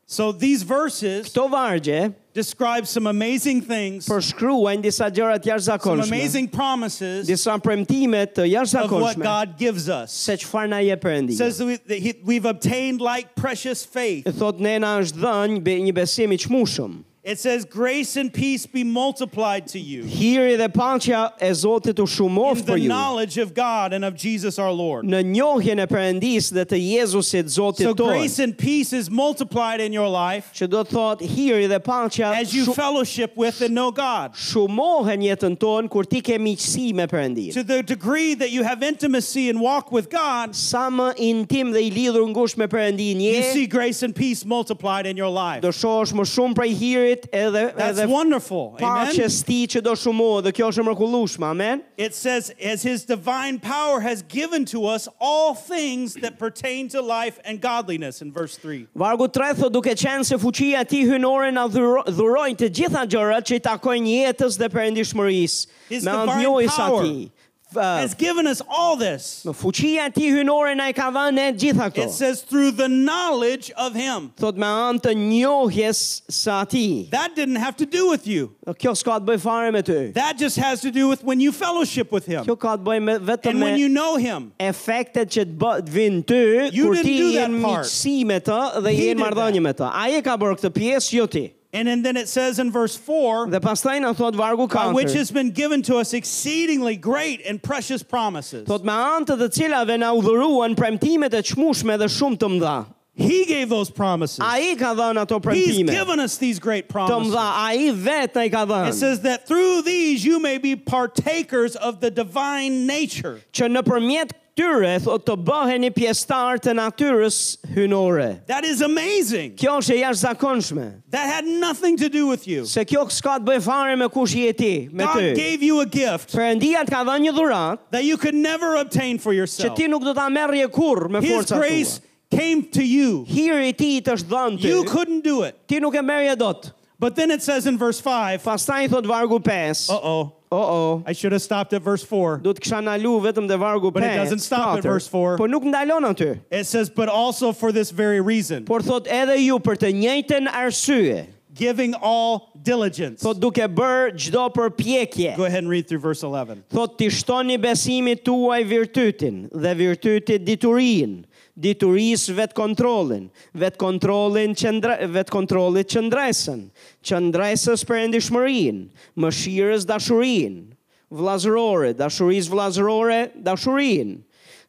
S2: So these verses
S1: Këto vargje
S2: describe some amazing things,
S1: përshkruajnë disa gjëra të
S2: some
S1: jashtëzakonshme,
S2: amazing promises
S1: disa premtime të
S2: of what
S1: jashtëzakonshme.
S2: God gives us.
S1: se çfarë na jep Perëndia.
S2: says that, we, that he, we've obtained like precious faith.
S1: Thot ne na është dhënë be- një besim i çmueshëm.
S2: It says grace and peace be multiplied to you
S1: Hiri dhe paqja e Zotit u
S2: in
S1: shumoft
S2: the
S1: për ju
S2: knowledge of God and of Jesus our Lord.
S1: në njohjen e Perëndis dhe të Jezusit Zotit
S2: So
S1: tonë.
S2: grace and peace is multiplied in your life
S1: Që do të thot hiri dhe paqja
S2: as you
S1: shu-
S2: fellowship with and know God.
S1: shumohen jetën tonë kur ti ke miqësi me Perëndin.
S2: To the degree that you have intimacy and walk with God,
S1: Sa më intim dhe i lidhur ngushtë me Perëndin
S2: you
S1: je,
S2: see grace and peace multiplied in your life.
S1: do shohësh më shumë prej hirit edhe
S2: That's
S1: edhe
S2: wonderful. Amen.
S1: paqes ti që do shumohet dhe kjo është e mrekullueshme. Amen.
S2: It says, as his divine power has given to us all things that pertain to life and godliness, in verse 3.
S1: Vargu 3 thot duke qenë se fuqia e tij hynore na dhuro- dhurojnë të gjitha gjërat që i takojnë jetës dhe perëndishmërisë.
S2: His
S1: Me anë
S2: divine
S1: njohjes së
S2: power
S1: atij. F-
S2: Has given us all this.
S1: uh, Fuqia e tij hynore na i ka dhënë ne gjitha
S2: It
S1: këto.
S2: says, through the knowledge of him.
S1: Thot me anë të njohjes së atij.
S2: That didn't have to do with you.
S1: Kjo s'ka të bëj fare me ty.
S2: That just has to do with when you fellowship with him
S1: Kjo ka të bëj me vetëm
S2: and when you
S1: me
S2: know him.
S1: efektet që të bë- të vinë ty
S2: You
S1: kur
S2: didn't
S1: ti
S2: do
S1: je
S2: that
S1: në
S2: part.
S1: miqësi me të dhe
S2: He
S1: je në
S2: did
S1: marrëdhënie
S2: that.
S1: me të. Ai e ka bërë këtë pjesë, jo ti.
S2: And, and then it says in verse 4
S1: Dhe pastaj na thot vargu 4.
S2: by which has been given to us exceedingly great and precious promises.
S1: Thot me anë të të cilave na udhëruan premtimet e çmueshme dhe shumë të mëdha.
S2: He gave those promises.
S1: Ai ka dhënë ato
S2: He's
S1: premtime të
S2: given us these great
S1: mëdha,
S2: promises.
S1: ai vetë ai ka
S2: It
S1: dhënë.
S2: says that through these you may be partakers of the divine nature.
S1: Që nëpërmjet këtyre thot të bëheni pjesëtar të natyrës hynore.
S2: That is amazing.
S1: Kjo është e jashtëzakonshme.
S2: That had nothing to do with you.
S1: Se kjo s'ka të bëjë fare me kush je ti, me
S2: God
S1: ty.
S2: gave you a gift
S1: Perëndia të ka dhënë një dhuratë
S2: that you could never obtain for
S1: që
S2: yourself.
S1: ti nuk do ta merrje kurrë me
S2: His
S1: forca
S2: grace
S1: tua.
S2: came to you.
S1: Hiri i ti të është dhënë
S2: You
S1: ty.
S2: couldn't do it.
S1: Ti nuk e merrje dot.
S2: But then it says in verse 5, uh
S1: Pastaj thot vargu 5.
S2: oh,
S1: Oh oh.
S2: I should have stopped at verse 4.
S1: do të kisha ndalu vetëm te vargu 5.
S2: But it doesn't stop at verse four.
S1: Po nuk ndalon aty.
S2: It says, but also for this very reason,
S1: Por thot edhe ju për të njëjtën arsye,
S2: giving all diligence.
S1: thot duke bërë çdo përpjekje.
S2: Go ahead and read through verse 11.
S1: Thot ti shtoni besimit tuaj virtytin dhe virtytit diturinë, diturisë vetë kontrolin, vetë kontrolin qëndra, vetë kontrolit qëndresën, qëndresës për endishmërin, mëshirës dashurin, vlazërore, dashurisë vlazërore, dashurin,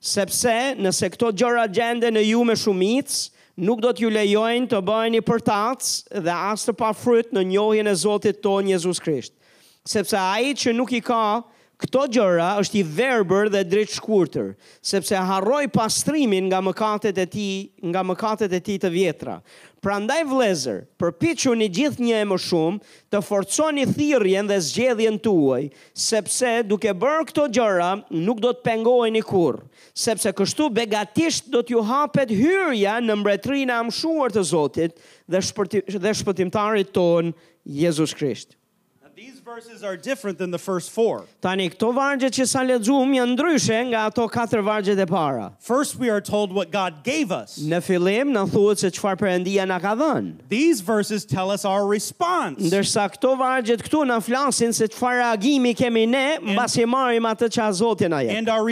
S1: sepse nëse këto gjëra gjende në ju me shumicë, nuk do t'ju lejojnë të bëheni përtacë dhe as të pa fryt në njohjen e Zotit tonë Jezus Krisht sepse ai që nuk i ka këto gjëra është i verbër dhe drejt shkurtër, sepse harroi pastrimin nga mëkatet e tij, nga mëkatet e tij të vjetra. Prandaj vëllezër, përpiquni gjithnjë e më shumë të forconi thirrjen dhe zgjedhjen tuaj, sepse duke bërë këto gjëra nuk do të pengoheni kurrë, sepse kështu begatisht do t'ju hapet hyrja në mbretërinë e amshuar të Zotit dhe shpërti- dhe shpëtimtarit ton Jezus Krisht.
S2: These verses are different than the first four.
S1: Tani këto vargje që sa lexuam janë ndryshe nga ato katër vargjet e para.
S2: First, we are told what God gave us.
S1: Në fillim na thuhet se çfarë Perëndia na ka dhënë,
S2: These verses tell us our response.
S1: ndërsa këto vargjet këtu na flasin se çfarë reagimi kemi ne mbasi marrim atë që a Zoti na jep.
S2: and our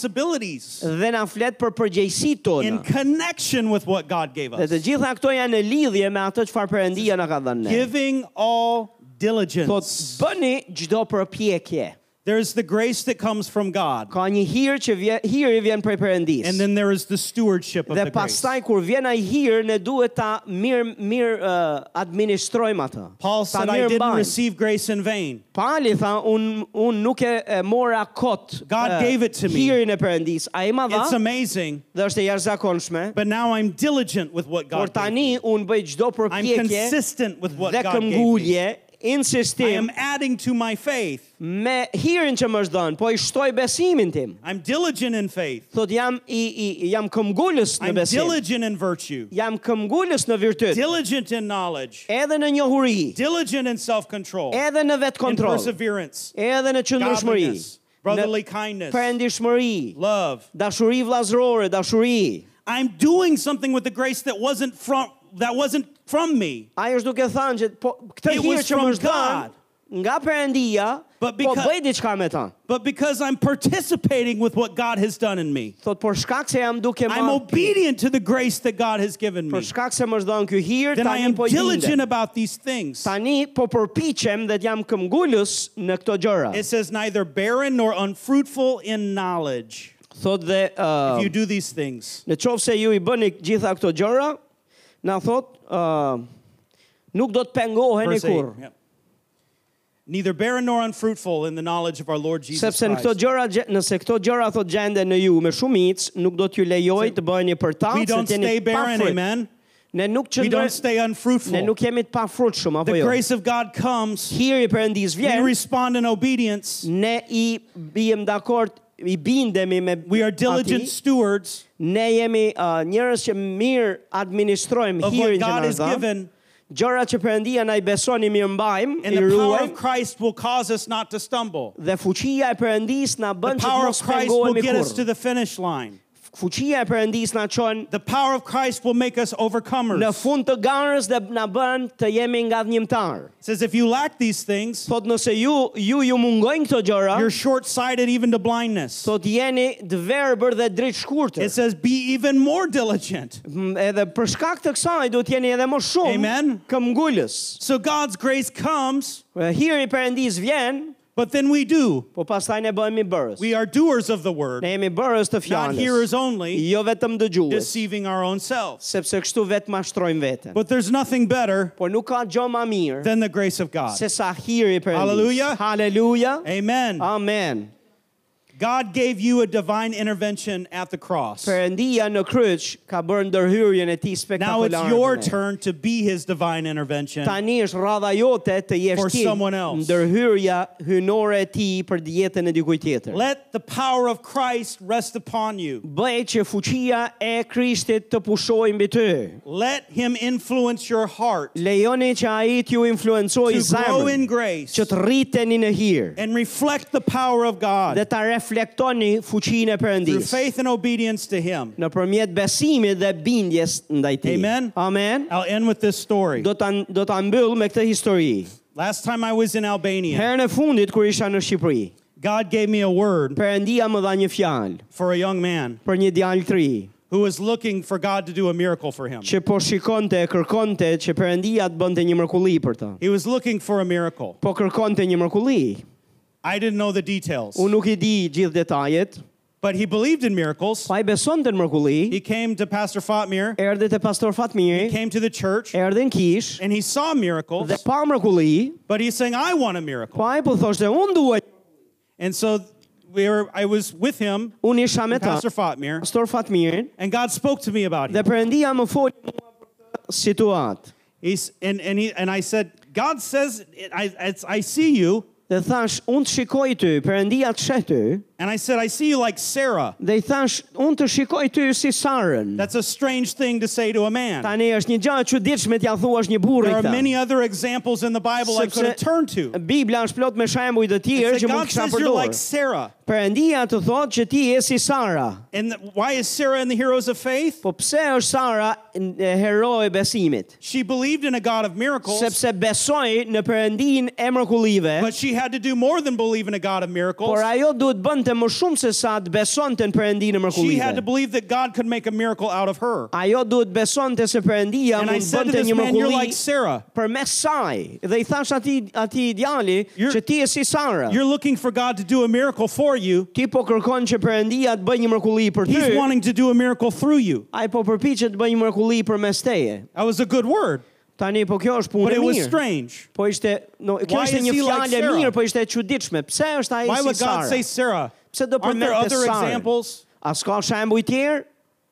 S2: responsibilities
S1: Dhe na flet për përgjegjësitë
S2: in
S1: tona.
S2: connection with what God gave
S1: Dhe të
S2: us.
S1: gjitha këto janë në lidhje me atë çfarë Perëndia na ka dhënë ne.
S2: Giving all
S1: Thot
S2: diligence.
S1: bëni çdo përpjekje.
S2: There is the grace that comes from God,
S1: Ka një hir që vjen, hiri vjen prej Perëndisë.
S2: and then there is the stewardship of
S1: Dhe
S2: the grace.
S1: pastaj kur vjen ai hir, ne duhet ta mirë mirë uh, administrojmë atë.
S2: Paul
S1: ta
S2: said, I didn't
S1: mbajmë."
S2: receive grace in vain.
S1: Pauli tha, un un nuk e, e mora kot.
S2: God
S1: eh,
S2: gave it to me.
S1: Hirin e Perëndis. Ai më dha
S2: It's amazing,
S1: dhe është e jashtëzakonshme.
S2: but now I'm diligent with what
S1: Por
S2: God gave
S1: tani
S2: me.
S1: un bëj çdo
S2: I'm
S1: përpjekje
S2: consistent with what
S1: dhe
S2: God gave me.
S1: këmbgulje,
S2: I
S1: insistim
S2: am adding to my faith.
S1: me hirin që më është dhënë, po i shtoj besimin tim.
S2: I'm diligent in faith.
S1: Thot jam i, i jam këmbgulës në
S2: I'm
S1: besim.
S2: diligent in virtue.
S1: Jam këmbgulës në virtyt,
S2: Diligent in knowledge.
S1: edhe në njohuri,
S2: Diligent in self-control.
S1: edhe në vetë
S2: and
S1: kontrol,
S2: perseverance,
S1: edhe në qëndrushmëri,
S2: godliness, brotherly kindness,
S1: përëndishmëri,
S2: love.
S1: dashuri vlazërore, dashuri.
S2: I'm doing something with the grace that wasn't from that wasn't from me.
S1: Ai është duke thënë që po këtë
S2: It
S1: hir
S2: was
S1: që më
S2: from
S1: është
S2: God.
S1: dhënë nga Perëndia, po
S2: But because-
S1: bëj diçka me ta.
S2: But because I'm participating with what God has done in me,
S1: Thot por shkak se jam duke
S2: I'm
S1: marrë
S2: obedient to the grace that God has given
S1: për
S2: me.
S1: shkak se më është dhënë ky hir,
S2: Then I
S1: tani
S2: am
S1: po
S2: diligent
S1: jindem.
S2: about these things.
S1: Tani po përpiqem dhe jam këmbgulës në këto gjëra.
S2: It says neither barren nor unfruitful in knowledge.
S1: Thot dhe
S2: If
S1: uh,
S2: you do these things,
S1: Në qovë se ju i bëni gjitha këto gjëra, na thot, uh, nuk do të pengoheni
S2: Verse eight,
S1: kur.
S2: yep. Neither barren nor unfruitful in the knowledge of our Lord Jesus
S1: Sepse në këto
S2: Christ.
S1: gjëra, gje- nëse këto gjëra thot gjende në ju me shumic, nuk do t'ju lejoj të bëheni për ta,
S2: We
S1: se
S2: don't stay
S1: t'jeni pa
S2: barren,
S1: fryt.
S2: amen.
S1: Ne nuk
S2: We
S1: qëndrojmë,
S2: don't stay
S1: ne
S2: unfruitful.
S1: nuk jemi të pa frut shumë, apo
S2: The
S1: jo?
S2: grace of God comes.
S1: Hiri për endis
S2: We
S1: vjen,
S2: respond in obedience.
S1: ne i bijem dakord, i bindemi me
S2: We are diligent
S1: ati.
S2: stewards
S1: Ne jemi uh, njerëz që mirë administrojmë
S2: of what
S1: hirin që
S2: God
S1: na
S2: has
S1: është dhënë.
S2: given,
S1: Gjëra që Perëndia na i beson i mirëmbajmë,
S2: and
S1: i
S2: the power
S1: ruajmë.
S2: of Christ will cause us not to stumble.
S1: Dhe fuqia e Perëndis na
S2: The
S1: bën që të
S2: power of
S1: mos
S2: Christ will
S1: pengohemi
S2: get us to
S1: kurrë.
S2: the finish line.
S1: Fuqia e Perëndis na çon
S2: The power of Christ will make us
S1: në
S2: overcomers.
S1: fund të garës dhe na bën të jemi nga dhjimtar.
S2: It says if you lack these things,
S1: Thot nëse ju ju ju mungojnë këto gjëra,
S2: you're short-sighted even to blindness.
S1: thot jeni të verbër dhe dritë
S2: It
S1: shkurtër.
S2: says be even more diligent.
S1: M- Edhe për shkak të kësaj duhet jeni edhe më shumë
S2: Amen.
S1: këmbgulës.
S2: So God's grace comes,
S1: Hiri Perëndis vjen,
S2: but then we do.
S1: po pastaj ne bëhemi bërës.
S2: We are doers of the word,
S1: Ne jemi bërës të
S2: not
S1: fjalës,
S2: hearers only,
S1: jo vetëm dëgjues,
S2: deceiving our own selves.
S1: sepse kështu vetë mashtrojmë veten.
S2: But there's nothing better
S1: Por nuk ka gjë më mirë
S2: than the grace of God.
S1: se sa hiri për
S2: Hallelujah.
S1: Haleluja.
S2: Amen.
S1: Ah. Amen.
S2: God gave you a divine intervention at the cross.
S1: Perëndia në kryq ka bërë ndërhyrjen e tij
S2: Now
S1: spektakolare.
S2: it's your
S1: për ne.
S2: turn to be his divine intervention.
S1: Tani është radha jote të jesh
S2: For
S1: ti
S2: someone else.
S1: ndërhyrja hynore e tij për jetën e dikujt tjetër.
S2: Let the power of Christ rest upon you.
S1: Bëj që fuqia e Krishtit të pushojë mbi ty.
S2: Let him influence your heart
S1: Lejoni që ai t'ju influencojë
S2: to grow in
S1: zemrën,
S2: grace
S1: që të rriteni në hir
S2: and reflect the power of
S1: dhe
S2: God
S1: ta reflektoni fuqinë e
S2: through
S1: Perëndisë
S2: faith and obedience to him.
S1: nëpërmjet besimit dhe bindjes ndaj tij.
S2: Amen.
S1: Amen.
S2: I'll end with this story.
S1: do ta do ta mbyll me këtë histori.
S2: Last time I was in Albania,
S1: Herën e fundit kur isha në Shqipëri,
S2: God gave me a word
S1: Perëndia më dha një fjalë
S2: for a young man
S1: për një djalë të ri
S2: who was looking for God to do a miracle for him.
S1: që po shikonte e kërkonte që Perëndia të bënte një mërkulli për të.
S2: He was looking for a miracle.
S1: Po kërkonte një mërkulli.
S2: I didn't know the details,
S1: Unë nuk i di gjithë detajet,
S2: but he believed in miracles.
S1: po ai besonte në mërkulli,
S2: He came to Pastor Fatmir,
S1: erdhi te pastor Fatmiri,
S2: came to the church,
S1: erdhi në kish
S2: and he saw miracles,
S1: dhe pa mërkulli,
S2: but he's saying, I want a miracle.
S1: po ai po thoshte unë dua.
S2: And so we were, I was with him,
S1: Unë isha me ta.
S2: Pastor Fatmir,
S1: Pastor Fatmirin
S2: and God spoke to me about
S1: dhe
S2: him.
S1: Perëndia më foli mua për këtë situatë.
S2: He's, and, and, he, and I said, God says, I, I, I see you,
S1: Dhe thash, unë të shikoj ty, Perëndia të sheh ty,
S2: And I said, I see you like Sarah.
S1: Dhe i thash, unë të shikoj ty si Sarën.
S2: That's a strange thing to say to a man.
S1: Tani është një gjë e çuditshme t'ia thuash një burri
S2: There are
S1: këtë.
S2: many other examples in the Bible I could have turned to.
S1: Bibla është plot me shembuj të tjerë
S2: It's
S1: që
S2: that
S1: mund të
S2: God
S1: kisha
S2: says you're like
S1: përdorur.
S2: Sarah.
S1: Perëndia të thotë që ti je si Sara.
S2: And th- why is Sarah in the heroes of faith?
S1: Po pse është Sara n- e hero e besimit?
S2: She believed in a God of miracles,
S1: Sepse besoi në Perëndin e mrekullive,
S2: but she had to do more than believe in a God of miracles.
S1: por ajo duhet bënte më shumë se sa të besonte në Perëndin e
S2: She had to
S1: mrekullive.
S2: believe that God could make a miracle out of her.
S1: Ajo duhet besonte se Perëndia
S2: And I
S1: mund
S2: said to
S1: bënte
S2: this
S1: një
S2: man, you're
S1: mrekulli
S2: like Sarah.
S1: përmes saj. Dhe i thash atij atij djali
S2: You're-
S1: që ti je si Sara.
S2: You're looking for God to do a miracle for you.
S1: Ti po kërkon që Perëndia të bëjë një mrekulli për ty.
S2: He's wanting to do a miracle through you.
S1: Ai po përpiqet të bëjë një mrekulli përmes teje.
S2: That was a good word,
S1: Tani po kjo është punë
S2: but
S1: e
S2: it was
S1: mirë.
S2: strange.
S1: Po ishte, no, kjo
S2: Why
S1: ishte
S2: is
S1: një
S2: he like
S1: fjalë e
S2: Sarah?
S1: mirë, po ishte e çuditshme. Pse është ai
S2: Why
S1: si
S2: would God
S1: Sara?
S2: say Sarah?
S1: Pse do
S2: Aren't there
S1: përmendte
S2: other
S1: Sarën?
S2: examples?
S1: A s'ka shembuj tjerë?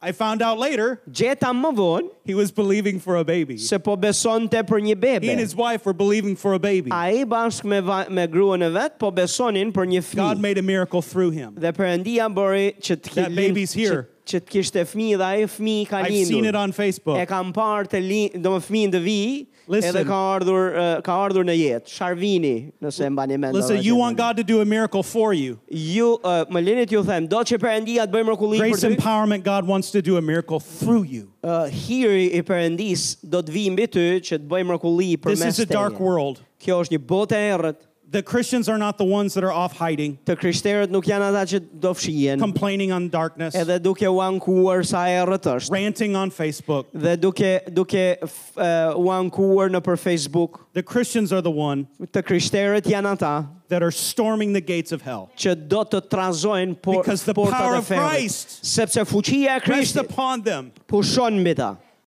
S2: I found out later
S1: Gjeta më vonë
S2: he was believing for a baby.
S1: se po besonte për një
S2: He
S1: bebe.
S2: and his wife were believing for a baby.
S1: Ai bashkë me va- me gruan e vet po besonin për një
S2: God
S1: fëmijë.
S2: made a miracle through him.
S1: Dhe Perëndia bëri që të
S2: That
S1: lind-
S2: baby's
S1: që,
S2: here.
S1: që të kishte fëmijë dhe ai fëmijë ka
S2: I've seen it
S1: lindur.
S2: on
S1: e
S2: Facebook.
S1: kam parë të li, do më fëmin të vi,
S2: Po. Listen.
S1: edhe ka ardhur, uh, ka ardhur në jetë, Sharvini, nëse mba një mendë.
S2: Listen, you want God to do a miracle for you.
S1: Ju, uh, më linit ju them, do që përëndia të bëjmë rëkulli për
S2: Grace
S1: ty,
S2: empowerment, God wants to do a miracle through you.
S1: uh, hiri i përëndis do të vi mbi ty që të bëjmë rëkulli për
S2: This
S1: mes
S2: is a dark
S1: teje.
S2: world.
S1: Kjo është një botë e erët,
S2: The Christians are not the ones that are off hiding,
S1: të krishterët nuk janë ata që do fshihen,
S2: complaining on darkness,
S1: edhe duke u ankuar sa erët është,
S2: ranting on Facebook.
S1: dhe duke, duke f- uh, u ankuar në për Facebook,
S2: The Christians are the one
S1: të krishterët janë ata,
S2: that are storming the gates of hell.
S1: që do të trazojnë por,
S2: Because the
S1: portat
S2: power
S1: e
S2: of
S1: ferrit,
S2: Christ
S1: sepse fuqia e
S2: Rest
S1: Krishtit
S2: upon them.
S1: pushon mbi ta.